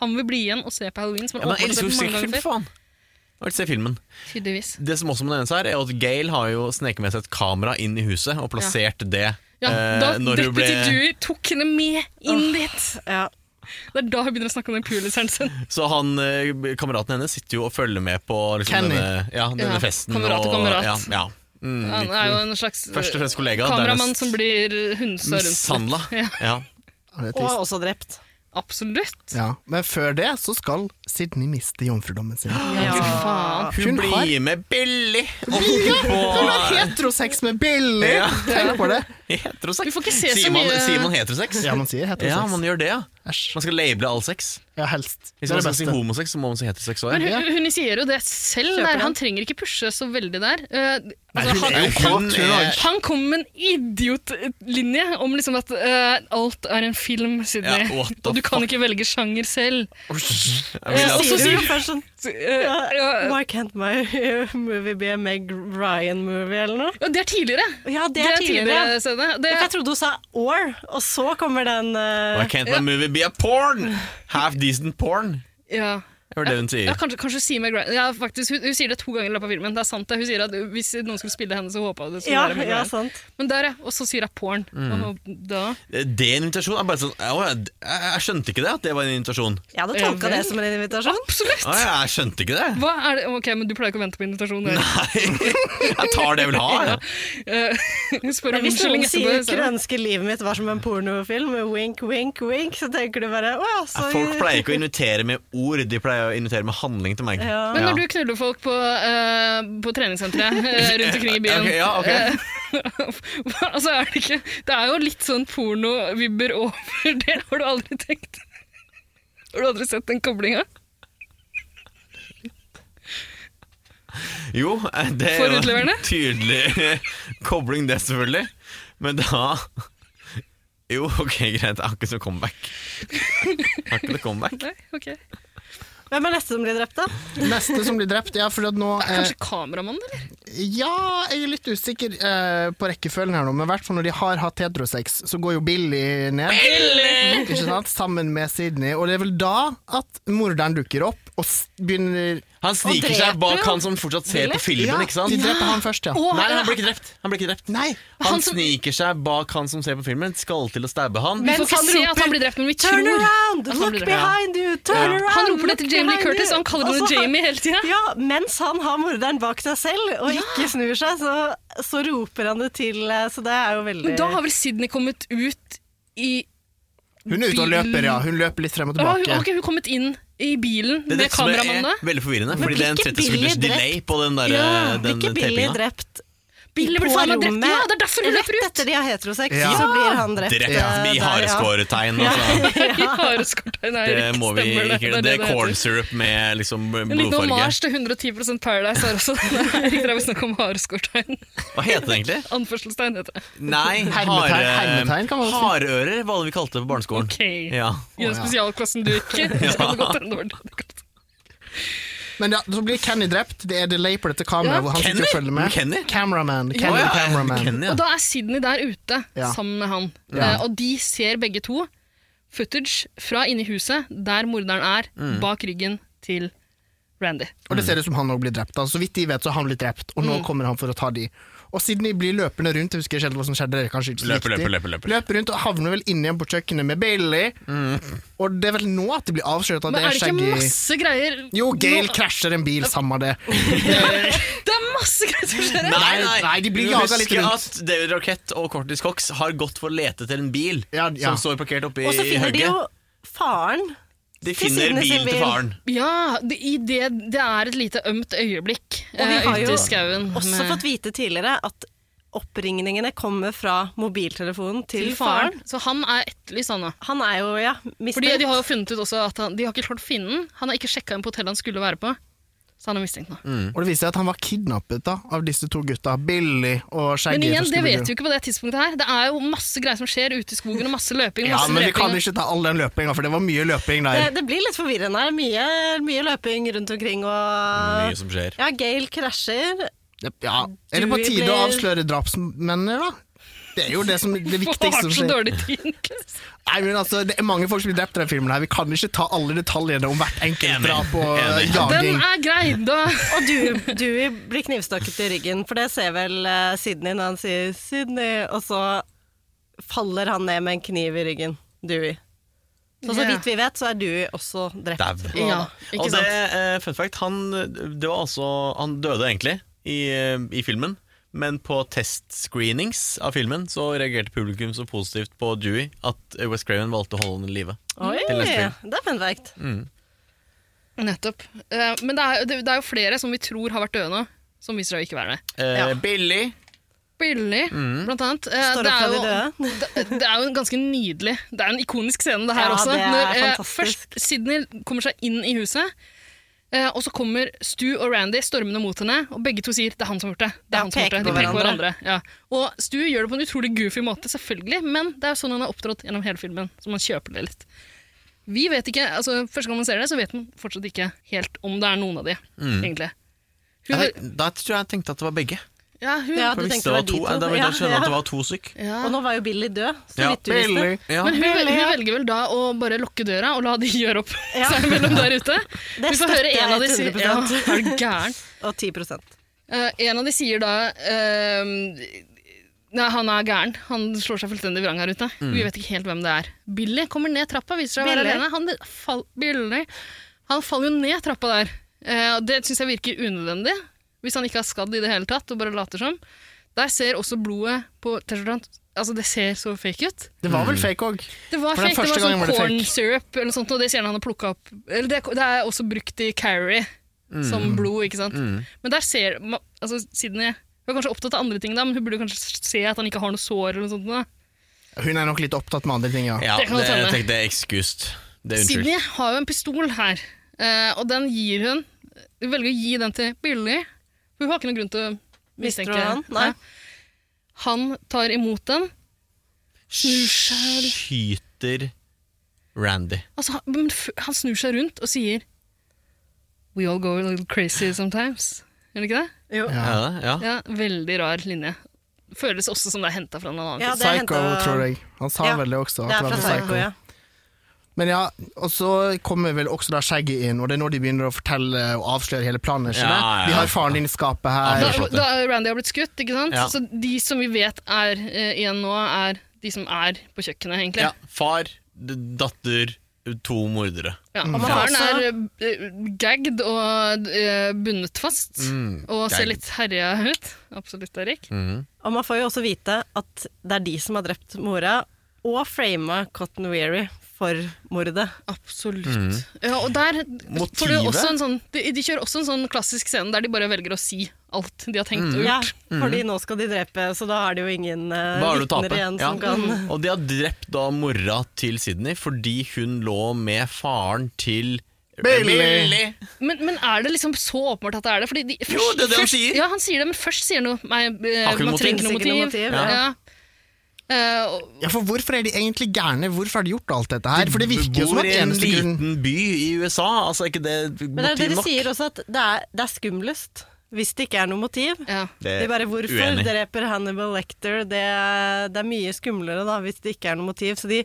Speaker 2: Han vil bli igjen og se på halloween. Som
Speaker 3: Ja, men
Speaker 2: han
Speaker 3: jeg elsker jo
Speaker 2: åpenbart mange
Speaker 3: skrekkfilm,
Speaker 2: ganger før.
Speaker 3: faen! Jeg vil se filmen.
Speaker 2: Tydeligvis.
Speaker 3: Det som også må nevnes her, er at Gail har jo sneket med seg et kamera inn i huset og plassert det
Speaker 2: Ja,
Speaker 3: eh,
Speaker 2: da
Speaker 3: når hun ble
Speaker 2: Deputy Dewey tok henne med inn dit.
Speaker 4: ja.
Speaker 2: Det er da hun begynner å snakke om den puliseren sin.
Speaker 3: Så han, eh, kameraten hennes sitter jo og følger med på liksom,
Speaker 1: Kenny.
Speaker 3: denne, ja, denne
Speaker 2: Ja,
Speaker 3: festen.
Speaker 2: kamerat og kamerat.
Speaker 3: Ja, ja. Mm,
Speaker 2: Han er jo en slags eh,
Speaker 3: Først og fremst kollega,
Speaker 2: kameramann
Speaker 3: dernest-
Speaker 2: som blir hundsa rundt.
Speaker 3: Mishandla.
Speaker 2: Ja.
Speaker 3: Ja.
Speaker 1: Ja, det er
Speaker 4: Og
Speaker 1: trist.
Speaker 4: også drept.
Speaker 2: Absolutt.
Speaker 1: Ja. Men før det så skal Sydney miste jomfrudommen sin.
Speaker 2: Ja, fy faen.
Speaker 3: Hun,
Speaker 1: Hun
Speaker 3: blir
Speaker 1: har-
Speaker 3: med Billy opp på
Speaker 1: Hun har heterosex med Billy!
Speaker 3: Ja.
Speaker 1: Tenk på det!
Speaker 3: heterosex.
Speaker 2: Vi får ikke se så
Speaker 3: sier, man,
Speaker 2: mye-
Speaker 3: sier man heterosex?
Speaker 1: Ja, man sier heterosex.
Speaker 3: Ja, man gjør det, ja.
Speaker 1: Æsj.
Speaker 3: Man skal labele all sex.
Speaker 1: Ja, helst. Det
Speaker 3: Hvis
Speaker 1: er
Speaker 3: man
Speaker 1: det
Speaker 3: skal si
Speaker 1: beste.
Speaker 3: homosex, så må man si heterosex
Speaker 2: Men
Speaker 3: òg.
Speaker 2: hun, hun initierer jo det selv.
Speaker 4: Kjøper
Speaker 2: Der.
Speaker 4: den.
Speaker 2: Han trenger ikke pushe så veldig der. Eh, altså,
Speaker 1: hun er
Speaker 2: han,
Speaker 1: jo kåt, hun
Speaker 3: er-
Speaker 1: også.
Speaker 2: han kom med en idiotlinje om liksom at eh, alt er en film, Sydney.
Speaker 3: Ja, what the
Speaker 2: og du kan ikke velge sjanger selv.
Speaker 3: vil
Speaker 2: Eh, og så
Speaker 4: Sier du
Speaker 2: sier
Speaker 4: jo først sånn
Speaker 2: Så, eh,
Speaker 4: ja,
Speaker 2: ja,
Speaker 4: Why can't my movie be a Meg Ryan-movie, eller noe?
Speaker 2: ja, det er tidligere.
Speaker 4: Ja, det
Speaker 2: Det
Speaker 4: er
Speaker 2: er
Speaker 4: tidligere.
Speaker 2: tidligere scene.
Speaker 4: Ja,
Speaker 2: Det,
Speaker 4: for Jeg trodde hun sa or, og så kommer den eh,
Speaker 3: Why can't my movie be a porn? Half decent porn.
Speaker 2: ja.
Speaker 3: Det var det hun
Speaker 2: Ja,
Speaker 3: sier.
Speaker 2: kanskje, kanskje si meg Grant. Ja, faktisk, hun, hun sier det to ganger i løpet av filmen. Det er sant det. Hun sier at hvis noen skulle spille henne, så håpa hun det skulle
Speaker 4: ja,
Speaker 2: være Meg
Speaker 4: ja,
Speaker 2: Ryan.
Speaker 4: sant.
Speaker 2: Men der, ja. Og så sier hun porn. Og da
Speaker 3: Eh, Det er en invitasjon. Jeg, bare sånn, «Å, jeg, jeg jeg skjønte ikke det, at det var en invitasjon.
Speaker 4: Jeg hadde
Speaker 2: Ja,
Speaker 4: tolka
Speaker 2: vel.
Speaker 4: det som en invitasjon.
Speaker 2: Absolutt!
Speaker 3: Å, jeg skjønte ikke det.
Speaker 2: Hva er det? Ok, men du pleier ikke å vente på invitasjon. Erik.
Speaker 3: Jeg tar det jeg vil ha. Ja.
Speaker 2: Eh, Hun spør om
Speaker 4: Hvis noen
Speaker 2: unnskyldning etterpå.
Speaker 4: sier
Speaker 2: så-
Speaker 4: 'skulle ønske livet mitt var som en pornofilm', med wink, wink, wink, så tenker du bare å ja, så
Speaker 3: Folk pleier ikke å invitere med ord, de pleier å invitere med handling til meg.
Speaker 4: Ja.
Speaker 2: Men når du knuller folk på, eh, på treningssenteret eh, rundt omkring i byen
Speaker 3: Ok, ja, ok.
Speaker 2: eh, hva- altså er det, ikke, det er jo litt sånn pornovibber over det. Har du aldri tenkt Har du aldri sett den koblinga?
Speaker 3: Jo, eh, det er jo en
Speaker 2: Forutleverende?
Speaker 3: tydelig kobling, det, selvfølgelig. Men da Jo, ok, greit. Jeg har ikke noe comeback. Jeg har ikke noe comeback.
Speaker 2: Nei, ok.
Speaker 4: Hvem er neste som blir drept, da?
Speaker 1: Neste som blir drept, ja, fordi at nå eh,
Speaker 2: Kanskje kameramannen, eller?
Speaker 1: Ja, jeg er litt usikker eh, på rekkefølgen her nå, men i hvert fall når de har hatt heterosex, så går jo Billy ned. Ikke sant? Sammen med Sydney. Og det er vel da at morderen dukker opp og s- begynner
Speaker 3: Han sniker
Speaker 4: dreper
Speaker 3: seg bak
Speaker 4: jo.
Speaker 3: han som fortsatt ser på filmen, ikke
Speaker 1: De
Speaker 3: sant?
Speaker 1: dreper han først, ja.
Speaker 2: Å,
Speaker 3: Nei, han blir ikke drept. Han, blir ikke drept.
Speaker 1: Nei!
Speaker 3: han
Speaker 2: Han som-
Speaker 3: sniker seg bak han som ser på filmen, skal til å stabbe han.
Speaker 2: Vi
Speaker 4: Men
Speaker 2: får ikke
Speaker 4: han
Speaker 2: se at
Speaker 4: roper,
Speaker 2: han blir drept, men vi tror
Speaker 4: Turn around!
Speaker 2: at han
Speaker 4: Look
Speaker 2: blir drept.
Speaker 4: behind you! Turn
Speaker 3: Ja.
Speaker 4: around!
Speaker 2: Han roper det
Speaker 4: look
Speaker 2: til Jamie Lee
Speaker 4: behind
Speaker 2: Curtis,
Speaker 4: you!
Speaker 2: og han kaller
Speaker 4: Og så
Speaker 2: henne
Speaker 4: har-
Speaker 2: Jamie hele tida.
Speaker 4: Ja, mens han har morderen bak seg selv og ikke snur seg, så, så roper han det til. eh, Så det er jo veldig
Speaker 2: Men da har vel Sydney kommet ut i
Speaker 1: Hun er ute og løper, ja. Hun løper litt frem og
Speaker 2: Å, hun,
Speaker 1: tilbake.
Speaker 2: ok, hun kommet inn i bilen
Speaker 3: Det er
Speaker 2: med
Speaker 3: dette som er
Speaker 2: kameramannen. da.
Speaker 3: veldig forvirrende, fordi det
Speaker 4: blir
Speaker 3: er en
Speaker 4: ikke
Speaker 3: 30 sekunders
Speaker 4: Billy
Speaker 3: delay på den, der,
Speaker 4: ja,
Speaker 3: den
Speaker 4: Blir ikke Billy
Speaker 3: tapinga.
Speaker 4: drept
Speaker 2: Billy blir
Speaker 4: på
Speaker 2: faen meg drept!
Speaker 4: rommet.
Speaker 2: Ja, det er derfor hun
Speaker 4: Rett
Speaker 2: løper ut!
Speaker 4: etter de har heterosex,
Speaker 1: Ja.
Speaker 4: så blir han drept.
Speaker 3: Drept
Speaker 4: eh,
Speaker 3: i
Speaker 4: der, ja.
Speaker 3: hareskåretegn. altså.
Speaker 2: I hareskårtein, nei,
Speaker 3: Det
Speaker 2: riktig,
Speaker 3: må vi
Speaker 2: stemmer
Speaker 3: ikke
Speaker 2: er
Speaker 3: Det er corn
Speaker 2: heter.
Speaker 3: syrup med liksom
Speaker 2: En liten
Speaker 3: blodfarge.
Speaker 2: hommage til 110 Paradise her også. Nei, Riktig, det er vi snakker om hareskårtein.
Speaker 3: Hva heter det egentlig?
Speaker 2: Anførselstegn heter det.
Speaker 3: Nei,
Speaker 1: Hermetegn-
Speaker 3: hare,
Speaker 1: hermetegn kan man også si.
Speaker 3: Hardører var det vi kalte det på barneskolen.
Speaker 2: Ok.
Speaker 3: Ja.
Speaker 2: I
Speaker 1: Å, ja.
Speaker 2: den spesialklassen du gikk i. så hadde det gått en dårlig dag.
Speaker 1: Men ja, så blir Kenny drept. Det er delay på dette kameraet
Speaker 2: Ja.
Speaker 1: hvor han sitter
Speaker 3: Kenny?
Speaker 1: og følger med.
Speaker 3: Kenny?
Speaker 1: Cameraman. Kenny,
Speaker 3: Å ja,
Speaker 1: cameraman.
Speaker 3: Kenny, ja.
Speaker 2: Og da er Sydney der ute
Speaker 1: Ja.
Speaker 2: sammen med han.
Speaker 1: Ja.
Speaker 2: Eh, og de ser begge to footage fra inni huset der morderen er,
Speaker 1: Mm.
Speaker 2: bak ryggen til Randy.
Speaker 1: Og det ser ut som han òg blir drept. Altså, så vidt de vet, så har han blitt drept, og
Speaker 3: Mm.
Speaker 1: nå kommer han for å ta de. Og Sydney blir løpende rundt, jeg husker ikke helt hva som skjedde. det er kanskje ikke så
Speaker 3: Løper,
Speaker 1: viktig.
Speaker 3: løper, løper, løper. Mm.
Speaker 1: Løper rundt og havner vel inne igjen på kjøkkenet med Bailey. Og det er vel nå at det blir avslørt at
Speaker 2: Men
Speaker 1: det
Speaker 2: er
Speaker 1: er
Speaker 2: det ikke
Speaker 1: skjegg i
Speaker 2: masse greier
Speaker 1: Jo, Gail
Speaker 2: Nå-
Speaker 1: krasjer en bil, samme det.
Speaker 2: Det er masse greier som skjer! her.
Speaker 3: Nei, nei,
Speaker 1: Nei, de blir jaga litt rundt.
Speaker 3: Husk at David Rockett og Cortis Cox har gått for å lete etter en bil
Speaker 1: Ja, ja.
Speaker 3: som står parkert oppe i
Speaker 4: Og så finner de jo
Speaker 3: hugget.
Speaker 4: faren.
Speaker 3: De
Speaker 4: til
Speaker 3: finner
Speaker 4: siden i sin
Speaker 3: bilen til
Speaker 4: bil.
Speaker 3: faren.
Speaker 2: Ja, det, i det, det er et lite ømt øyeblikk
Speaker 4: Og vi
Speaker 2: eh,
Speaker 4: har
Speaker 2: ute
Speaker 4: jo
Speaker 2: i skauen.
Speaker 4: Også
Speaker 2: med-
Speaker 4: fått vite tidligere at oppringningene kommer fra mobiltelefonen til,
Speaker 2: til
Speaker 4: faren.
Speaker 2: faren. Så han er etterlyst, han da.
Speaker 4: Han er jo, ja,
Speaker 2: Fordi
Speaker 4: mistenkt.
Speaker 2: de har jo funnet ut også at han, de har ikke klart å finne den. Han har ikke sjekka inn på hotellet han skulle være på. Så han er mistenkt nå.
Speaker 3: Mm.
Speaker 1: Og det viser seg at han var kidnappet da, av disse to gutta, Billy og Shaggy.
Speaker 2: Men igjen,
Speaker 1: fra
Speaker 2: det vet
Speaker 1: Scooby-Doo.
Speaker 2: vi jo ikke på det tidspunktet her. Det er jo masse greier som skjer ute i skogen, og masse løping.
Speaker 1: Ja,
Speaker 2: Masse
Speaker 1: men vi
Speaker 2: dreping.
Speaker 1: kan ikke ta all den løpinga, for det var mye løping
Speaker 4: det,
Speaker 1: der.
Speaker 4: det blir litt forvirrende her. Mye, mye løping rundt omkring og
Speaker 3: Mye som skjer.
Speaker 4: Ja, Gail krasjer.
Speaker 1: Ja.
Speaker 2: Mm.
Speaker 1: Er det på
Speaker 4: Du
Speaker 1: tide å
Speaker 4: blir-
Speaker 1: avsløre drapsmennene, da? Det er jo det, som, det
Speaker 2: Hvorfor
Speaker 1: viktigste
Speaker 2: har
Speaker 1: som
Speaker 2: så
Speaker 1: skjer.
Speaker 2: dårlig tid. Niklas?
Speaker 1: Nei, men altså, Det er mange folk som blir drept i denne filmen. her Vi kan ikke ta alle detaljene om hvert enkelt
Speaker 3: Enig.
Speaker 1: drap og eh,
Speaker 3: Enig.
Speaker 1: jaging.
Speaker 2: Den er grei, da.
Speaker 4: Og Dewey, Dewey blir knivstukket i ryggen, for det ser vel eh, Sydney når han sier 'Sydney', og så faller han ned med en kniv i ryggen. Dewey. Så så
Speaker 2: Ja.
Speaker 4: vidt vi vet, så er Dewey også drept.
Speaker 3: Dau.
Speaker 4: nå,
Speaker 2: Ja,
Speaker 4: da.
Speaker 2: ikke
Speaker 3: Og det,
Speaker 2: sant.
Speaker 3: eh, fun fact, han, det var altså, han døde egentlig i, eh, i filmen. Men på testscreenings av filmen så reagerte publikum så positivt på Dewey at West Craven valgte å holde han i live.
Speaker 4: Oi,
Speaker 3: Til
Speaker 4: det
Speaker 3: neste film. Mm.
Speaker 4: er fun fact.
Speaker 2: Nettopp. Eh, Men det er, det, det er jo flere som vi tror har vært døde nå, som viser seg å ikke være det.
Speaker 3: Eh,
Speaker 4: Ja.
Speaker 3: Billy
Speaker 2: Billig, blant annet. Eh,
Speaker 4: Står
Speaker 2: det,
Speaker 4: opp
Speaker 2: er
Speaker 4: fra de
Speaker 2: jo, det, det er jo en ganske nydelig Det er en ikonisk scene, det her
Speaker 4: Ja,
Speaker 2: også.
Speaker 4: det er
Speaker 2: Når eh,
Speaker 4: fantastisk.
Speaker 2: først Sydney kommer seg inn i huset, eh, og så kommer Stu og Randy stormende mot henne, og begge to sier 'det er han som har gjort det'. det
Speaker 4: Ja,
Speaker 2: er han som har gjort det.
Speaker 4: peker
Speaker 2: De
Speaker 4: på
Speaker 2: peker på hverandre. Ja. Og Stu gjør det på en utrolig goofy måte, selvfølgelig, men det er jo sånn han er opptrådt gjennom hele filmen, så man kjøper det litt. Vi vet ikke, altså Første gang man ser det, så vet man fortsatt ikke helt om det er noen av de, egentlig. Hun,
Speaker 3: Jeg tenk- Da tror jeg jeg tenkte at det var begge.
Speaker 2: ja, hun,
Speaker 4: Ja,
Speaker 3: For
Speaker 4: du
Speaker 3: hvis
Speaker 4: tenkte
Speaker 3: det var
Speaker 4: det var de
Speaker 3: to,
Speaker 4: to.
Speaker 3: eh, Da ville jeg
Speaker 4: Ja,
Speaker 3: skjønne
Speaker 4: ja.
Speaker 3: at det var to stykk.
Speaker 2: ja.
Speaker 4: Og nå var jo Billy død, så
Speaker 3: Ja,
Speaker 4: vidt du visste.
Speaker 3: Ja.
Speaker 2: Men hun, vel-
Speaker 4: Veldig,
Speaker 2: hun
Speaker 4: ja.
Speaker 2: velger vel da å bare lukke døra og la de gjøre opp
Speaker 4: Ja.
Speaker 2: seg mellom der ute.
Speaker 4: Det
Speaker 2: Vi får høre
Speaker 4: støtter
Speaker 2: en av de si-
Speaker 4: jeg 100%.
Speaker 2: Ja, er du gæren?
Speaker 4: Og 10
Speaker 2: Eh, en av de sier da ehm, Nei, han er gæren. Han slår seg fullstendig vrang her ute. Vi vet ikke helt hvem det er. Billy kommer ned trappa, viser seg å være
Speaker 4: Billy.
Speaker 2: alene. Han, fall, Billy. han faller jo ned trappa der. Eh, og det syns jeg virker unødvendig, hvis han ikke er skadd i det hele tatt og bare later som. Der ser også blodet på T-skjorta hans- Altså, det ser så fake ut.
Speaker 1: Det var vel fake òg.
Speaker 2: Det var
Speaker 1: For den
Speaker 2: fake, det
Speaker 1: første
Speaker 2: var sånn
Speaker 1: gangen var det
Speaker 2: corn
Speaker 1: fake.
Speaker 2: syrup eller noe sånt, og det sier han har plukka opp. Eller det, det er også brukt i Carrie
Speaker 1: Mm.
Speaker 2: som blod, ikke sant. Men der ser ma- altså, Sydney Hun er kanskje opptatt av andre ting, da, men hun burde kanskje se at han ikke har noe sår eller noe sånt. Da.
Speaker 1: Hun er nok litt opptatt med andre ting, ja.
Speaker 3: Ja,
Speaker 2: Det kan
Speaker 3: det,
Speaker 2: godt hende.
Speaker 3: jeg tenkte det er excused. Det er unnskyld.
Speaker 2: Sydney har jo en pistol her, eh, og den gir hun Hun velger å gi den til Billy, for hun har ikke noen grunn til å
Speaker 4: Mistenker
Speaker 2: mistenke
Speaker 4: han? Nei.
Speaker 2: Ja. Han tar imot den. Snur seg.
Speaker 3: Skyter Randy.
Speaker 2: Altså, han, men f- han snur seg rundt og sier We all go a little crazy sometimes. Gjør det ikke det?
Speaker 4: Jo.
Speaker 1: Ja.
Speaker 3: Ja. det? ja.
Speaker 2: Ja, veldig rar linje. Føles også som det er henta fra en annen
Speaker 4: Ja,
Speaker 2: film.
Speaker 4: det er
Speaker 1: Psycho,
Speaker 4: hentet-
Speaker 1: tror jeg. Han sa
Speaker 4: Ja,
Speaker 1: vel det også. at
Speaker 4: Det er
Speaker 1: det var
Speaker 4: fra
Speaker 1: fra
Speaker 4: Psycho, ja.
Speaker 1: Men ja, Og så kommer vel også da Shaggy inn, og det er nå de begynner å fortelle og avsløre hele planen. ikke
Speaker 3: Ja,
Speaker 1: det?
Speaker 3: ja, ja.
Speaker 1: De har faren din i skapet
Speaker 3: Ja,
Speaker 2: Da,
Speaker 3: det
Speaker 1: her.
Speaker 3: er flott, det.
Speaker 2: da Randy har blitt skutt, ikke sant?
Speaker 3: Ja.
Speaker 2: Så de som vi vet er eh, igjen nå, er de som er på kjøkkenet, egentlig.
Speaker 3: Ja, Far, d- datter, to mordere.
Speaker 2: Ja,
Speaker 4: man har
Speaker 2: faren
Speaker 4: også-
Speaker 2: er eh, gagged og eh, bundet fast, og ser
Speaker 3: Mm, gagged.
Speaker 2: litt herja ut. Absolutt, Erik.
Speaker 1: Mhm.
Speaker 4: Og man får jo også vite at det er de som har drept mora, og frama Cotton Weary for mordet.
Speaker 2: Absolutt. Ja, og der får du
Speaker 3: Mm. Motivet?
Speaker 2: også en sånn, de, de kjører også en sånn klassisk scene der de bare velger å si alt de har
Speaker 3: Mm.
Speaker 2: tenkt og
Speaker 4: Ja,
Speaker 2: gjort.
Speaker 1: Mhm.
Speaker 4: fordi nå skal de drepe, så da har de jo ingen
Speaker 3: Hva
Speaker 4: eh,
Speaker 3: har du å
Speaker 4: vitner
Speaker 3: tape?
Speaker 4: igjen
Speaker 3: Ja.
Speaker 4: som kan
Speaker 1: Mhm.
Speaker 3: Og de har drept da mora til Sydney fordi hun lå med faren til
Speaker 1: Bailey.
Speaker 2: Men, men er det liksom så åpenbart at det er det? Fordi de,
Speaker 3: Jo, det er det han
Speaker 2: først,
Speaker 3: sier.
Speaker 2: Ja, han sier det, men først sier han noe Nei, eh,
Speaker 3: Har ikke noe
Speaker 2: man trenger ikke
Speaker 4: motiv.
Speaker 2: noe
Speaker 4: Ikke
Speaker 2: motiv.
Speaker 4: noe motiv,
Speaker 2: Ja.
Speaker 4: ja.
Speaker 2: Eh, og-
Speaker 1: Ja, for hvorfor er de egentlig gærne? Hvorfor har de gjort alt dette her? For det virker jo som
Speaker 3: Bor
Speaker 1: at
Speaker 3: i en
Speaker 1: eneste grunn
Speaker 3: liten by i USA. Altså, er ikke det motiv
Speaker 4: Men det er det de
Speaker 3: nok?
Speaker 4: sier også, at det er, det er skumlest hvis det ikke er noe motiv.
Speaker 2: ja.
Speaker 3: Det
Speaker 4: Det
Speaker 3: er
Speaker 4: er bare hvorfor
Speaker 3: uenig.
Speaker 4: dreper Hannibal Lecter, det, er- det er mye skumlere da, hvis det ikke er noe motiv. Så de,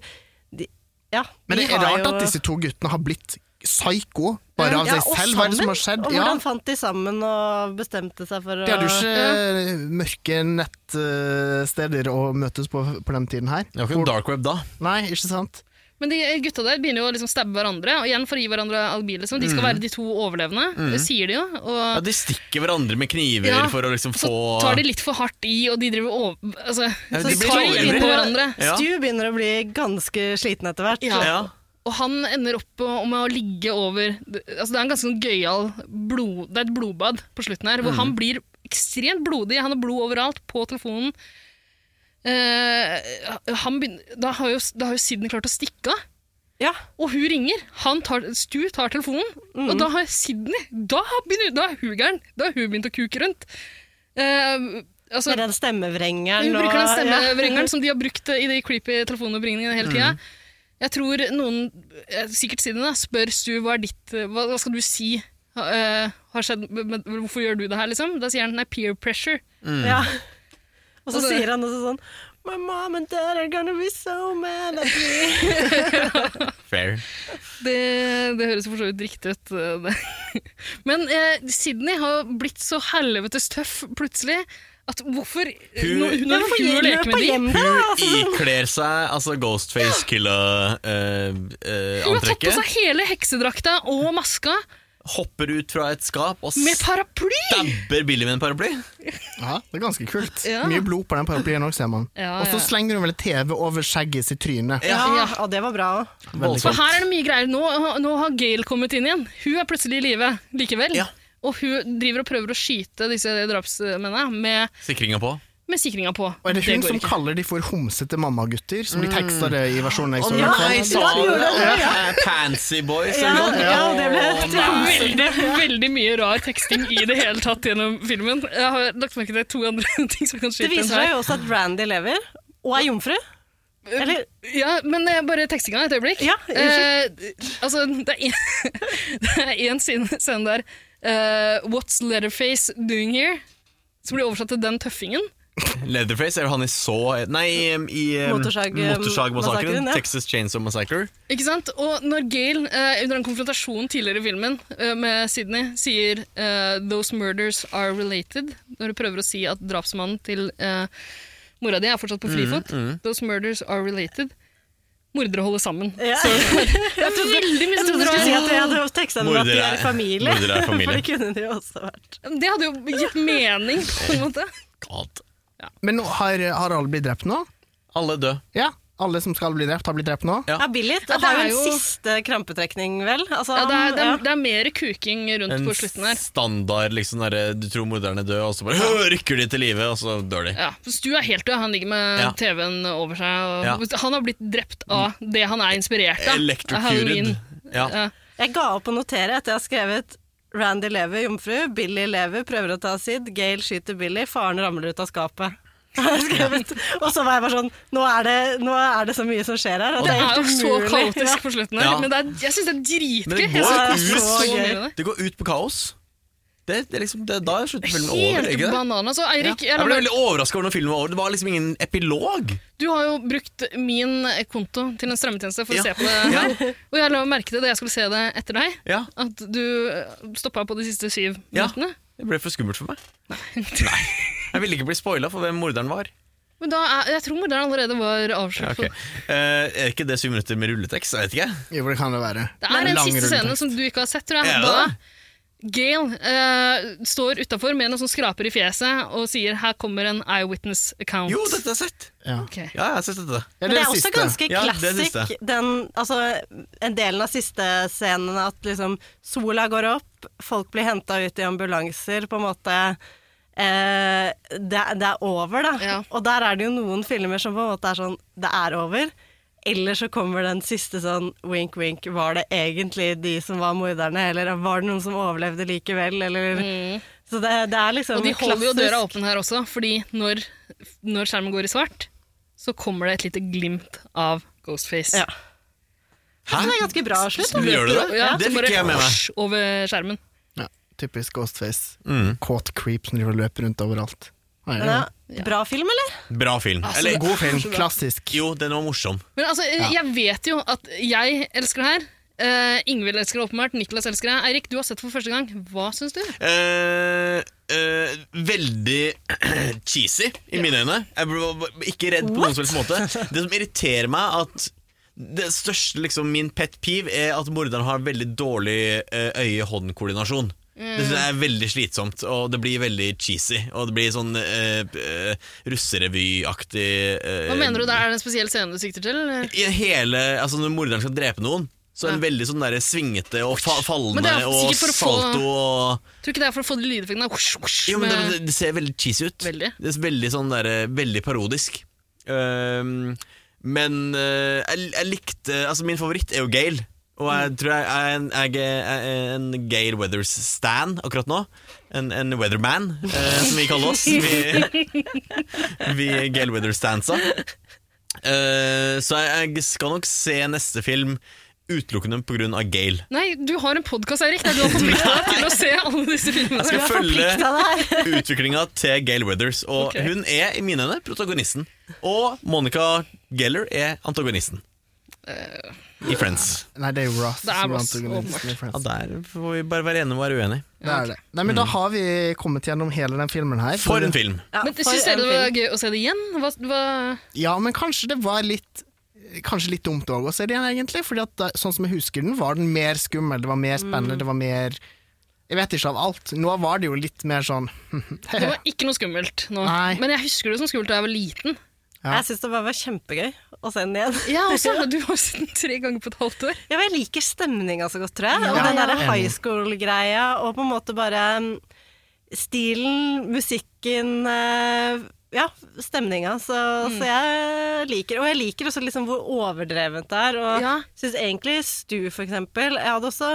Speaker 4: de ja.
Speaker 1: Men
Speaker 4: de
Speaker 1: det er
Speaker 4: har
Speaker 1: rart
Speaker 4: jo-
Speaker 1: at disse to guttene har blitt psyko bare av
Speaker 4: Ja,
Speaker 1: seg
Speaker 4: og
Speaker 1: selv. Hva er det som har
Speaker 4: sammen.
Speaker 1: skjedd?
Speaker 4: Og
Speaker 1: Ja,
Speaker 4: hvordan fant de sammen og bestemte seg for å
Speaker 1: de hadde jo ikke eh, mørke nettsteder å møtes på på den tiden her.
Speaker 3: Det var ikke en dark web da.
Speaker 1: Nei, ikke sant?
Speaker 2: Men de gutta der begynner jo å liksom stabbe hverandre, og igjen for å gi hverandre alibi. Liksom. De skal være de to overlevende, det sier de jo. Og
Speaker 3: Mm. Ja, de stikker hverandre med kniver
Speaker 2: Ja,
Speaker 3: for å liksom
Speaker 2: så
Speaker 3: få
Speaker 2: tar de litt for hardt i, og de driver over... Altså,
Speaker 3: Ja,
Speaker 2: så
Speaker 3: de
Speaker 2: de
Speaker 3: blir
Speaker 2: tar
Speaker 3: så
Speaker 2: inn
Speaker 3: ivrige.
Speaker 2: på hverandre.
Speaker 3: Ja.
Speaker 4: Stu begynner å bli ganske sliten etter hvert.
Speaker 2: Ja.
Speaker 3: ja.
Speaker 2: Og han ender opp på- med å ligge over altså Det er en ganske sånn gøyal blod... Det er et blodbad på slutten her, hvor han blir ekstremt blodig. Han har blod overalt, på telefonen. Eh, han begynner, da, har jo, da har jo Sydney klart å stikke av.
Speaker 4: Ja.
Speaker 2: Og hun ringer, han tar, Stu tar telefonen, og da har Sydney Da begynner da er hun gæren! Da har hun begynt å kuke rundt. Eh, altså,
Speaker 4: Med den stemmevrengeren
Speaker 2: hun bruker den
Speaker 4: og-
Speaker 2: stemmevrengeren som de har brukt eh, i de creepy telefonoppringningene hele tida. Jeg tror noen, eh, sikkert Sydney, da, spør Stu hva er ditt eh, Hva, hva skal du si ha- eh, har skjedd med- med- Hvorfor gjør du det her, liksom? Da sier han nei, peer pressure.
Speaker 3: Mm.
Speaker 4: Ja. ja. Og så
Speaker 2: Altså-
Speaker 4: sier han også sånn My mom and dad are gonna be so mad at me.
Speaker 3: Fair.
Speaker 2: Det, det høres for så vidt riktig ut. eh, Det. Men eh, Sydney har blitt så helvetes tøff plutselig at hvorfor
Speaker 3: Hun-
Speaker 2: Når,
Speaker 4: Ja,
Speaker 2: når
Speaker 4: hvorfor
Speaker 2: hun
Speaker 4: løper
Speaker 2: leker med de
Speaker 4: hjem da?
Speaker 3: Hun
Speaker 4: Altså,
Speaker 3: ikler seg altså eh, Ghostface Killer-antrekket.
Speaker 2: Hun har tatt på seg hele heksedrakta og maska
Speaker 3: hopper ut fra et skap og
Speaker 2: med paraply!
Speaker 3: stabber Billy med en paraply.
Speaker 1: Ja, det er ganske kult.
Speaker 2: Ja.
Speaker 1: Mye blod på den paraplyen òg, ser man.
Speaker 2: Ja,
Speaker 1: Og så
Speaker 2: ja.
Speaker 1: slenger hun vel et TV over skjegget sitt tryne.
Speaker 4: ja, og det var bra òg.
Speaker 2: For
Speaker 3: Voldsomt.
Speaker 2: her er det mye greier. Nå, nå har Gail kommet inn igjen. Hun er plutselig i live likevel.
Speaker 3: Ja.
Speaker 2: Og hun driver og prøver å skyte disse drapsmennene med,
Speaker 3: Sikringa på.
Speaker 2: med sikringa på.
Speaker 1: Og er det hun
Speaker 2: går
Speaker 1: som
Speaker 2: ikke.
Speaker 1: kaller de for homsete mammagutter, som de
Speaker 4: Mm.
Speaker 1: teksta det i versjonen jeg så? i
Speaker 4: nei,
Speaker 1: hvert fall?
Speaker 4: sa han det?
Speaker 3: Eh, Pansy boys
Speaker 4: Ja,
Speaker 3: eller noe.
Speaker 4: ja, det ble-
Speaker 3: Å, nei.
Speaker 2: Veldig, veldig mye rar teksting i det hele tatt gjennom filmen. Jeg har lagt merke til to andre ting som kan
Speaker 4: Det
Speaker 2: skyte
Speaker 4: viser seg jo også at Randy lever, og er jomfru. Eller
Speaker 2: Ja, men eh, bare tekstinga et øyeblikk.
Speaker 4: Ja,
Speaker 2: eh, altså, det er en- det er én scene der eh, What's Letterface doing here? Som blir oversatt til Den tøffingen.
Speaker 3: Leatherface er jo han i så Nei, em, i em,
Speaker 4: Motorsag-
Speaker 3: Motorsagmassakren.
Speaker 4: massakren, ja.
Speaker 3: Texas Chainsaw Massacre.
Speaker 2: Ikke sant? Og når Gail, eh, under en konfrontasjon tidligere i filmen eh, med Sydney, sier eh, 'those murders are related', når hun prøver å si at drapsmannen til eh, mora di er fortsatt på
Speaker 3: Mm,
Speaker 2: frifot, 'those murders are related', mordere holder sammen.
Speaker 4: ja.
Speaker 2: Det er veldig mye
Speaker 4: Jeg trodde du skulle si at jeg hadde teksta dem at de
Speaker 3: Mordere
Speaker 4: er
Speaker 3: er-
Speaker 4: familie.
Speaker 3: mordere er familie.
Speaker 4: For det kunne de jo også vært.
Speaker 2: Det hadde jo gitt mening, på en måte.
Speaker 3: God.
Speaker 1: Men nå har, har alle blitt drept nå?
Speaker 3: Alle døde.
Speaker 1: Ja, alle som skal bli drept, har blitt drept nå?
Speaker 3: Ja.
Speaker 4: Ja, Billit
Speaker 2: Ja, det
Speaker 4: har jo
Speaker 2: er
Speaker 4: en
Speaker 2: jo-
Speaker 4: siste krampetrekning, vel? Altså,
Speaker 2: Ja, det, er, det,
Speaker 4: han- ja.
Speaker 2: er, det er mer kuking rundt
Speaker 3: En
Speaker 2: på slutten her.
Speaker 3: standard liksom derre Du tror morderen er død, og så bare «Hø, rykker de til live, og så dør de.
Speaker 2: Ja, for Stu er helt død. Han ligger med
Speaker 3: Ja.
Speaker 2: TV-en over seg. Og
Speaker 3: Ja. Mm.
Speaker 2: Han har blitt drept av det han er inspirert av. av
Speaker 3: Electrocuted.
Speaker 2: Halloween.
Speaker 3: Ja.
Speaker 2: Ja.
Speaker 4: Jeg ga opp å notere etter jeg har skrevet Randy lever, jomfru. Billy lever, prøver å ta Sid. Gail skyter Billy. Faren ramler ut av skapet. Har jeg skrevet. Og så var jeg bare sånn Nå er det, nå er det så mye som skjer her. At
Speaker 2: Det er jo
Speaker 4: helt
Speaker 2: så
Speaker 4: umulig.
Speaker 2: kaotisk
Speaker 4: Ja.
Speaker 2: på slutten her,
Speaker 3: Ja.
Speaker 2: men det er, jeg syns det er
Speaker 3: Men det
Speaker 2: dritgøy.
Speaker 3: går
Speaker 2: Jeg
Speaker 4: ut.
Speaker 2: synes det er så
Speaker 4: Så
Speaker 2: mye
Speaker 4: gøy.
Speaker 2: med det.
Speaker 3: Det går ut på kaos. Det, det er liksom, det, da er slutten filmen over.
Speaker 2: Helt
Speaker 3: ikke det?
Speaker 2: banana. Så
Speaker 3: Ja.
Speaker 2: Eirik, jeg
Speaker 3: Jeg ble
Speaker 2: lar-
Speaker 3: veldig overraska over når filmen var over. Det var liksom ingen epilog.
Speaker 2: du har jo brukt min konto til en strømmetjeneste for
Speaker 3: Ja.
Speaker 2: å se på det her. Og jeg la merke til da jeg skulle se det etter deg,
Speaker 3: Ja,
Speaker 2: at du stoppa på de siste syv
Speaker 3: Ja.
Speaker 2: minuttene.
Speaker 3: Det ble for skummelt for meg. Nei. Jeg ville ikke bli spoila for hvem morderen var.
Speaker 2: Men da er, jeg tror morderen allerede var
Speaker 3: Ja,
Speaker 2: avslørt.
Speaker 3: ok. Eh, er ikke det syv minutter med rulletekst? Jeg vet ikke.
Speaker 1: Jo, det kan det være.
Speaker 2: Det er en
Speaker 1: Lang
Speaker 2: siste scene
Speaker 1: rulletekst.
Speaker 2: som du ikke har sett, tror jeg.
Speaker 3: Er det det?
Speaker 2: Da Gail eh, står utafor med noe som skraper i fjeset og sier 'her kommer en eyewitness account'.
Speaker 3: Jo, dette har jeg sett!
Speaker 1: Ja.
Speaker 2: Ok.
Speaker 3: Ja, jeg har sett
Speaker 1: Ja,
Speaker 3: dette.
Speaker 4: Men det
Speaker 1: det
Speaker 4: er også
Speaker 1: siste.
Speaker 4: ganske
Speaker 3: Ja, det er det
Speaker 4: classic, den, altså, en delen av siste scenen at liksom sola går opp, folk blir henta ut i ambulanser, på en måte eh, det, er- det er over, da.
Speaker 2: Ja.
Speaker 4: Og der er det jo noen filmer som på en måte er sånn Det er over. Eller så kommer den siste sånn wink, wink. Var det egentlig de som var morderne, eller var det noen som overlevde likevel, eller Så det, det er liksom
Speaker 2: Mm. Og de holder jo døra
Speaker 4: klassisk-
Speaker 2: åpen her også, fordi når, når skjermen går i svart, så kommer det et lite glimt av Ghostface.
Speaker 4: Ja. Så det er ganske bra slutt. da.
Speaker 3: Gjør det det?
Speaker 2: Ja,
Speaker 3: det
Speaker 2: som
Speaker 3: fikk
Speaker 2: bare
Speaker 3: ikke jeg med meg.
Speaker 2: hosj Over skjermen.
Speaker 1: Ja, typisk Ghostface.
Speaker 3: Mm.
Speaker 1: Kåt creep som driver og løper rundt overalt. Nei, det er
Speaker 4: Ja.
Speaker 1: jo-
Speaker 4: Bra film, eller?
Speaker 3: Bra film.
Speaker 2: Altså,
Speaker 3: Eller,
Speaker 2: det-
Speaker 1: God film, klassisk.
Speaker 3: jo, den var morsom.
Speaker 2: Men altså, jeg vet jo at jeg elsker det her. Uh, Ingvild elsker det åpenbart, Niklas elsker det. Eirik, du har sett det for første gang. Hva syns du?
Speaker 3: Eh, eh, veldig cheesy i mine øyne. Jeg ble var ikke redd på noen som helst måte. Det som irriterer meg, at det største, liksom, min pet peeve, er at morderen har veldig dårlig eh, øye-hånd-koordinasjon.
Speaker 2: Mm.
Speaker 3: Det synes jeg er veldig slitsomt, og det blir veldig cheesy. Og det blir sånn eh, eh, russerevy-aktig eh,
Speaker 2: Hva mener du der? Er det en spesiell scene du sikter til? eller?
Speaker 3: I hele, altså Når morderen skal drepe noen, så er den veldig sånn der svingete og fa
Speaker 2: Men
Speaker 3: fallende
Speaker 2: det er
Speaker 3: og
Speaker 2: sikkert for å få-
Speaker 3: salto og
Speaker 2: Tror ikke det er for å få de lydeffektene av hosj, hosj,
Speaker 3: jo, men det,
Speaker 2: med-
Speaker 3: det- det ser veldig cheesy ut.
Speaker 2: Veldig.
Speaker 3: Det er veldig, sånn der, eh, veldig parodisk. Ehm, men eh, jeg, jeg likte Altså, min favoritt er jo Gale. Og
Speaker 2: Mm.
Speaker 3: jeg tror jeg er en, jeg er en Gale Weathers-stan akkurat nå. En, en weatherman, eh, som vi kaller oss. Vi, vi er Gale Weathers-stansa. Eh, så jeg, jeg skal nok se neste film utelukkende pga. Gale.
Speaker 2: Nei, du har en podkast, Eirik, der du har forplikta deg til å se alle disse filmene.
Speaker 3: Jeg skal følge
Speaker 4: Forplikta deg.
Speaker 3: utviklinga til Gail Weathers. Og
Speaker 2: Ok.
Speaker 3: hun er i mine øyne protagonisten. Og Monica Geller er antagonisten. I Friends.
Speaker 1: Nei, det er jo Ross.
Speaker 2: Det er
Speaker 1: som
Speaker 2: Ross,
Speaker 1: antagonisten i
Speaker 2: åpenbart.
Speaker 1: Friends.
Speaker 3: Ja, Der får vi bare være enige og være uenige.
Speaker 1: Det er det. Nei, men da har vi kommet gjennom hele den filmen her.
Speaker 3: Mm. For en film!
Speaker 4: Ja,
Speaker 2: Men
Speaker 4: for
Speaker 2: Syns dere
Speaker 4: en
Speaker 2: det var
Speaker 4: film.
Speaker 2: gøy å se det igjen? Hva, hva,
Speaker 1: Ja, men kanskje det var litt Kanskje litt dumt òg å se det igjen, egentlig. Fordi at da, sånn som jeg husker den, var den mer skummel, det var mer
Speaker 2: Mm.
Speaker 1: spennende, det var mer Jeg vet ikke av alt. Nå var det jo litt mer sånn
Speaker 2: det var ikke noe skummelt nå.
Speaker 1: Nei.
Speaker 2: Men jeg husker det som skummelt da jeg var liten.
Speaker 1: Ja.
Speaker 4: Jeg syns det bare var kjempegøy å se den igjen.
Speaker 2: Ja, også, Du har sett den tre ganger på et halvt år.
Speaker 4: Ja, men jeg liker stemninga så godt, tror jeg. og
Speaker 1: Ja,
Speaker 4: den
Speaker 1: ja.
Speaker 4: derre
Speaker 1: Enig.
Speaker 4: high school-greia, og på en måte bare mm, stilen, musikken eh, Ja, stemninga. Så,
Speaker 2: Mm.
Speaker 4: så jeg liker Og jeg liker også liksom hvor overdrevent det er. Og
Speaker 2: Ja.
Speaker 4: syns egentlig Stu, for eksempel Jeg hadde også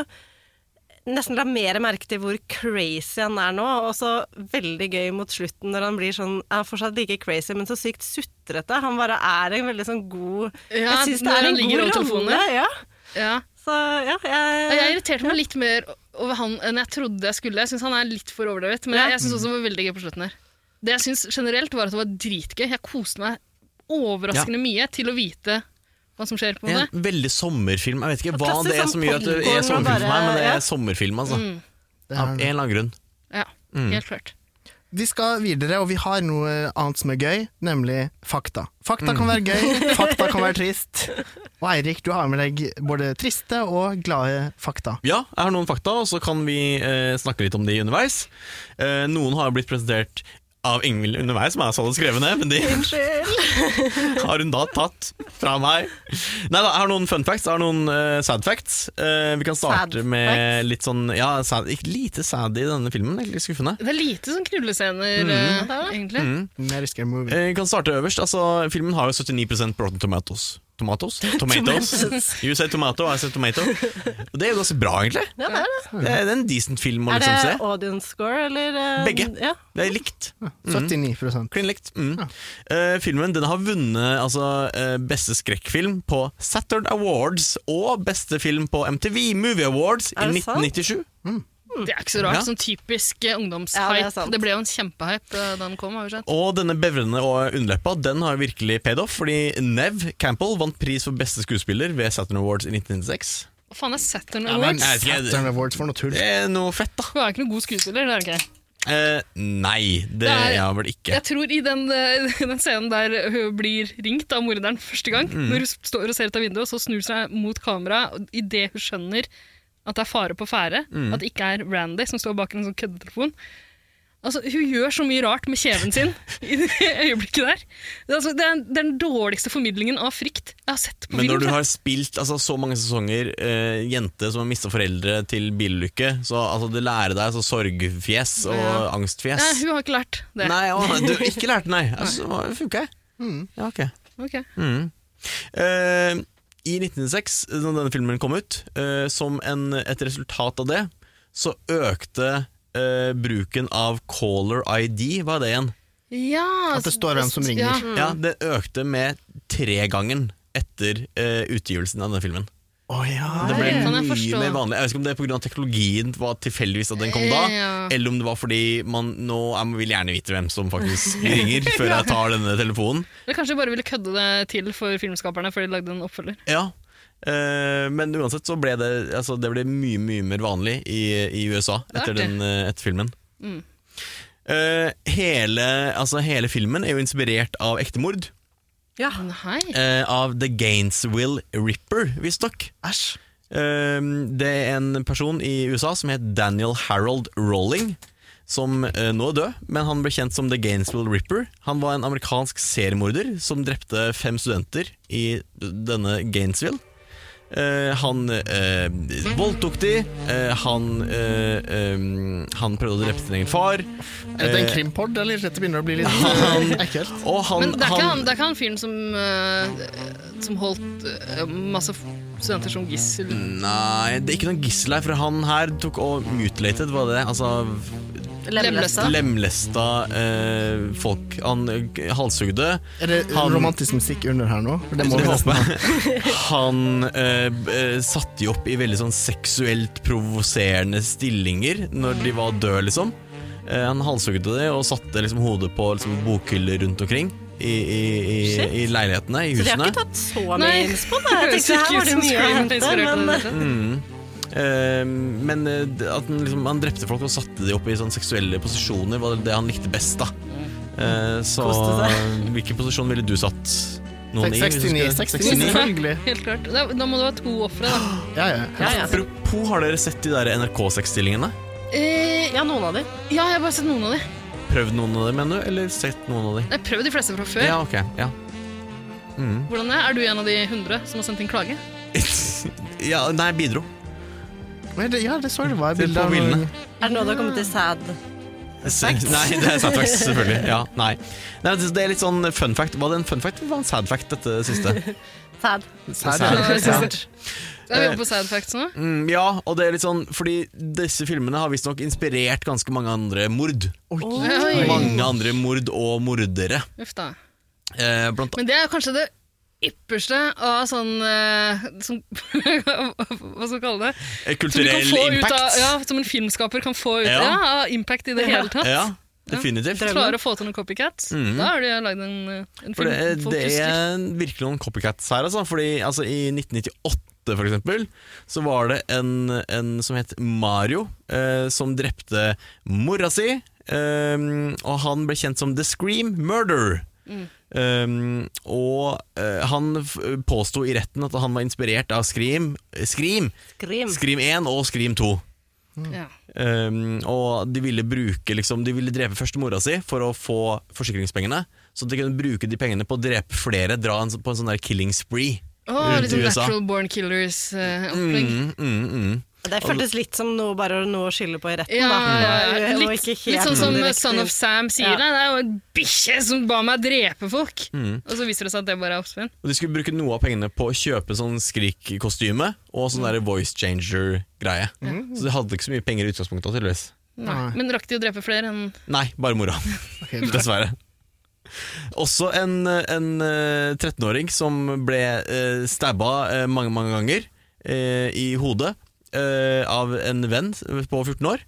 Speaker 4: nesten la mer merke til hvor crazy han er nå, og så veldig gøy mot slutten når han blir sånn Han er fortsatt like crazy, men så sykt sutrete. Han bare er en veldig sånn god
Speaker 2: Ja,
Speaker 4: Jeg syns
Speaker 2: når
Speaker 4: det er
Speaker 2: han
Speaker 4: en
Speaker 2: ligger over
Speaker 4: god
Speaker 2: telefonen,
Speaker 4: rolle. Ja.
Speaker 2: Ja.
Speaker 4: Så ja,
Speaker 2: Ja,
Speaker 4: jeg,
Speaker 2: Jeg irriterte meg litt mer over han enn jeg trodde jeg skulle. Jeg syns han er litt for overdrevet, men
Speaker 4: Ja.
Speaker 2: jeg, jeg syns også det var veldig gøy på slutten her. Det jeg syns generelt, var at det var dritgøy. Jeg koste meg overraskende mye til å vite hva som skjer. på
Speaker 3: En
Speaker 2: det.
Speaker 3: veldig sommerfilm. Jeg vet ikke hva
Speaker 4: Klassisk
Speaker 3: det er
Speaker 4: sånn
Speaker 3: som gjør at det er
Speaker 4: popcorn
Speaker 3: sommerfilm for
Speaker 4: og
Speaker 3: meg, men det
Speaker 4: bare- ja. Mm.
Speaker 3: er sommerfilm, altså.
Speaker 1: det
Speaker 3: Av en
Speaker 1: er,
Speaker 3: eller annen grunn.
Speaker 2: Ja,
Speaker 1: Mm.
Speaker 2: helt klart.
Speaker 1: Vi skal videre, og vi har noe annet som er gøy, nemlig fakta. Fakta kan være gøy, fakta kan være trist. Og Eirik, du har med deg både triste og glade fakta.
Speaker 3: Ja, jeg har noen fakta, og så kan vi eh, snakke litt om de underveis. Eh, noen har blitt presentert av Ingvild underveis, som jeg hadde skrevet ned, men de
Speaker 4: Unnskyld.
Speaker 3: har hun da tatt fra meg. Nei da, jeg har noen fun facts, jeg har noen eh, sad facts. Eh, vi kan starte
Speaker 4: Sad
Speaker 3: med
Speaker 4: facts?
Speaker 3: litt sånn Ja, sad, ikke lite sad i denne filmen, egentlig skuffende.
Speaker 2: Det er lite sånn knullescener, eh,
Speaker 1: Mm.
Speaker 2: egentlig.
Speaker 1: Mer scary movie.
Speaker 3: Eh, vi kan starte øverst. altså Filmen har jo 79 Rotten Tomatoes. Tomatoes? Tomatoes.
Speaker 4: Tomatoes.
Speaker 3: you say tomato, I say tomato. Og det er jo ganske bra, egentlig.
Speaker 4: Ja, det er det.
Speaker 3: Det er det er en decent film å
Speaker 4: Er det
Speaker 3: liksom se.
Speaker 4: audience score, eller eh,
Speaker 3: Begge.
Speaker 4: Ja.
Speaker 3: Det er likt.
Speaker 1: 79
Speaker 3: Klin likt. Mm. Eh, filmen den har vunnet altså, eh, beste skrekkfilm på Saturn Awards og beste film på MTV Movie Awards i
Speaker 4: Er det sant?
Speaker 3: 1997.
Speaker 2: Det er ikke så rart.
Speaker 3: Ja.
Speaker 2: Sånn typisk eh,
Speaker 4: Ja,
Speaker 2: ungdomshype.
Speaker 4: det er sant.
Speaker 2: det, ble jo en kjempehype eh, da den kom. har vi sett.
Speaker 3: Og denne bevrende og underleppa den har virkelig paid off, fordi Nev Campbell vant pris for beste skuespiller ved Saturn Awards i 1996.
Speaker 2: Hva faen er Saturn
Speaker 1: Ja, men
Speaker 2: Awards?
Speaker 3: jeg Eh, vet ikke, det-
Speaker 1: Saturn Awards for noe tull.
Speaker 3: Det er noe fett, da.
Speaker 2: Hun er ikke noen god skuespiller. det er hun ikke.
Speaker 3: Eh, nei, det,
Speaker 2: Det er-
Speaker 3: er jeg vel ikke.
Speaker 2: Jeg tror i den, eh, den scenen der hun blir ringt av morderen første gang, når hun står og ser ut av vinduet, og så snur seg mot kamera idet hun skjønner at det er fare på ferde, at det ikke er Randy som står bak en sånn køddetelefon. Altså, hun gjør så mye rart med kjeven sin i det øyeblikket der. Det er, altså, det er det er den dårligste formidlingen av frykt jeg har sett på
Speaker 3: Men når
Speaker 2: film.
Speaker 3: du har spilt altså, så mange sesonger eh, jente som har mista foreldre til bilulykke, så altså, det lærer deg så sorgfjes og
Speaker 2: Ja.
Speaker 3: angstfjes.
Speaker 2: Nei, hun har ikke lært det.
Speaker 3: Nei, å, du har ikke lært den, nei. Altså, det funka, jeg. Ja, ok.
Speaker 2: Ok.
Speaker 3: Mm. Eh, I 1906, da denne filmen kom ut, eh, som en, et resultat av det, så økte eh, bruken av caller ID, hva er det igjen?
Speaker 2: Ja,
Speaker 1: At det står hvem som ringer.
Speaker 2: Ja.
Speaker 3: Ja, Det økte med tregangen etter eh, utgivelsen av denne filmen.
Speaker 1: Å ja.
Speaker 3: Det ble
Speaker 2: Nei, kan
Speaker 3: mye
Speaker 2: Sånn jeg forstå.
Speaker 3: mer vanlig. Jeg vet ikke om det er pga. teknologien var tilfeldigvis at den kom da,
Speaker 2: Ja.
Speaker 3: eller om det var fordi man nå jeg vil gjerne vite hvem som faktisk ringer, før jeg tar denne telefonen.
Speaker 2: Eller kanskje de bare ville kødde det til for filmskaperne før de lagde en oppfølger.
Speaker 3: Ja, eh, men uansett så ble det, altså, det ble mye, mye mer vanlig i, i USA etter,
Speaker 2: Det er artig. Mm.
Speaker 3: den, eh, etter filmen. Eh, hele, altså, hele filmen er jo inspirert av ektemord.
Speaker 4: Ja.
Speaker 2: Nei.
Speaker 3: eh, av The Gainesville Ripper, visstnok.
Speaker 1: Æsj.
Speaker 3: Eh, det er en person i USA som het Daniel Harold Rolling. Som eh, nå er død, men han ble kjent som The Gainesville Ripper. Han var en amerikansk seriemorder som drepte fem studenter i denne Gainesville. Eh, han eh, voldtok de, eh, han, eh, eh, han prøvde å drepe sin egen far.
Speaker 1: Er dette en
Speaker 3: Eh,
Speaker 1: krimpod, eller? Dette begynner å bli litt eh, ekkelt.
Speaker 3: og han,
Speaker 2: Men det er ikke han, det er ikke han fyren som, eh, som holdt eh, masse f- studenter som gissel.
Speaker 3: Nei, det er ikke noen gissel her, for han her tok og mutilated, var det det? Altså
Speaker 2: Lemlesta.
Speaker 3: lemlesta eh, folk. Han eh, halshugde.
Speaker 1: Er det
Speaker 3: Han-
Speaker 1: romantisk musikk under her nå? Det må vi nesten ha.
Speaker 3: Han eh, eh, satte de opp i veldig sånn seksuelt provoserende stillinger når de var døde, liksom. Eh, han halshugde det og satte liksom, hodet på liksom, bokhyller rundt omkring i, i, i,
Speaker 4: Shit.
Speaker 3: i leilighetene, i
Speaker 4: Så de har
Speaker 3: husene.
Speaker 4: ikke tatt så mye
Speaker 2: Nei.
Speaker 4: innspo? da. Jeg tenkte her var det mye å hente, men
Speaker 3: Mm. Eh, men eh, det- at han, liksom, han drepte folk og satte de opp i sånn seksuelle posisjoner, var det han likte best, da. Eh, så eh,
Speaker 4: Koste
Speaker 3: hvilken posisjon ville du satt noen i? hvis du
Speaker 1: 69,
Speaker 3: skulle-
Speaker 1: 69, selvfølgelig.
Speaker 2: Helt klart. Da, da må det være to ofre, da.
Speaker 1: Ja, ja.
Speaker 4: ja, ja.
Speaker 3: Apropos, har dere sett de der NRK6-stillingene?
Speaker 2: Eh,
Speaker 4: ja, noen av de.
Speaker 2: ja, jeg har bare sett noen av de.
Speaker 3: Prøvd noen av dem ennå, eller sett noen av dem?
Speaker 2: Jeg har prøvd de fleste fra før.
Speaker 3: Ja, ok. Ja. Mm.
Speaker 2: Hvordan er, er du en av de hundre som har sendt inn klage?
Speaker 3: ja, nei, bidro.
Speaker 1: Men det, ja, det så jeg det var i
Speaker 3: Se på
Speaker 1: bildet. av-
Speaker 3: bildene.
Speaker 4: Er det noe du har kommet til sad?
Speaker 3: Nei, det er sad facts, selvfølgelig. Ja, nei. nei. Det er litt sånn fun fact. Var det en fun fact eller var det en sad fact, dette siste?
Speaker 4: Sad.
Speaker 1: Sad.
Speaker 3: Sad.
Speaker 2: Ja,
Speaker 1: Ja.
Speaker 2: Er vi oppe på sad facts nå?
Speaker 3: Mm, ja, og det er litt sånn fordi disse filmene har visstnok inspirert ganske mange andre mord.
Speaker 2: Oi.
Speaker 3: Mange andre mord og mordere.
Speaker 2: Uff da.
Speaker 3: Eh, blant
Speaker 2: Men det er kanskje det ypperste av sånn eh, som, Hva skal vi kalle det?
Speaker 3: eh,
Speaker 2: Som, du kan
Speaker 3: kulturell
Speaker 2: få ut
Speaker 3: impact.
Speaker 2: av, ja, som en filmskaper kan få ut
Speaker 3: Ja.
Speaker 2: ja, av impact i det hele tatt.
Speaker 3: Ja, definitivt.
Speaker 2: Klarer å få til noen copycats. Da har du lagd en, en film
Speaker 3: For det, er-
Speaker 2: folk
Speaker 3: det
Speaker 2: husker.
Speaker 3: er virkelig noen copycats her, altså. Fordi altså, i 1998, for eksempel, så var det en, en som het Mario, eh, som drepte mora si. eh, og han ble kjent som The Scream Murder. Eh, og eh, han f- påsto i retten at han var inspirert av Scream, Scream,
Speaker 4: Grim.
Speaker 3: Scream 1 og Scream 2.
Speaker 2: Ja.
Speaker 3: Um, og de ville bruke liksom, De ville drepe første mora si for å få forsikringspengene. Så de kunne bruke de pengene på å drepe flere, dra en, på en sånn der killing spree.
Speaker 2: Åh,
Speaker 3: Rundt
Speaker 2: liksom
Speaker 3: i Mm, USA.
Speaker 2: Natural Born eh, Killers-opplegg.
Speaker 3: Mm, mm, mm.
Speaker 4: Det føltes litt som noe bare noe å skylde på i retten.
Speaker 2: Ja,
Speaker 4: da.
Speaker 2: ja, ja.
Speaker 4: Det var
Speaker 2: Litt,
Speaker 4: ikke helt
Speaker 2: litt sånn som
Speaker 4: direkte.
Speaker 2: Son of Sam sier
Speaker 4: Ja.
Speaker 2: det. Det er jo en bikkje som ba meg drepe folk!
Speaker 3: Mm.
Speaker 2: Og så viser det seg at det bare er oppspinn.
Speaker 3: Og de skulle bruke noe av pengene på å kjøpe sånn skrikkostyme og sånn der voice changer-greie. Så de hadde ikke så mye penger i utgangspunktet, tydeligvis.
Speaker 1: Nei.
Speaker 2: Men rakk de å drepe flere enn
Speaker 3: Nei, bare mora.
Speaker 1: Ok, bra.
Speaker 3: Dessverre. Også en, en eh, 13-åring som ble eh, stabba eh, mange, mange ganger eh, i hodet eh, av en venn på 14 år.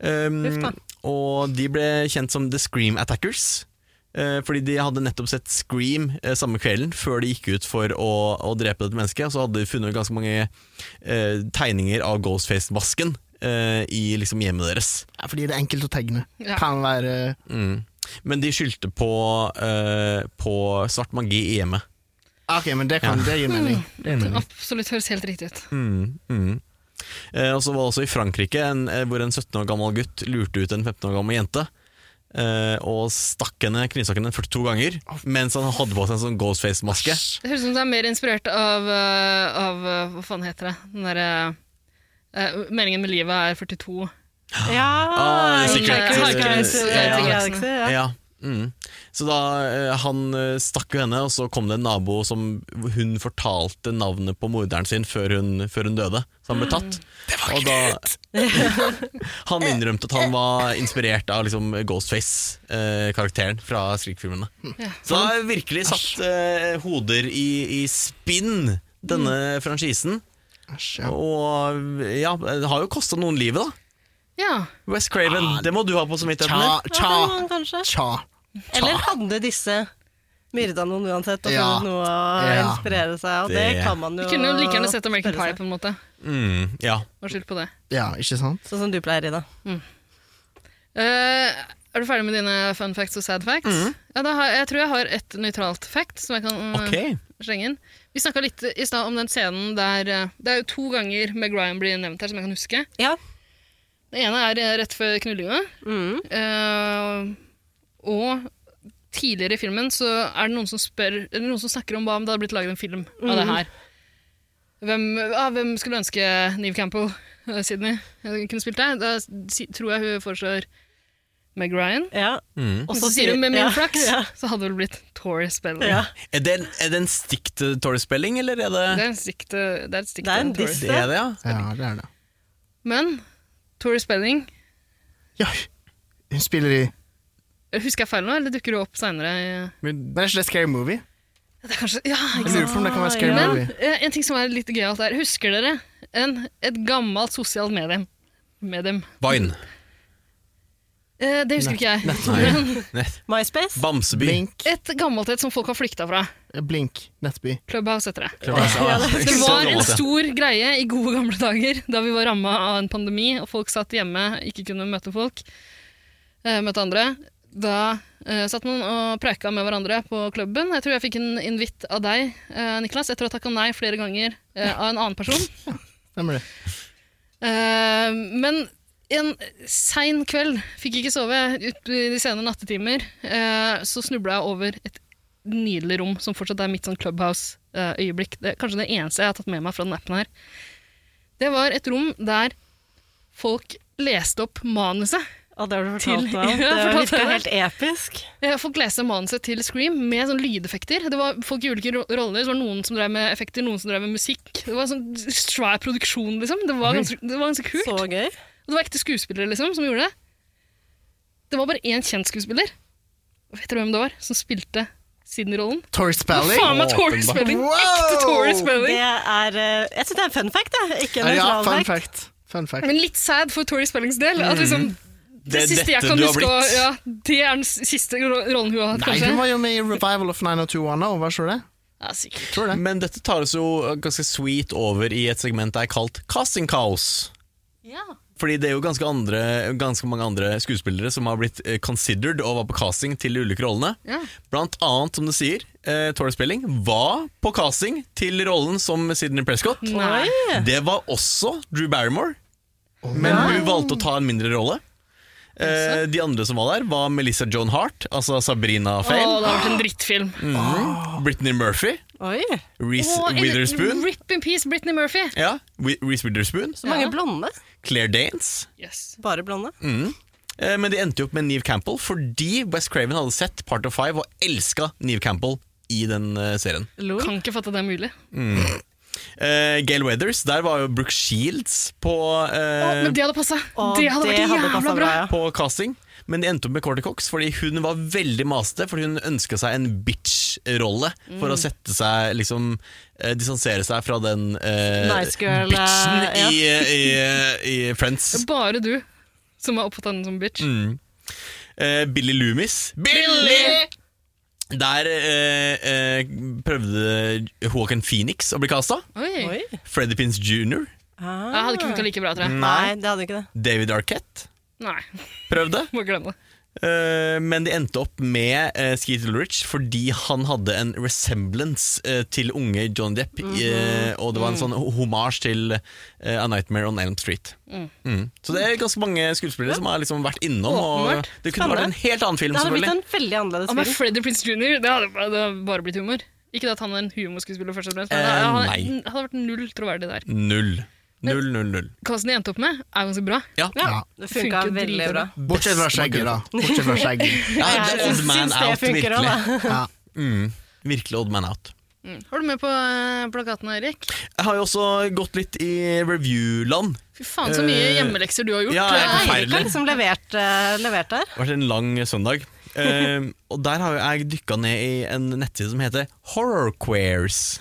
Speaker 3: Um,
Speaker 4: Uff da.
Speaker 3: og de ble kjent som The Scream Attackers. eh, fordi de hadde nettopp sett Scream eh, samme kvelden før de gikk ut for å, å drepe dette mennesket. Og så hadde de funnet ganske mange eh, tegninger av Ghostface-masken eh, i liksom, hjemmet deres.
Speaker 1: Ja, fordi det er enkelt å tegne.
Speaker 2: Ja.
Speaker 1: Kan være
Speaker 3: Mm. Men de skyldte på, eh, på svart magi i hjemmet.
Speaker 1: Ah, Ok, men det, kan, det gir mening. Det gir mening.
Speaker 2: Absolutt høres helt riktig ut.
Speaker 3: Mm, mm. Eh, og så var det også i Frankrike en, eh, hvor en 17 år gammel gutt lurte ut en 15 år gammel jente. eh, og stakk henne, knivstakk henne 42 ganger mens han hadde på seg en sånn Ghostface-maske.
Speaker 2: Det høres ut som det er mer inspirert av, eh, av eh, Hva faen heter det? Den derre eh, Meningen med livet er 42.
Speaker 4: Ja,
Speaker 3: Ah, det er sikkert-
Speaker 4: Hitchhiker's Guide to the
Speaker 3: Ja.
Speaker 4: Galaxy, ja.
Speaker 3: Ja. Mm. Så da eh, Han eh, stakk jo henne, og så kom det en nabo som hun fortalte navnet på morderen sin før hun, før hun døde. Så han ble tatt. Det var og da, han innrømte at han var inspirert av liksom, Ghostface-karakteren fra Skrik-filmene. Så da har virkelig satt eh, hoder i, i spinn, denne franchisen.
Speaker 1: Æsj, ja.
Speaker 3: Og ja, det har jo kosta noen livet, da.
Speaker 2: Ja.
Speaker 3: West Craven, det må du ha på samvittigheten.
Speaker 1: Tja,
Speaker 3: din.
Speaker 1: tja,
Speaker 4: Ja, kanskje.
Speaker 1: tja.
Speaker 4: Eller hadde disse myrda noen uansett og
Speaker 1: Ja.
Speaker 4: funnet noe å
Speaker 1: Ja.
Speaker 4: inspirere seg av? Det,
Speaker 3: Det-
Speaker 4: kan man
Speaker 2: Vi
Speaker 4: jo
Speaker 2: kunne jo like gjerne sett American Pie
Speaker 4: spørre seg.
Speaker 2: på en måte.
Speaker 3: Mm, ja.
Speaker 2: Vær skyld på det.
Speaker 1: Ja, ikke sant?
Speaker 4: Sånn som du pleier, Ida.
Speaker 2: Eh, er du ferdig med dine fun facts og sad facts? Ja, da har, jeg tror jeg har et nøytralt fact som jeg kan eh,
Speaker 3: Ok.
Speaker 2: slenge inn. Vi snakka litt i stad om den scenen der eh, Det er jo to ganger Meg Ryan blir nevnt her, som jeg kan huske.
Speaker 4: Ja.
Speaker 2: Det ene er eh, rett før knullinga.
Speaker 4: Mm.
Speaker 2: Eh, og tidligere i filmen så er det noen som, spør, eller noen som snakker om hva om det hadde blitt laget en film av det her. Hvem, ah, hvem skulle ønske Neve Campbell, eh, Sydney, eh, kunne spilt det? Da si, tror jeg hun foreslår Meg Ryan.
Speaker 4: ja.
Speaker 3: Mm.
Speaker 2: Og så sier hun med min
Speaker 4: ja,
Speaker 2: flaks,
Speaker 4: Ja.
Speaker 2: så hadde det vel blitt Tori Spelling.
Speaker 4: Ja.
Speaker 3: Er det, en- er det en stikk til Torres Spelling, eller er det
Speaker 2: Det er en stikk til det er et stikk
Speaker 4: Det er
Speaker 2: til
Speaker 4: en
Speaker 2: Tori.
Speaker 4: diss.
Speaker 3: Det er det, ja.
Speaker 1: Ja, det er det.
Speaker 2: Men Tori Spelling
Speaker 1: Ja, hun spiller i
Speaker 2: Husker jeg feil nå, eller dukker hun opp seinere?
Speaker 1: Men er ikke det Scary Movie?
Speaker 2: Det er kanskje Ja,
Speaker 1: Jeg lurer på om det kan være Scary
Speaker 2: Men
Speaker 1: Movie.
Speaker 2: eh, en ting som er litt gøyalt her. Husker dere en, et gammelt sosialt medium? medium.
Speaker 3: Vine.
Speaker 2: Eh, det husker ikke jeg.
Speaker 3: Nei.
Speaker 4: MySpace?
Speaker 3: Bamseby.
Speaker 1: Blink.
Speaker 2: Et gammelt et som folk har flykta fra.
Speaker 1: Blink. Nettby.
Speaker 2: Clubhouse heter det.
Speaker 3: Ja,
Speaker 2: Det
Speaker 3: så
Speaker 2: var en
Speaker 3: gammelt, ja.
Speaker 2: stor greie i gode gamle dager, da vi var ramma av en pandemi og folk satt hjemme, ikke kunne møte folk, eh, møte andre. Da eh, satt man og preika med hverandre på klubben. Jeg tror jeg fikk en invitt av deg, eh, Niklas, etter å ha takka nei flere ganger eh, av en annen person.
Speaker 1: Stemmer det.
Speaker 2: Eh, men en sein kveld, fikk ikke sove ut i de sene nattetimer, eh, så snubla jeg over et nydelig rom som fortsatt er mitt sånn clubhouse-øyeblikk. Det er kanskje det eneste jeg har tatt med meg fra den appen her. Det var et rom der folk leste opp manuset.
Speaker 4: Å, det har du
Speaker 2: Til-
Speaker 4: fortalt meg om.
Speaker 2: Ja,
Speaker 4: Det
Speaker 2: fortalte
Speaker 4: virka
Speaker 2: jeg.
Speaker 4: helt episk.
Speaker 2: Eh, Folk leste manuset til Scream med sånn lydeffekter. Det var folk i ulike ro- roller. Så var det noen som drev med effekter, noen som drev med musikk. Det var sånn svær produksjon, liksom. Det var ganske, det var ganske kult.
Speaker 4: Så gøy.
Speaker 2: Og det var ekte skuespillere liksom, som gjorde det. Det var bare én kjent skuespiller. Vet dere hvem det var som spilte Sydney-rollen?
Speaker 1: Tori
Speaker 2: Faen
Speaker 1: Spelling.
Speaker 2: meg Tori
Speaker 3: Åpenbart.
Speaker 2: Spelling!
Speaker 1: Wow!
Speaker 2: Ekte Tori
Speaker 4: Det
Speaker 2: Spelling!
Speaker 4: er eh, Jeg syns det er en fun fact, jeg. Ikke en
Speaker 1: Ja,
Speaker 4: nøytral
Speaker 1: fun
Speaker 4: fact.
Speaker 1: fact. Fun fact.
Speaker 2: Men litt sad for Tori Spellings del. At liksom, det,
Speaker 3: Mm. Det er
Speaker 2: siste jeg
Speaker 3: dette
Speaker 2: kan
Speaker 3: du har
Speaker 2: huske å-
Speaker 3: blitt.
Speaker 2: ja, Det er den s- siste ro- rollen hun har hatt,
Speaker 1: Nei, hun
Speaker 2: kanskje.
Speaker 1: var jo med i Revival of 90210, var ikke hun det?
Speaker 2: Ja, sikkert.
Speaker 1: Tror det.
Speaker 3: Men dette tar oss jo ganske sweet over i et segment der kalt Casting Cows.
Speaker 2: Ja.
Speaker 3: Fordi det er jo ganske, andre, ganske mange andre skuespillere som har blitt eh, considered og var på casting til de ulike rollene.
Speaker 2: Ja.
Speaker 3: Blant annet, som du sier, eh, Tori Spelling var på casting til rollen som Sidney Prescott.
Speaker 2: Nei.
Speaker 4: Oi.
Speaker 3: Det var også Drew Barrymore, men hun valgte å ta en mindre rolle. Eh, de andre som var der, var Melissa Joan Hart, altså
Speaker 2: Å,
Speaker 3: Sabrina
Speaker 2: det
Speaker 3: Fame,
Speaker 2: har vært en drittfilm.
Speaker 3: Brittany Murphy,
Speaker 4: Oi.
Speaker 3: Reece
Speaker 2: Å, en-
Speaker 3: Witherspoon
Speaker 2: Rip in peace, Britney Murphy!
Speaker 3: ja, Wi- Reese Witherspoon,
Speaker 4: Så mange
Speaker 2: Ja.
Speaker 4: blonde.
Speaker 3: Claire Danes.
Speaker 2: Yes.
Speaker 4: Bare blonde.
Speaker 3: Mm. Eh, men de endte jo opp med Neve Campbell fordi West Craven hadde sett Part of Five og elska Neve Campbell i den eh, serien.
Speaker 4: Lol.
Speaker 2: Kan ikke fatte at det er mulig.
Speaker 3: Eh, Gail Weathers, der var jo Brooke Shields på,
Speaker 2: Å,
Speaker 3: eh,
Speaker 2: men det hadde passa!
Speaker 4: Å,
Speaker 2: Det hadde vært jævla
Speaker 4: passet
Speaker 2: bra!
Speaker 4: ja.
Speaker 3: på casting. Men de endte opp med Cordy Cox fordi hun var veldig masete. Fordi hun ønska seg en bitch-rolle
Speaker 4: Mm.
Speaker 3: for å sette seg liksom eh, Distansere seg fra den eh,
Speaker 4: Nice girl,
Speaker 3: bitchen
Speaker 4: eh, ja.
Speaker 3: i, i, i Friends.
Speaker 2: Det er bare du som er opptatt av henne som bitch.
Speaker 3: Eh, Billy Loomis. Billy! Der eh, eh, prøvde Joaquin Phoenix å bli casta.
Speaker 2: Oi.
Speaker 4: Oi.
Speaker 3: Freddy Pins jr.
Speaker 4: Ah.
Speaker 2: Jeg hadde ikke funka like bra, tror jeg.
Speaker 4: Nei, det hadde ikke det.
Speaker 3: David Arquette
Speaker 2: Nei,
Speaker 3: prøvde.
Speaker 2: må glemme det.
Speaker 3: Eh, Men de endte opp med eh, Skeeter Rich fordi han hadde en resemblance eh, til unge John Depp.
Speaker 4: Mhm.
Speaker 3: eh, Og det var en
Speaker 4: Mm.
Speaker 3: sånn homasj til eh, A Nightmare on Elm Street. Mm. Så det er ganske mange skuespillere som har liksom vært innom. Og
Speaker 2: Åpenbart.
Speaker 3: det kunne vært en helt annen film,
Speaker 4: Det hadde blitt
Speaker 3: selvfølgelig.
Speaker 4: en veldig annerledes
Speaker 2: Og med
Speaker 4: film.
Speaker 2: Freddy Prince Jr. Det hadde, bare- det hadde bare blitt humor. Ikke det at han er en humorskuespiller, først og fremst, men
Speaker 3: Eh,
Speaker 2: det hadde,
Speaker 3: nei.
Speaker 2: hadde vært null troverdig der.
Speaker 3: Null. Null, null, null.
Speaker 2: Casten de endte opp med, er ganske bra.
Speaker 3: Ja.
Speaker 4: Ja,
Speaker 1: Ja.
Speaker 4: det funka
Speaker 2: Funker
Speaker 4: veldig
Speaker 2: dritbra.
Speaker 4: bra.
Speaker 1: Bortsett fra skjegget, da. Bortsett fra skjegget.
Speaker 3: Ja,
Speaker 4: Jeg
Speaker 3: det er
Speaker 4: syns-
Speaker 3: Odd Man
Speaker 4: syns det
Speaker 3: Out,
Speaker 4: funker også,
Speaker 3: virkelig.
Speaker 1: Ja.
Speaker 3: Mm. Virkelig Odd Man Out.
Speaker 2: Har du med på eh, plakaten, Erik?
Speaker 3: Jeg har jo også gått litt i review-land.
Speaker 2: Fy faen, så mye
Speaker 3: Eh,
Speaker 2: hjemmelekser du har gjort.
Speaker 3: ja,
Speaker 2: Eh,
Speaker 3: jeg kan
Speaker 4: Nei,
Speaker 3: forferdelig.
Speaker 4: Eirik har liksom levert, eh, levert der.
Speaker 3: Det har vært en lang søndag. Eh, og der har jo jeg dykka ned i en nettside som heter Horrorqueers.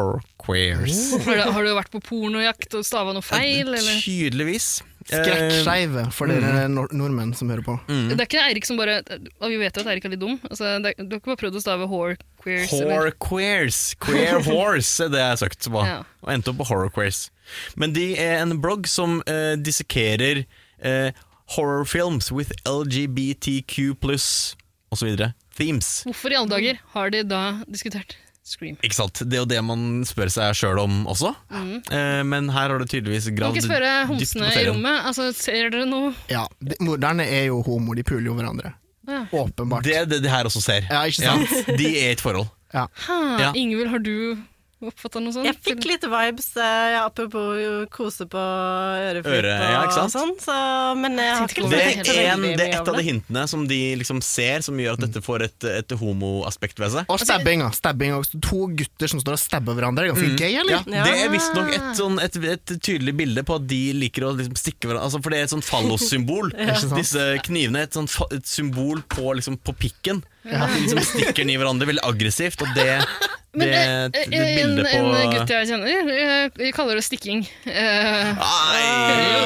Speaker 3: Horrorqueers.
Speaker 2: Har du, har du vært på pornojakt og stava noe Oh. feil? Eller?
Speaker 3: Tydeligvis. Eh,
Speaker 1: Skrekkskeive for dere nor nordmenn som hører på.
Speaker 3: Mm.
Speaker 2: Det er ikke Eirik som bare og Vi vet jo at Eirik er litt dum. Altså, det, er- du har ikke bare prøvd å stave whore queers? eller-
Speaker 3: Horrorqueers. Ehm, Queer horse er det jeg har søkt på.
Speaker 2: Ja.
Speaker 3: Og endte opp på Horrorqueers. Men de er en blogg som eh, dissekerer eh, horrorfilms with LGBTQ pluss osv. themes.
Speaker 2: Hvorfor i alle dager har de da diskutert Scream?
Speaker 3: Ikke sant? Det er jo det man spør seg sjøl om også. Eh, men her har du tydeligvis
Speaker 2: Mm. Kan
Speaker 3: gravd
Speaker 2: ikke spørre
Speaker 3: dypt på
Speaker 2: homsene i
Speaker 3: serien.
Speaker 2: rommet. Altså, ser dere noe?
Speaker 1: Ja, de- Morderne er jo homo, de puler jo hverandre.
Speaker 2: Ja.
Speaker 1: Åpenbart.
Speaker 3: Det er det de her også ser.
Speaker 1: Ja, ikke sant?
Speaker 3: de er i et forhold.
Speaker 1: Ja.
Speaker 2: Hæ,
Speaker 4: Ah,
Speaker 3: Ja.
Speaker 2: Ingvild, har du oppfatta noe sånt?
Speaker 4: Jeg fikk litt vibes, eh, ja, apropos jo kose på øreflipp
Speaker 3: Øre, ja, ikke
Speaker 4: og
Speaker 3: sant?
Speaker 4: sånn, så, men jeg har
Speaker 2: Tenkte ikke
Speaker 4: ikke
Speaker 2: på
Speaker 3: Det
Speaker 2: det
Speaker 3: er,
Speaker 2: helt
Speaker 4: så
Speaker 3: en,
Speaker 4: veldig
Speaker 3: det er
Speaker 4: mye
Speaker 3: et av
Speaker 4: om
Speaker 3: de hintene som de liksom ser, som gjør at dette får et, et homoaspekt ved seg.
Speaker 1: Og stabbing, da. Stabbing også. To gutter som står og stabber hverandre. Det er Ganske gøy,
Speaker 3: Ja,
Speaker 1: eller?
Speaker 4: Ja.
Speaker 3: det er visstnok et, sånn, et, et tydelig bilde på at de liker å liksom stikke hverandre altså, For det er et sånt fallossymbol.
Speaker 1: sant?
Speaker 3: Disse knivene er et, sånt, fa- et symbol på, liksom, på pikken. At de liksom stikker den i hverandre veldig aggressivt, og det, det,
Speaker 2: Men
Speaker 3: er et-
Speaker 2: eh,
Speaker 3: et
Speaker 2: en,
Speaker 3: bilde på
Speaker 2: en gutt jeg kjenner, eh, vi kaller det stikking. Eh,
Speaker 3: Nei.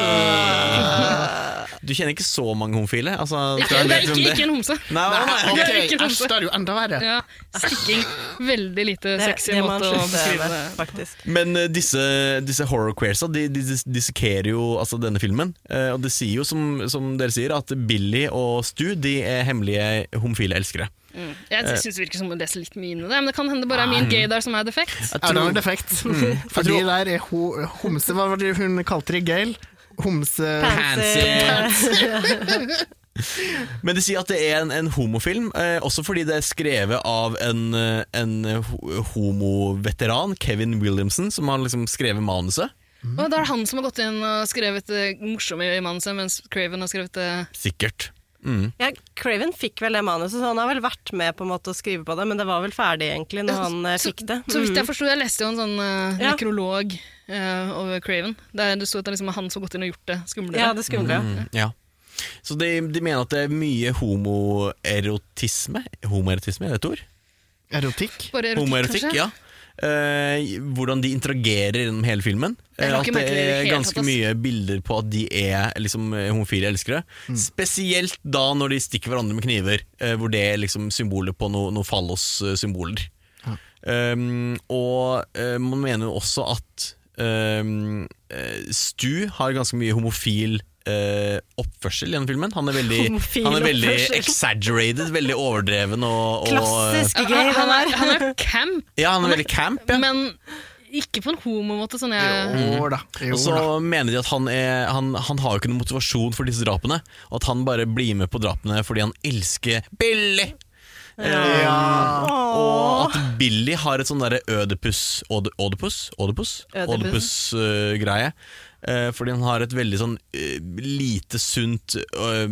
Speaker 3: Du kjenner ikke så mange homofile? Altså,
Speaker 2: ikke, det er ikke, ikke en homse.
Speaker 3: Nei, nei, nei.
Speaker 1: Ok,
Speaker 2: Det er ikke
Speaker 1: Æsj,
Speaker 2: noe.
Speaker 1: det er jo enda verre.
Speaker 2: Ja, stikking. Veldig lite
Speaker 4: Det er
Speaker 2: sexy
Speaker 4: det man
Speaker 2: måte å
Speaker 4: slutter
Speaker 2: beskrive det
Speaker 4: med, faktisk.
Speaker 3: Men eh, disse, disse horror-queersa De, de dis- dissekerer jo altså, denne filmen. eh, og det sier jo, som, som dere sier, at Billy og Stu De er hemmelige homofile elskere.
Speaker 2: Mm. Jeg syns det virker som å lese litt mye inn i det, men det kan hende det
Speaker 3: Ah.
Speaker 2: bare er min gay der som er defekt.
Speaker 3: Jeg
Speaker 1: Er det
Speaker 3: tror-
Speaker 1: en defekt? Fordi
Speaker 3: Mm. Jeg tror-
Speaker 1: der er ho homse Hva var det hun kalte det? Gail? Homse...
Speaker 3: Men de sier at det er en, en homofilm, eh, også fordi det er skrevet av en, eh, en ho- homoveteran, Kevin Williamson, som har liksom skrevet manuset.
Speaker 2: Og da er det han som har gått inn og skrevet det morsomme i manuset, mens Craven har skrevet eh, det
Speaker 3: Sikkert. Mm.
Speaker 4: Ja, Craven fikk vel det manuset, så han har vel vært med på en måte å skrive på det, men det var vel ferdig egentlig når han eh,
Speaker 2: Så-
Speaker 4: fikk det.
Speaker 2: Så vidt jeg forsto, jeg leste jo en sånn eh,
Speaker 4: Ja.
Speaker 2: nekrolog eh, over Craven. Der det sto at det liksom er han som har gått inn og gjort det skumlere.
Speaker 4: Ja, det skumle.
Speaker 3: Mm, ja. Så de, de mener at det er mye homoerotisme Homoerotisme, er det et ord?
Speaker 1: Erotikk?
Speaker 2: Bare erotikk,
Speaker 3: Homoerotikk,
Speaker 2: kanskje?
Speaker 3: ja. Eh, hvordan de interagerer gjennom hele filmen.
Speaker 2: Jeg
Speaker 3: Eh,
Speaker 2: har
Speaker 3: at
Speaker 2: ikke
Speaker 3: det
Speaker 2: merket det i det
Speaker 3: er
Speaker 2: hele
Speaker 3: ganske
Speaker 2: tatt, ass.
Speaker 3: mye bilder på at de er liksom, eh, homofile elskere. Spesielt da når de stikker hverandre med kniver, eh, hvor det er liksom symbolet på noen no fallos-symboler. Um, og eh, man mener jo også at um, eh, Stu har ganske mye homofil eh, oppførsel gjennom filmen. Han er veldig,
Speaker 4: Homofil
Speaker 3: han er veldig
Speaker 4: oppførsel.
Speaker 3: exaggerated, veldig overdreven og, og
Speaker 4: Klassisk
Speaker 2: Han,
Speaker 4: gay,
Speaker 2: han,
Speaker 4: den
Speaker 2: er,
Speaker 4: der.
Speaker 2: han er camp,
Speaker 3: Ja, han er veldig camp, ja.
Speaker 2: men ikke på en homomåte. Sånn jeg,
Speaker 1: Jo da. Jo
Speaker 3: Mm. Og så
Speaker 1: da.
Speaker 3: mener de at han, er, han, han har jo ikke noen motivasjon for disse drapene, og at han bare blir med på drapene fordi han elsker Billy. Eh, og at Billy har et sånn derre ødepus Ødepus?
Speaker 4: Ødepusen.
Speaker 3: Ødepus-greie. Eh, fordi han har et veldig sånn eh, lite sunt, eh,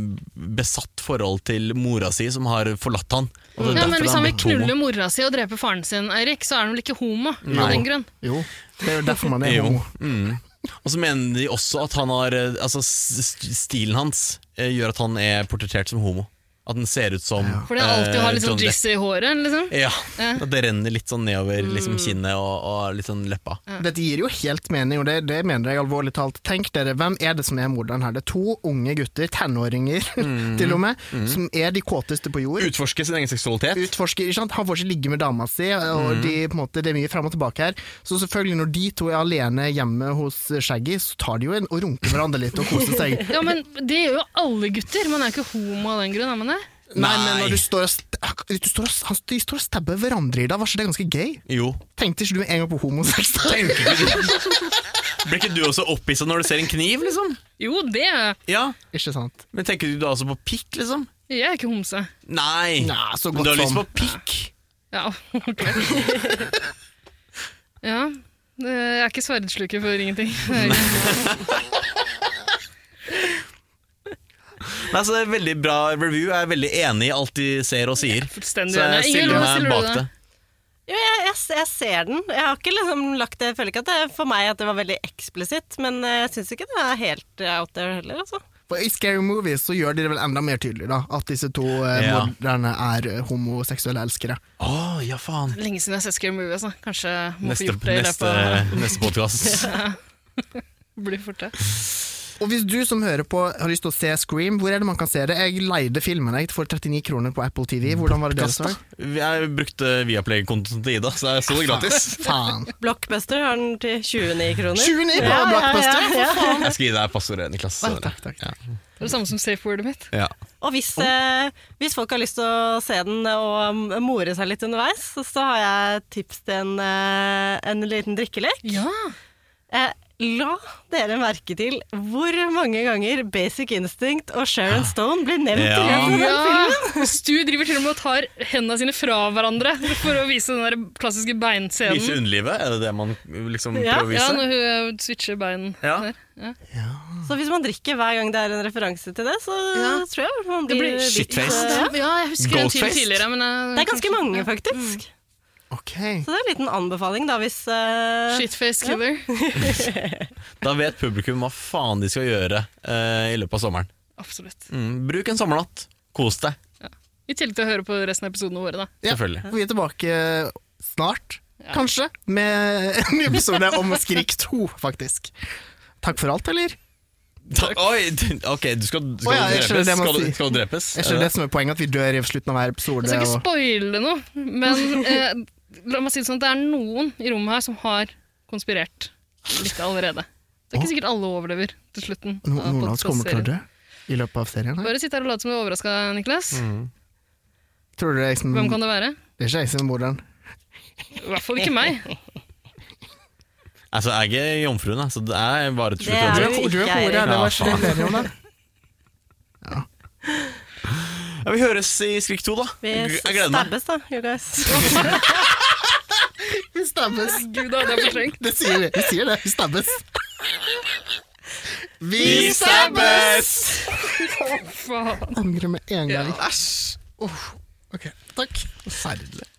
Speaker 3: besatt forhold til mora si, som har forlatt han. Og
Speaker 2: ja,
Speaker 3: det er
Speaker 2: men
Speaker 3: derfor
Speaker 2: hvis han vil
Speaker 3: blitt homo.
Speaker 2: knulle mora si og drepe faren sin, Eirik, så er han vel ikke homo?
Speaker 1: Nei.
Speaker 2: Av den grunn.
Speaker 1: Jo. Det er jo derfor man er
Speaker 3: Jo.
Speaker 1: homo.
Speaker 3: Mm. Og så mener de også at han har eh, Altså, s- st- stilen hans eh, gjør at han er portrettert som homo. At den ser ut som
Speaker 2: For det alltid
Speaker 3: eh,
Speaker 2: har litt sånn
Speaker 3: Johnny Depp.
Speaker 2: jizz i håret. liksom.
Speaker 3: Ja,
Speaker 2: Ja. Mm.
Speaker 3: at det renner litt sånn nedover liksom kinnet og, og litt sånn leppa.
Speaker 1: Dette gir jo helt mening, og det, det mener jeg alvorlig talt. Tenk dere, hvem er det som er morderen her? Det er to unge gutter, tenåringer
Speaker 3: Mm.
Speaker 1: til og med, som er de kåteste på jord.
Speaker 3: Utforske sin egen seksualitet.
Speaker 1: Utforsker, ikke sant? Han får ikke ligge med dama si, og
Speaker 3: Mhm.
Speaker 1: de, på en måte, det er mye frem og tilbake her. Så selvfølgelig, når de to er alene hjemme hos Shaggy, så tar de jo en og runker hverandre litt og koser seg.
Speaker 2: Ja, men Det gjør jo alle gutter. Man er jo ikke homo av den grunn. er man det?
Speaker 1: Nei, men
Speaker 3: Nei.
Speaker 1: når du står og, st du står og, han, de står og stabber hverandre i dag, var ikke det ganske gøy?
Speaker 3: Jo.
Speaker 1: Tenkte ikke du en gang på homosex? da?
Speaker 3: Blir ikke du også opphissa når du ser en kniv, liksom?
Speaker 2: Jo, det er jeg.
Speaker 3: Ja,
Speaker 1: Ikke sant?
Speaker 3: Men tenker du da også på pikk, liksom?
Speaker 2: Jeg er ikke homse.
Speaker 3: Nei. sånn.
Speaker 1: Nei, så
Speaker 3: Men du
Speaker 1: godt sånn.
Speaker 3: har lyst
Speaker 1: som.
Speaker 3: på pikk?
Speaker 2: Ja, ok. ja, eh, jeg er ikke sverdsluker for ingenting.
Speaker 3: Nei, så det er veldig bra review. Jeg er veldig enig i alt de ser og sier.
Speaker 2: Fullstendig
Speaker 3: Så jeg
Speaker 2: uenig. Ingvild, hva
Speaker 3: stiller meg
Speaker 2: stiller
Speaker 3: bak
Speaker 2: du
Speaker 3: det.
Speaker 2: deg?
Speaker 4: Jo, jeg, jeg, jeg ser den. Jeg har ikke liksom lagt det, jeg føler ikke at det er for meg at det var veldig eksplisitt, men eh, jeg syns ikke det er helt eh, out there heller, altså.
Speaker 1: For I Scary Movies så gjør de det vel enda mer tydelig da, at disse to eh,
Speaker 3: Ja.
Speaker 1: morderne er eh, homoseksuelle elskere.
Speaker 3: Å, ja faen.
Speaker 2: Lenge siden jeg har sett Scary Movie. Altså. Kanskje må få
Speaker 3: Neste,
Speaker 2: gjort det i løpet
Speaker 3: neste,
Speaker 2: av
Speaker 3: neste podkast.
Speaker 2: Blir fort det.
Speaker 1: Og hvis du som hører på har lyst til å se Scream, hvor er det man kan se det? Jeg leide filmen jeg for 39 kroner på Apple TV. Hvordan var det det står?
Speaker 3: Jeg brukte Viaplay-kontoen til Ida, så jeg så det gratis.
Speaker 1: Faen.
Speaker 4: Blockbuster har den til 29 kroner.
Speaker 1: 29 på Blockbuster?
Speaker 3: Jeg skal gi deg passordet, Niklas.
Speaker 1: Nei, takk, takk, takk.
Speaker 2: Det er det samme som safe-ordet mitt.
Speaker 3: Ja.
Speaker 4: Og hvis,
Speaker 3: Sånn.
Speaker 4: eh, hvis folk har lyst til å se den og mm, more seg litt underveis, så, så har jeg tips til en, eh, en liten drikkelek.
Speaker 2: Ja!
Speaker 4: Eh, la dere merke til hvor mange ganger Basic Instinct og Sharon Stone blir nevnt i
Speaker 3: Ja.
Speaker 4: løpet av den filmen.
Speaker 2: Stu driver til og med og tar hendene sine fra hverandre for å vise den der klassiske
Speaker 3: Vise
Speaker 2: beinscenen.
Speaker 3: underlivet, er det det man liksom
Speaker 4: Ja,
Speaker 2: Ja,
Speaker 3: prøver å vise?
Speaker 2: når hun eh, switcher bein.
Speaker 3: Ja.
Speaker 2: der. Ja.
Speaker 4: Så hvis man drikker hver gang det er en referanse til det, så
Speaker 2: Ja.
Speaker 4: tror jeg man
Speaker 2: Det
Speaker 4: blir,
Speaker 2: blir
Speaker 4: litt,
Speaker 3: shitfaced.
Speaker 4: eh,
Speaker 2: Ja, Mm. jeg husker en til
Speaker 3: Ghostface?
Speaker 2: tidligere. Men jeg,
Speaker 4: Det er ganske mange, faktisk.
Speaker 1: Ok.
Speaker 4: Så det er en liten anbefaling, da, hvis eh,
Speaker 2: Shitface killer.
Speaker 3: Da vet publikum hva faen de skal gjøre eh, i løpet av sommeren.
Speaker 2: Absolutt.
Speaker 3: Mm, bruk en sommernatt. Kos deg,
Speaker 2: I tillegg til å høre på resten av episodene våre, da.
Speaker 1: Ja.
Speaker 3: selvfølgelig.
Speaker 1: Vi er tilbake snart, kanskje, med en ny episode om Skrik 2, faktisk. Takk for alt, eller?
Speaker 3: Ta- Oi, d- ok, du skal,
Speaker 1: Å
Speaker 3: skal,
Speaker 1: ja, jeg
Speaker 3: du
Speaker 1: skjønner
Speaker 3: drepes?
Speaker 1: det man
Speaker 3: skal,
Speaker 1: sier.
Speaker 3: du, skal du drepes?
Speaker 1: Jeg skjønner det som er poenget, at vi dør i slutten av hver episode.
Speaker 2: Jeg skal ikke
Speaker 1: og-
Speaker 2: spoile noe, men eh, la meg si det sånn, det er noen i rommet her som har konspirert litt allerede. Det er ikke sikkert alle overlever til slutten.
Speaker 1: No-
Speaker 2: av
Speaker 1: Noen av oss kommer til å
Speaker 2: podcastserien.
Speaker 1: dø i løpet av serien. her.
Speaker 2: Bare sitt her og lat som du er overraska, Niklas.
Speaker 1: Mm. Tror du det er jeg som
Speaker 2: Hvem kan det være?
Speaker 1: Det er ikke jeg som er morderen.
Speaker 2: I hvert fall ikke meg.
Speaker 3: Altså, jeg er ikke jomfruen, da, så det er bare til
Speaker 4: Det
Speaker 3: slutt.
Speaker 4: er
Speaker 1: Du er,
Speaker 3: jomfru.
Speaker 1: du er
Speaker 4: ikke
Speaker 1: på
Speaker 4: jeg,
Speaker 1: ordet, det var
Speaker 3: ja,
Speaker 1: ikke det vi ble enige om det.
Speaker 3: Ja, vi høres i Skrik 2, da.
Speaker 4: vi
Speaker 3: Jeg gleder meg.
Speaker 4: stabbes, da, you guys.
Speaker 1: Vi stabbes.
Speaker 2: Gud, da, det er for strengt.
Speaker 1: Det sier vi. Vi sier det. Vi stabbes. Vi
Speaker 3: stabbes!
Speaker 2: Faen.
Speaker 1: angrer med en gang.
Speaker 3: Æsj!
Speaker 1: Uff. Ok, takk. Forferdelig.